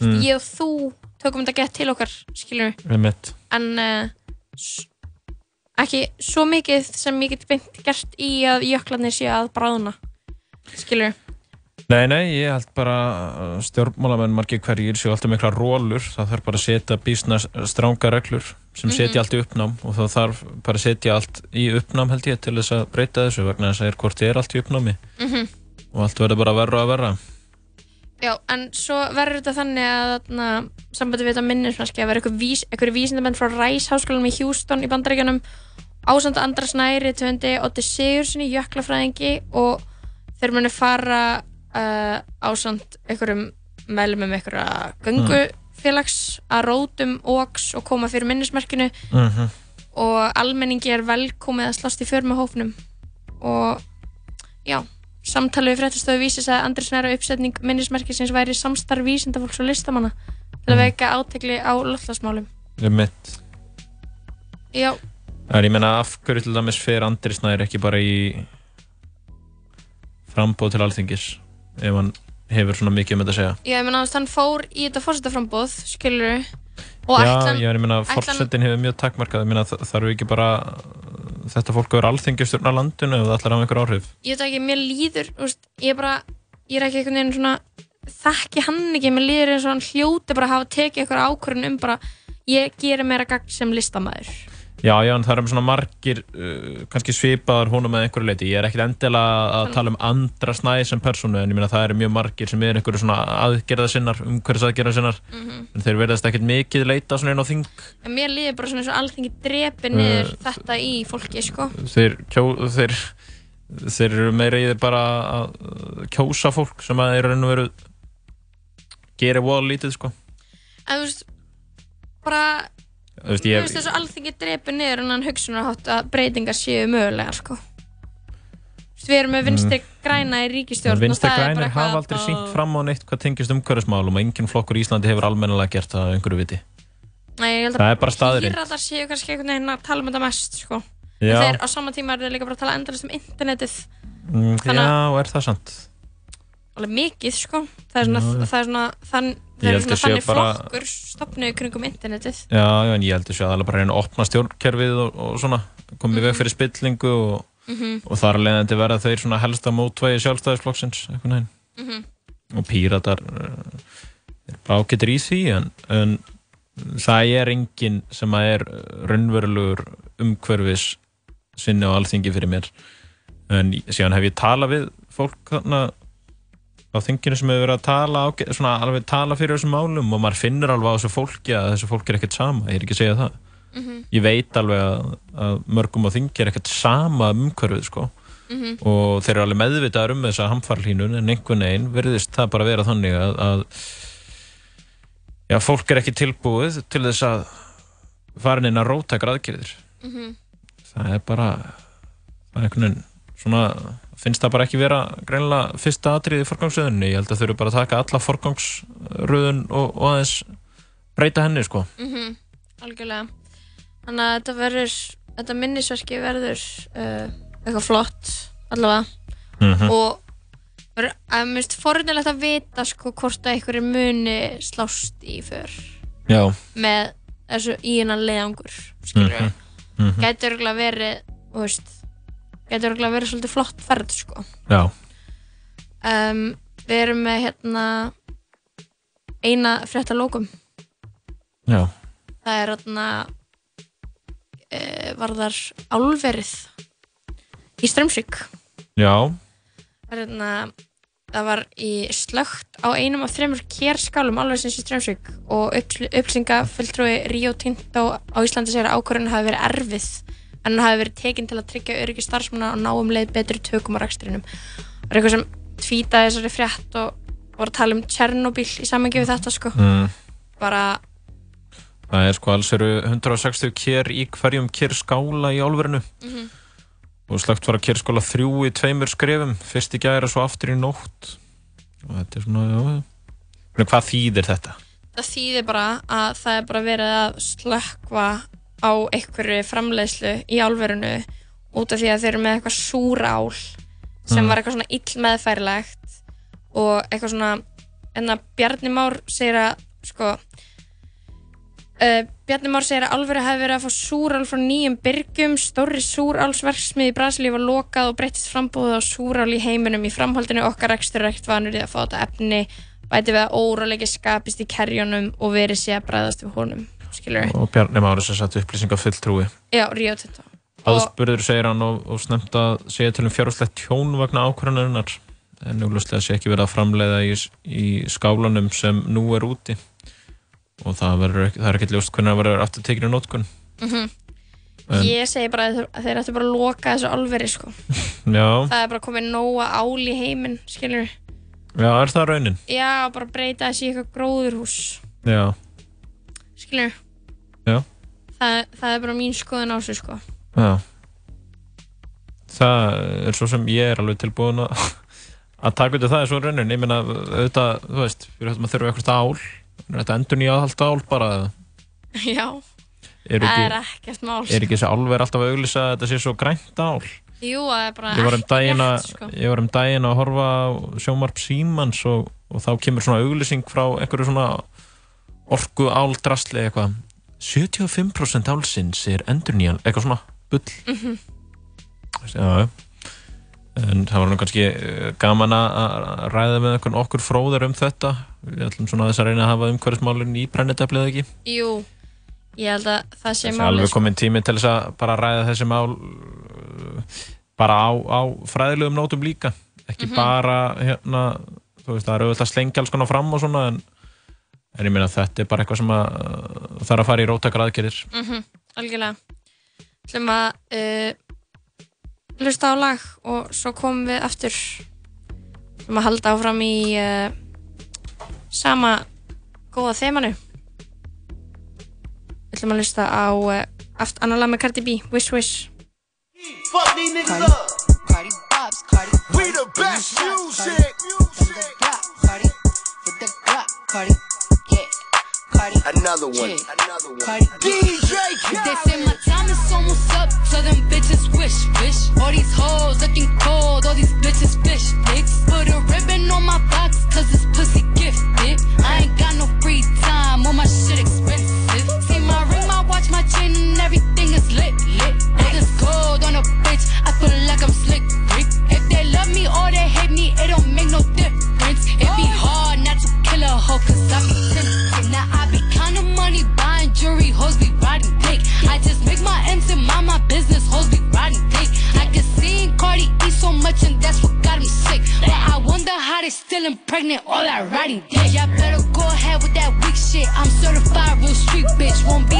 Mm.
ég og þú tökum þetta gett til okkar, skilur
Einmitt.
en uh, s- ekki svo mikið sem ég get beint gert í að jöklarnir sé að bráðna skilur,
Nei, nei, ég held bara uh, stjórnmálamenn margir hverjir séu alltaf mikla rólur, það þarf bara að setja bísna stránga reglur sem setja allt í uppnám og það þarf bara að setja allt í uppnám held ég til þess að breyta þessu vegna þess að er hvort ég er allt í uppnámi
Mhm.
og allt verður bara verra og verra.
já, en svo verður þetta þannig að þarna, sambandi við þetta minnismarki að vera einhver vís, einhver vísindamenn frá Rice háskólanum í Houston í bandaríkjunum ásand Andra Snæri, Töndi, Otti Sigurssoni jöklafræðingi og þeir munu fara uh, ásand einhverjum meðlumum einhverja göngufélags að rótum, óks og koma fyrir minnismarkinu
Mhm.
og almenningi er velkomið að slast í för með hópnum og já, samtalið við fréttastöðu vísis að Andri Snæra uppsetning minnismerkisins væri samstarf vísindafólks og listamanna til að veika átegli á loftlagsmálum
Einmitt.
Já,
Það er, ég meina, af hverju til dæmis fer Andri Snær ekki bara í frambóð til alþingis ef hann hefur svona mikið um þetta að segja?
já, ég meina að hann fór í þetta fórsetaframbóð, skilur og
Já,
ætlan,
já, ég meina,
ætlan-
forsetin hefur mjög takmarkað, ég meina, þa- þarf ekki bara þetta fólk að vera alþingjastjórn á landinu ef það ætlar að hafa einhver áhrif.
ég veit ekki, mér líður úst, ég er bara, ég er ekki einhvern veginn svona þekki hann ekki, mér líður eins og hann hljóti bara að hafa tekið eitthvað ákvörðun um bara, ég geri meira gagn sem listamaður
Já, já, en það eru svona margir, uh, kannski svipaðar honum með einhverju leiti. Ég er ekkit endilega að tala um andra snæði sem persónu, en ég meina, það eru mjög margir sem er einhverju svona aðgerðasinnar, umhverjus aðgerðasinnar,
Mhm.
en þeir verðast ekkit mikið leita svona inn á þing.
En mér líður bara svona eins og alþingi drepi
Eh,
niður þetta í fólki, sko.
Þeir, kjó, þeir, þeir eru meira í þeir bara að uh, kjósa fólk sem að þeir eru enn og veru gera voða lítið, sko.
En þú veist, bara,
Þú veist,
þú
ég,
veist, eins og alþingi drepi niður en hann hugsunarhátt að breytingar séu mögulegar, sko. Þú veist, við erum með vinstri græna í ríkistjórn og
Mm. Vinstri
það er bara
grænir hafa aldrei
eitthvað-
sínt fram á neitt hvað tengist umhverfismálum og engin flokkur í Íslandi hefur almennilega gert það af einhverju viti.
Nei, ég held að
Það er bara staðurinn.
Píratar séu kannski einhvern veginn að tala um þetta mest, sko.
Já.
En þeir á sama tíma eru þeir líka bara að tala endalist um internetið,
Mm,
Þannig
Já, er það sant?
alveg mikið, sko. Það er svona,
Já, já.
það er svona, þann,
Ég
það er
held að
svona
séu
þannig
bara-
flokkur stopnuð í kringum internetið.
Já, já, en ég held þessu að það er bara að reyna að opna stjórnkerfið og, og svona, komið veg fyrir spillingu og,
Mhm.
og þar leðandi verða þeir svona helsta mótvægi sjálfstæðisflokksins, einhvern veginn.
Mhm.
Og píratar eh, eru bara ágættir í því, en, en það er enginn sem að er eh, raunverulegur umhverfis sinni á alþingi fyrir mér. En síðan hef ég talað við fólk þarna á þinginu sem hefur verið að tala á, svona, alveg tala fyrir þessum málum og maður finnur alveg á þessu fólki að þessu fólki er ekkert sama, ég er ekki að segja það
Mhm.
ég veit alveg að, að mörgum á þingi er ekkert sama umhverfið sko
Mhm.
og þeir eru alveg meðvitaðar um þessa hamfarlínun en einhvern veginn virðist það bara vera þannig að, að já, fólk er ekki tilbúið til þess að farin inn að róta græðkirðir
Mhm.
það er bara það er einhvern veginn svona finnst það bara ekki vera greinilega fyrsta atriði í forgangsröðunni, ég held að þau eru bara að taka alla forgangsröðun og, og aðeins breyta henni sko
Mhm, algjörlega þannig að þetta verður þetta minnisverki verður uh, eitthvað flott allavega
Mhm.
og verður að minnst forunilegt að vita sko hvort að einhverju muni slást í för
Já.
með þessu í hennan leiðangur skilur við
Mhm. Mhm.
gæti örgulega verið þú veist, gæti örgulega verið svolítið flott ferð sko
Já.
um, við erum með hérna eina frétta lókum
Já.
það er þarna e, varðar álverið í Strömsvík
já,
það, er þarna, hérna, það var í slögt á einum af þremur kérskálum álversins í Strömsvík og uppsinga fulltrúi Rio Tinto á Íslandi segir að ákvörðun hafi verið erfið en hann hafi verið tekin til að tryggja öryggi starfsmanna og ná um leið betri tökum á rekstrinum það er eitthvað sem tvítaði þessari frétt og voru að tala um Tjernobyl í samengi við þetta sko
Mm.
bara
það er sko alls eru 160 kér í hverjum kér skála í álverinu
Mhm.
og slögt var að kér skóla þrjú í tveimur skrefum fyrst í gæra svo aftur í nótt og þetta er svona, já já. hvað þýðir þetta?
það þýðir bara að það er bara verið að slökkva á einhverju framleiðslu í álverinu út af því að þeir eru með eitthvað súrál sem
Mm.
var eitthvað svona ill meðfærilegt og eitthvað svona en að Bjarni Már segir að sko uh, Bjarni Már segir að álveru hafi verið að fá súrál frá nýjum byrgjum stórri súrálsverksmið í Brasilíu var lokað og breyttist frambúð á súrál í heiminum í framhaldinu okkar ekstra rekt vanur í að fá þetta efni bæti við að óróleiki skapist í kerjunum og verið sé að bræðast við honum skilur við,
og Bjarni Mári sem satt upplýsingar fulltrúi
já, Rio Tinto
aðspurður segir hann og, og snemt að segja til um fjárhúslegt tjón vegna ákvörðunarinnar en núlustlega sé ekki verið að framleiða í, í skálanum sem nú er úti og það, verður, ekki- það er ekki ljóst hvernig það verður aftur tekinu nótkun
mm
En-
ég segi bara að þeir- að þeir ættu bara að loka þessu alveri sko,
já,
það er bara komið nóga ál í heiminn, skilur við
já, er það raunin?
já, bara breyta þessi í eitthvað gróðurhús
Já,
skilur við
Já.
Það, það er bara mín skoðun á þessu sko
já það er svo sem ég er alveg tilbúin að að taka út af það er svo raunin ég meina, auðvitað, þú veist, við höfum að þurfa eitthvað ál, er þetta endur nýja aðhald ál bara eða?
Já,
Er
það
ekki-
er ekkert mál sko.
er ekki þessi álver alltaf að auglýsa að þetta sé svo grænt ál
Jú, það er bara
ég var um
ekki
daginn að,
rétt, sko.
ég var um daginn að horfa á sjómarp símans og, og þá kemur svona auglýsing frá einhverju svona orku áldrasli eitthvað 75% álsins er endurnýjan eitthvað svona bull
Mhm.
já, já. en það var nú kannski eh, gaman að- að ræða með einhvern okkur fróðar um þetta við ætlum svona þess að reyna að hafa umhverfismálin í brennideplið ekki
Jú, ég held að það sé
Þessi
máli
alveg
sko.
komin tími til þess að bara ræða þessi mál uh, bara á, á fræðilegum nótum líka ekki
Mhm.
bara hérna þú veist það eru auðvitað að slengja alls konar fram og svona en, en ég meina þetta er bara eitthvað sem að uh, þarf að fara í róttakar aðgerðir
mm algjörlega ætlum að uh, hlusta á lag og svo komum við aftur ætlum að halda áfram í uh, sama góða þemanu ætlum að hlusta á uh, aft annar lag með Cardi B, Wish Wish
Fuck these niggas up. Cardi pops, Cardi. We the best music. Music. Cardi. With the Glock, Cardi. Yeah. Cardi. Another one. Another one. Cardi. DJ
They say my time is almost up, so them bitches wish, wish. All these hoes looking cold, all these bitches fish, dicks. Put a ribbon on my box, cause this pussy gifted. I ain't got no free time, all my shit expensive. See my ring, my watch, my chain, and everything is lit, lit. All this gold on a bitch, I feel like I'm slick, Rick. If they love me or they hate me, it don't make no difference. It be hard not to kill a hoe, cause I be tempted. Now I be kinda money buying jewelry, hoes be riding dick. I just make my ends and mind my business, hoes be riding dick. I can E see Cardi eat so much and that's what got him sick. But I wonder how they still impregnate all that riding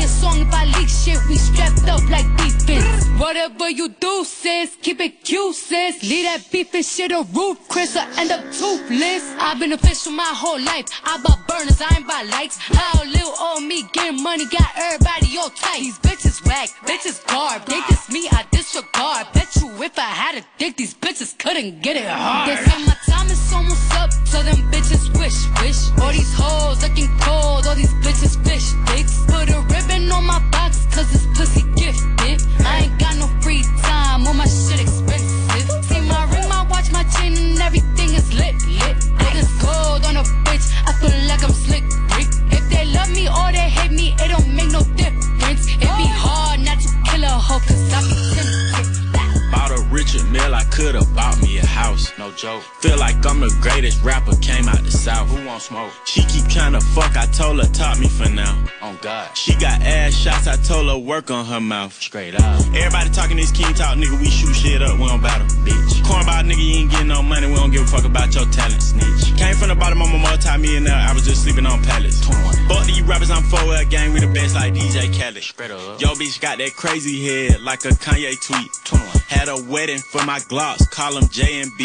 song if I leak shit. We strapped up like defense. Whatever you do, sis, keep it cute, sis. Leave that beef and shit on roof, Chris. I end up toothless. I've been official my whole life. I buy burners, I ain't buy lights. How little old me getting money got everybody all tight. These bitches whack, bitches garb. They diss me, I disregard. Bet you if I had a dick, these bitches couldn't get it hard. They say my time is almost up, so them bitches wish, wish. All these hoes looking cold, all these bitches fish dicks. Put a ribbon on my box, cause this pussy gifted. I ain't got no free time, all my shit expensive. See my ring, my watch, my chain, and everything is lit, lit. Niggas cold on a bitch, I feel like I'm slick, Rick. If they love me or they hate me, it don't make no difference. It be hard not to kill a hoe, cause I be tempted.
Bought a Richard Mill, I could've bought me a house. No joke. Feel like I'm the greatest rapper, came out the south. Who want smoke? She keep tryna fuck, I told her top me for now. On God. She got ass shots, I told her work on her mouth. Straight up. Everybody talking this king talk, nigga, we shoot shit up, we don't battle. Bitch. Cornball nigga, you ain't getting no money, we don't give a fuck about your talent, snitch. Came from the bottom, I'm a multi-millionaire, I was just sleeping on pallets. Fuck these rappers, I'm 4L gang, we the best like DJ Khaled. Straight up. Yo bitch got that crazy head, like a Kanye tweet. 21. Had a wedding for my Glocks, call 'em J and B.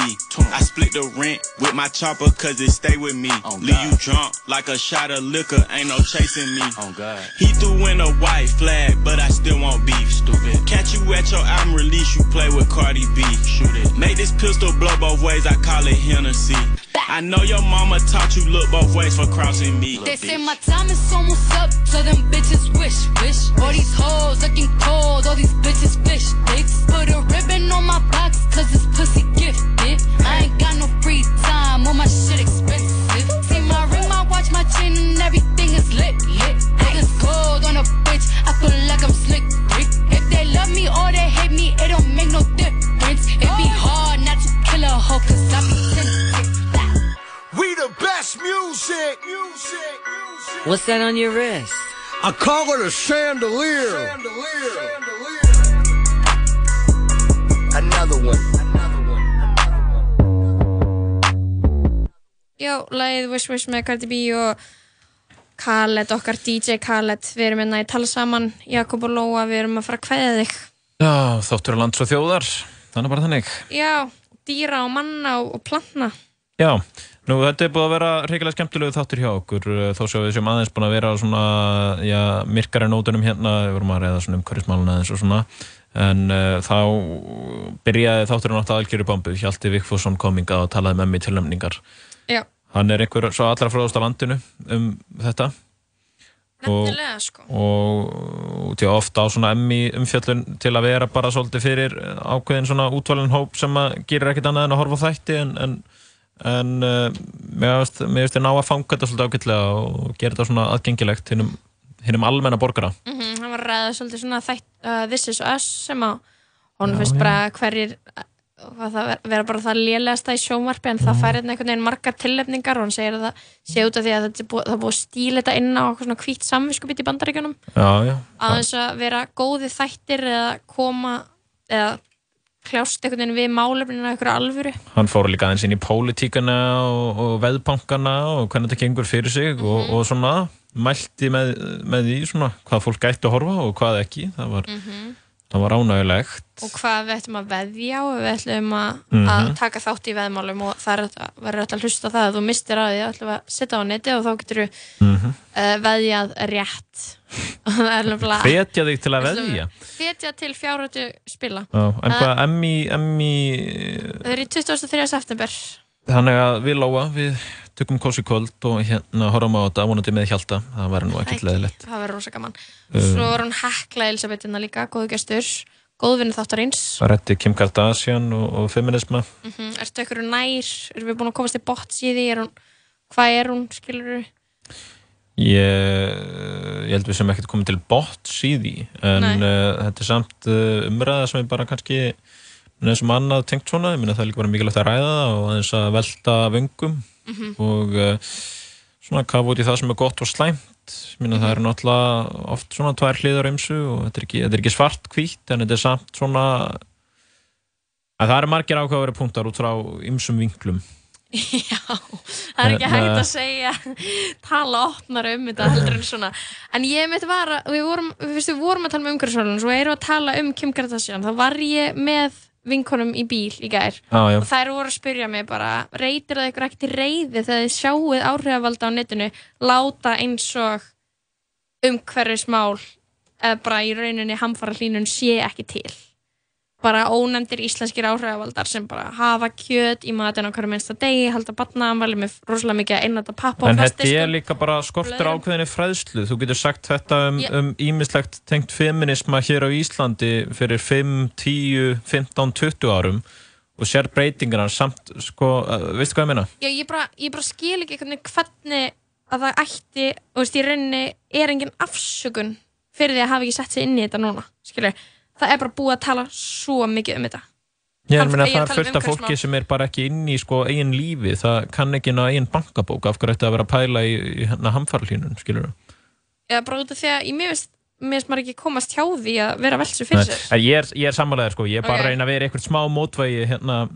I split the rent with my chopper, cause it stay with me. Leave you drunk like a shot of liquor, ain't no chasing me. He threw in a white flag, but I still want beef. Stupid. Catch you at your album release, you play with Cardi B. Shoot it. Make this pistol blow both ways, I call it Hennessy. I know your mama taught you look both ways for crossing me.
They say my time is almost up, so them bitches wish, wish. All these hoes looking cold, all these bitches fish dicks. Put a ribbon on my box, cause this pussy gifted. I ain't got no free time, all my shit expensive. See my ring, my watch, my chain, and everything is lit, lit. Niggas cold on a bitch, I feel like I'm slick, Rick. If they love me or they hate me, it don't make no difference. It be hard not to kill a hoe, cause I be tempted.
We the best music. Music.
What's that on your wrist?
I call it a chandelier.
Another one.
Já, lagið Wish Wish með Cardi B og Khaled, okkar DJ Khaled Við erum hérna í tala saman, Jakob og Lóa Við erum að fara að kveðja þig
Já, þáttur er lands og þjóðar Þannig bara þannig
Já, dýra og manna og, og plantna
Já, nú þetta er búið að vera reikilega skemmtilegu þáttur hjá okkur eh, þó sem við séum aðeins búin að vera á svona já, myrkari nótunum hérna við vorum að reyða svona um hverjusmálun aðeins og svona en uh, þá byrjaði þátturinn átt aðalgjöru bombu Hjalti Vikfússon kominga og talaði með mig tilnæmningar
Já.
hann er einhver svo allra fróðast á landinu um þetta
Nefnilega, sko.
og til ofta á svona emmi umfjöllun til að vera bara svolítið fyrir eh, ákveðin svona útvalin hóp sem að gerir ekkert annað en að horfa á þætti en, en, en uh, mér veist, mér veist ég ná að fanga þetta svolítið ágætlega og gera þetta svona aðgengilegt hinnum, hinnum almenna borgara
mm Hann var að ræða svolítið svona þætt uh, This is Us sem að hún
Já,
finnst
já.
bara hverjir að það ver- vera bara það lélegasta í sjónvarpi en það fær hérna einhvern veginn margar tillefningar og hann segir að það sé út af því að þetta er búið, það er búið að stíla þetta inn á eitthvað svona hvít samvinskupið í bandaríkjunum
Já, já,
að þess að vera góði þættir eða koma eða kljást einhvern veginn við málefninu af einhverju alvöru
hann fór líka aðeins inn í pólitíkana og, og veðbankana og hvernig þetta gengur fyrir sig og,
Mhm.
og svona mælti með, með því svona hvað fólk gætti að horfa og hvað ekki það
Mhm.
var, það var ánægulegt
og hvað við ættum að veðja og við ætlum að,
Mhm.
að taka þátt í veðmálum og það er hægt að- verður alltaf að hlusta á það að þú mistir að því ætlum að setja á neti og þá getur þú
Mhm.
uh, veðjað rétt og það er nefnilega
Hvetja þig til að veðja
hvetja til fjárhættu spila
Já, en hvað,
það,
Emmi, Emmi
það er í 23. september
þannig að við Lóa, við tökum kósi kvöld og hérna horfum á þetta vonandi með Hjalta, það væri nú ekkert leðilegt
það verður rosa gaman
Um.
svo var hún hekla Elisabethina líka, góðu gestur góðvinni þáttarins
það rætti Kim Kardashian og, og feminisma
mm -hmm. ertu ykkur nær, erum við búin að komast í botts í því er hún, hvað er hún, skilur
ég, ég held við sem ekkert komið til bots í því en
Nei.
uh, þetta er samt uh, umræða sem er bara kannski neins sem annað tengt svona, ég minna það er líka bara mikilvægt að ræða það og aðeins að velta vöngum
Mhm.
og uh, svona kafa út í það sem er gott og slæmt ég minna
Mhm.
það eru náttúrulega oft svona tvær hliðar eimsu og þetta er ekki, þetta er ekki svart hvít en þetta er samt svona að það eru margir ákvæður punktar út frá ymsum vinklum
það er
Hérna-
ekki hægt að segja tala opnar um þetta heldur en svona en ég mitt var að við vorum, við, fyrst, við vorum að tala um umhverfismálun svo erum við að tala um Kim Kardashian þá var ég með vinkonum í bíl í gær
Já, já.
og þær voru að spyrja mig bara reytir það ykkur ekkert í reyði þegar þið sjáuð áhrifalda á netinu láta eins og umhverfismál eða bara í rauninni hamfara hlínun sé ekki til bara ónefndir íslenskir áhrifavaldar sem bara hafa kjöt í matinn á hverju minnsta degi, halda batnaðanvæli með rosalega mikið að einnata pappa
En
og um
þetta er
fastiskum.
líka bara skortur
blöðrum.
ákveðinni fræðslu. Þú getur sagt þetta um,
Ég-
um ímislegt tengt feminisma hér á Íslandi fyrir 5, 10, 15, 20 árum og sér breytingarna samt, sko, uh, veistu hvað ég meina?
Já, ég bara, ég bara skil ekki hvernig, hvernig að það ætti, þú veist, í rauninni er engin afsökun fyrir því að hafa ekki sett sig inn í þetta núna, skilur. Það er bara búið að tala svo mikið um þetta.
Ég er
Hann-
að meina
ég
það
er að
er
tala um
fullt af fólki
umhverfismál.
sem er bara ekki inn í sko eigin lífi, það kann ekki ná eigin bankabók, af hverju ætti að vera að pæla í, í hérna hamfarlínun, skilur þú?
Eða bara út af því að ég mér veist, mér veist maður ekki komast hjá því að vera velsu fyrir sér.
Nei, en ég er, ég er sammálaðið sko, ég er bara
Ok.
að reyna að vera í eitthvað smá mótvægi hérna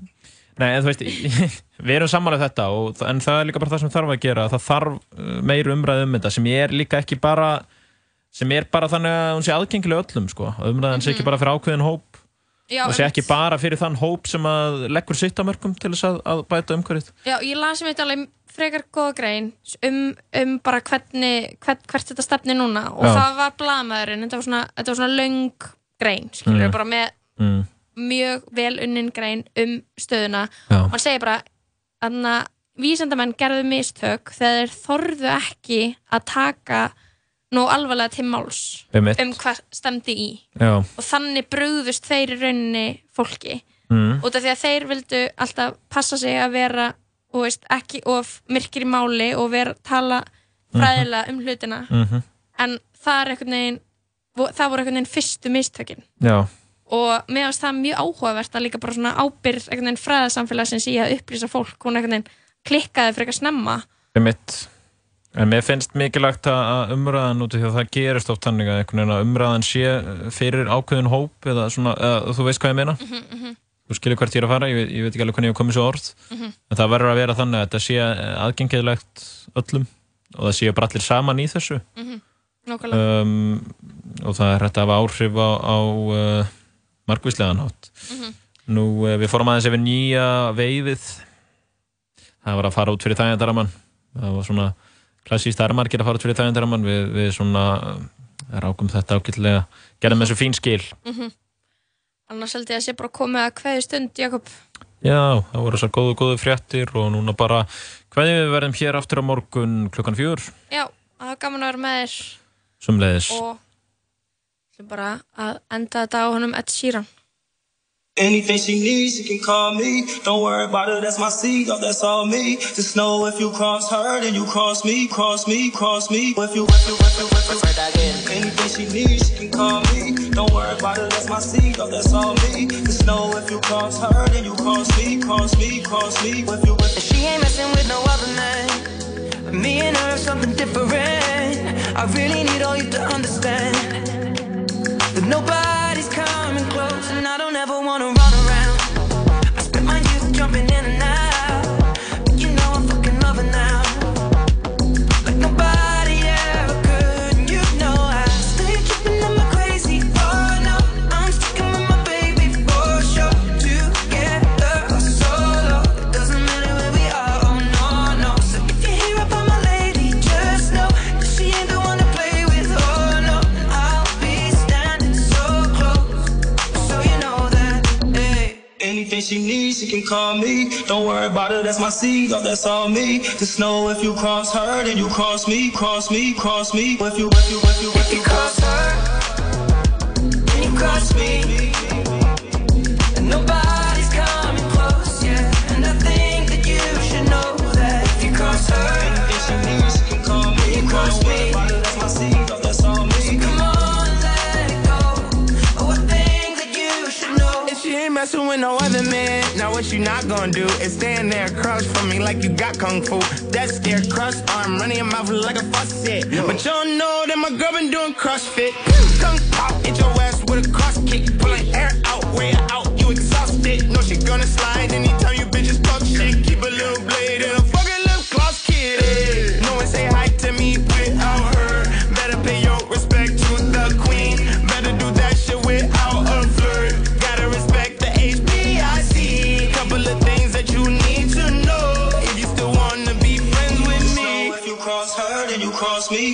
Nei, en þú veist, við erum sammálaðið þetta og, þa- en það er líka bara það sem þarf að gera það þarf uh, meiri umræði um þetta sem ég er líka ekki bara sem er bara þannig að hún sé aðgengileg öllum sko, að umræðan sé ekki bara fyrir ákveðin hóp
Mhm. Já,
og sé
einmitt.
ekki bara fyrir þann hóp sem að leggur sitt á mörgum til þess að, að bæta umhverfið
Já, ég las mér þetta alveg frekar góða grein um, um bara hvernig, hvert, hvert þetta stefni núna og
Já.
það var blaðmaðurinn, þetta var svona, þetta var svona löng grein, skilur
Mm.
bara með
mm.
mjög vel unnin grein um stöðuna
Já.
og hann segir bara þannig að vísendamenn gerðu mistök þegar þeir þorðu ekki að taka nú alvarlega til máls
Einmitt.
um hvað stemdi í
Já.
og þannig brugðust þeir í rauninni fólki
Mm.
Mm-hmm,
út af því að þeir vildu alltaf passa sig að vera þú veist, ekki of myrkir í máli og vera tala fræðilega um hlutina
Mhm.
en það er einhvern veginn vo- það voru einhvern veginn fyrstu mistökin
Já,
og mér finnst það mjög áhugavert að líka bara svona ábyrð einhvern veginn fræðasamfélagsins í að upplýsa fólk hún einhvern veginn klikkaði frekar snemma
um En mér finnst mikilvægt að- að umræðan út af því að það gerist oft þannig að einhvern veginn að umræðan sé uh, fyrir ákveðin hóp eða svona, eða, þú veist hvað ég meina
Mhm,
mm-hmm.
Þú skilur hvert ég er að fara, ég, veit- ég veit ekki alveg hvernig ég hef komið svo orð
Mhm.
En það verður að vera þannig að þetta sé eh, aðgengilegt öllum og það séu bara allir saman í þessu
Mhm. Nákvæmlega.
um, og það er hægt að hafa áhrif á, á uh, margvíslegan hátt
Mhm.
Nú, uh, við fórum aðeins yfir nýja veifið það var að fara út fyrir þægjandaramann það var svona klassíst það er margir að fara út fyrir þægjandaramann við, við svona uh, rákum þetta ágætlega gerðum þessu fín skil
Mhm. annars held ég að sé bara komið að hverju stund Jakob
Já, það voru þessar góðu góðu fréttir og núna bara hvernig við verðum hér aftur á morgun klukkan fjör
já, það var gaman að vera með þér
sumleiðis
og ætlum bara að enda þetta á honum Ed Sheeran
Anything she needs, she can call me. Don't worry about it, that's my seed, oh, that's all me. Just know if you cross her, then you cross me, cross me, cross me. If you, if you, if you, if you, say that again. Anything she needs, she can call me. Don't worry about it, that's my seed, oh, that's all me. Just know if you cross her, then you cross me, cross me, cross me. If you, if
She ain't messing with no other man. Me and her are something different. I really need all you to understand that nobody's coming close, and I don't ever wanna run around. I spent my youth jumping in and out, but you know I'm fucking loving now. Like nobody ever could, and you know I stay tripping on my crazy. Oh no, I'm sticking with my baby for sure. Together or solo, it doesn't matter where we are. Oh no, no. So if you hear about my lady, just know that she ain't the one to play with. Oh no, I'll be standing so close, so you know that. Hey.
Anything she needs, she can call me. Don't worry about it, that's my seed, oh, that's all me. Just know if you cross her, then you cross me, cross me, cross me. If you, if you, if you, if you cross her,
When you cross me, and nobody's coming close, yeah. And I think that you should know that if you cross her, if she needs, she can call me. You cross me, that's my seed, that's all me. So come on, let it go. Oh, I think that you should know.
If she ain't messing with no other man, now what you not gonna do is stand there across from me like you got kung fu. That's their cross arm, running your mouth like a faucet. But you don't know that my girl been doing CrossFit. Kung pop, hit your ass with a cross kick, pulling air out, way out, you exhausted. No, she gonna slide anytime you bitches talk shit. Keep a little blade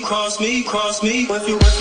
cross me. If you, if you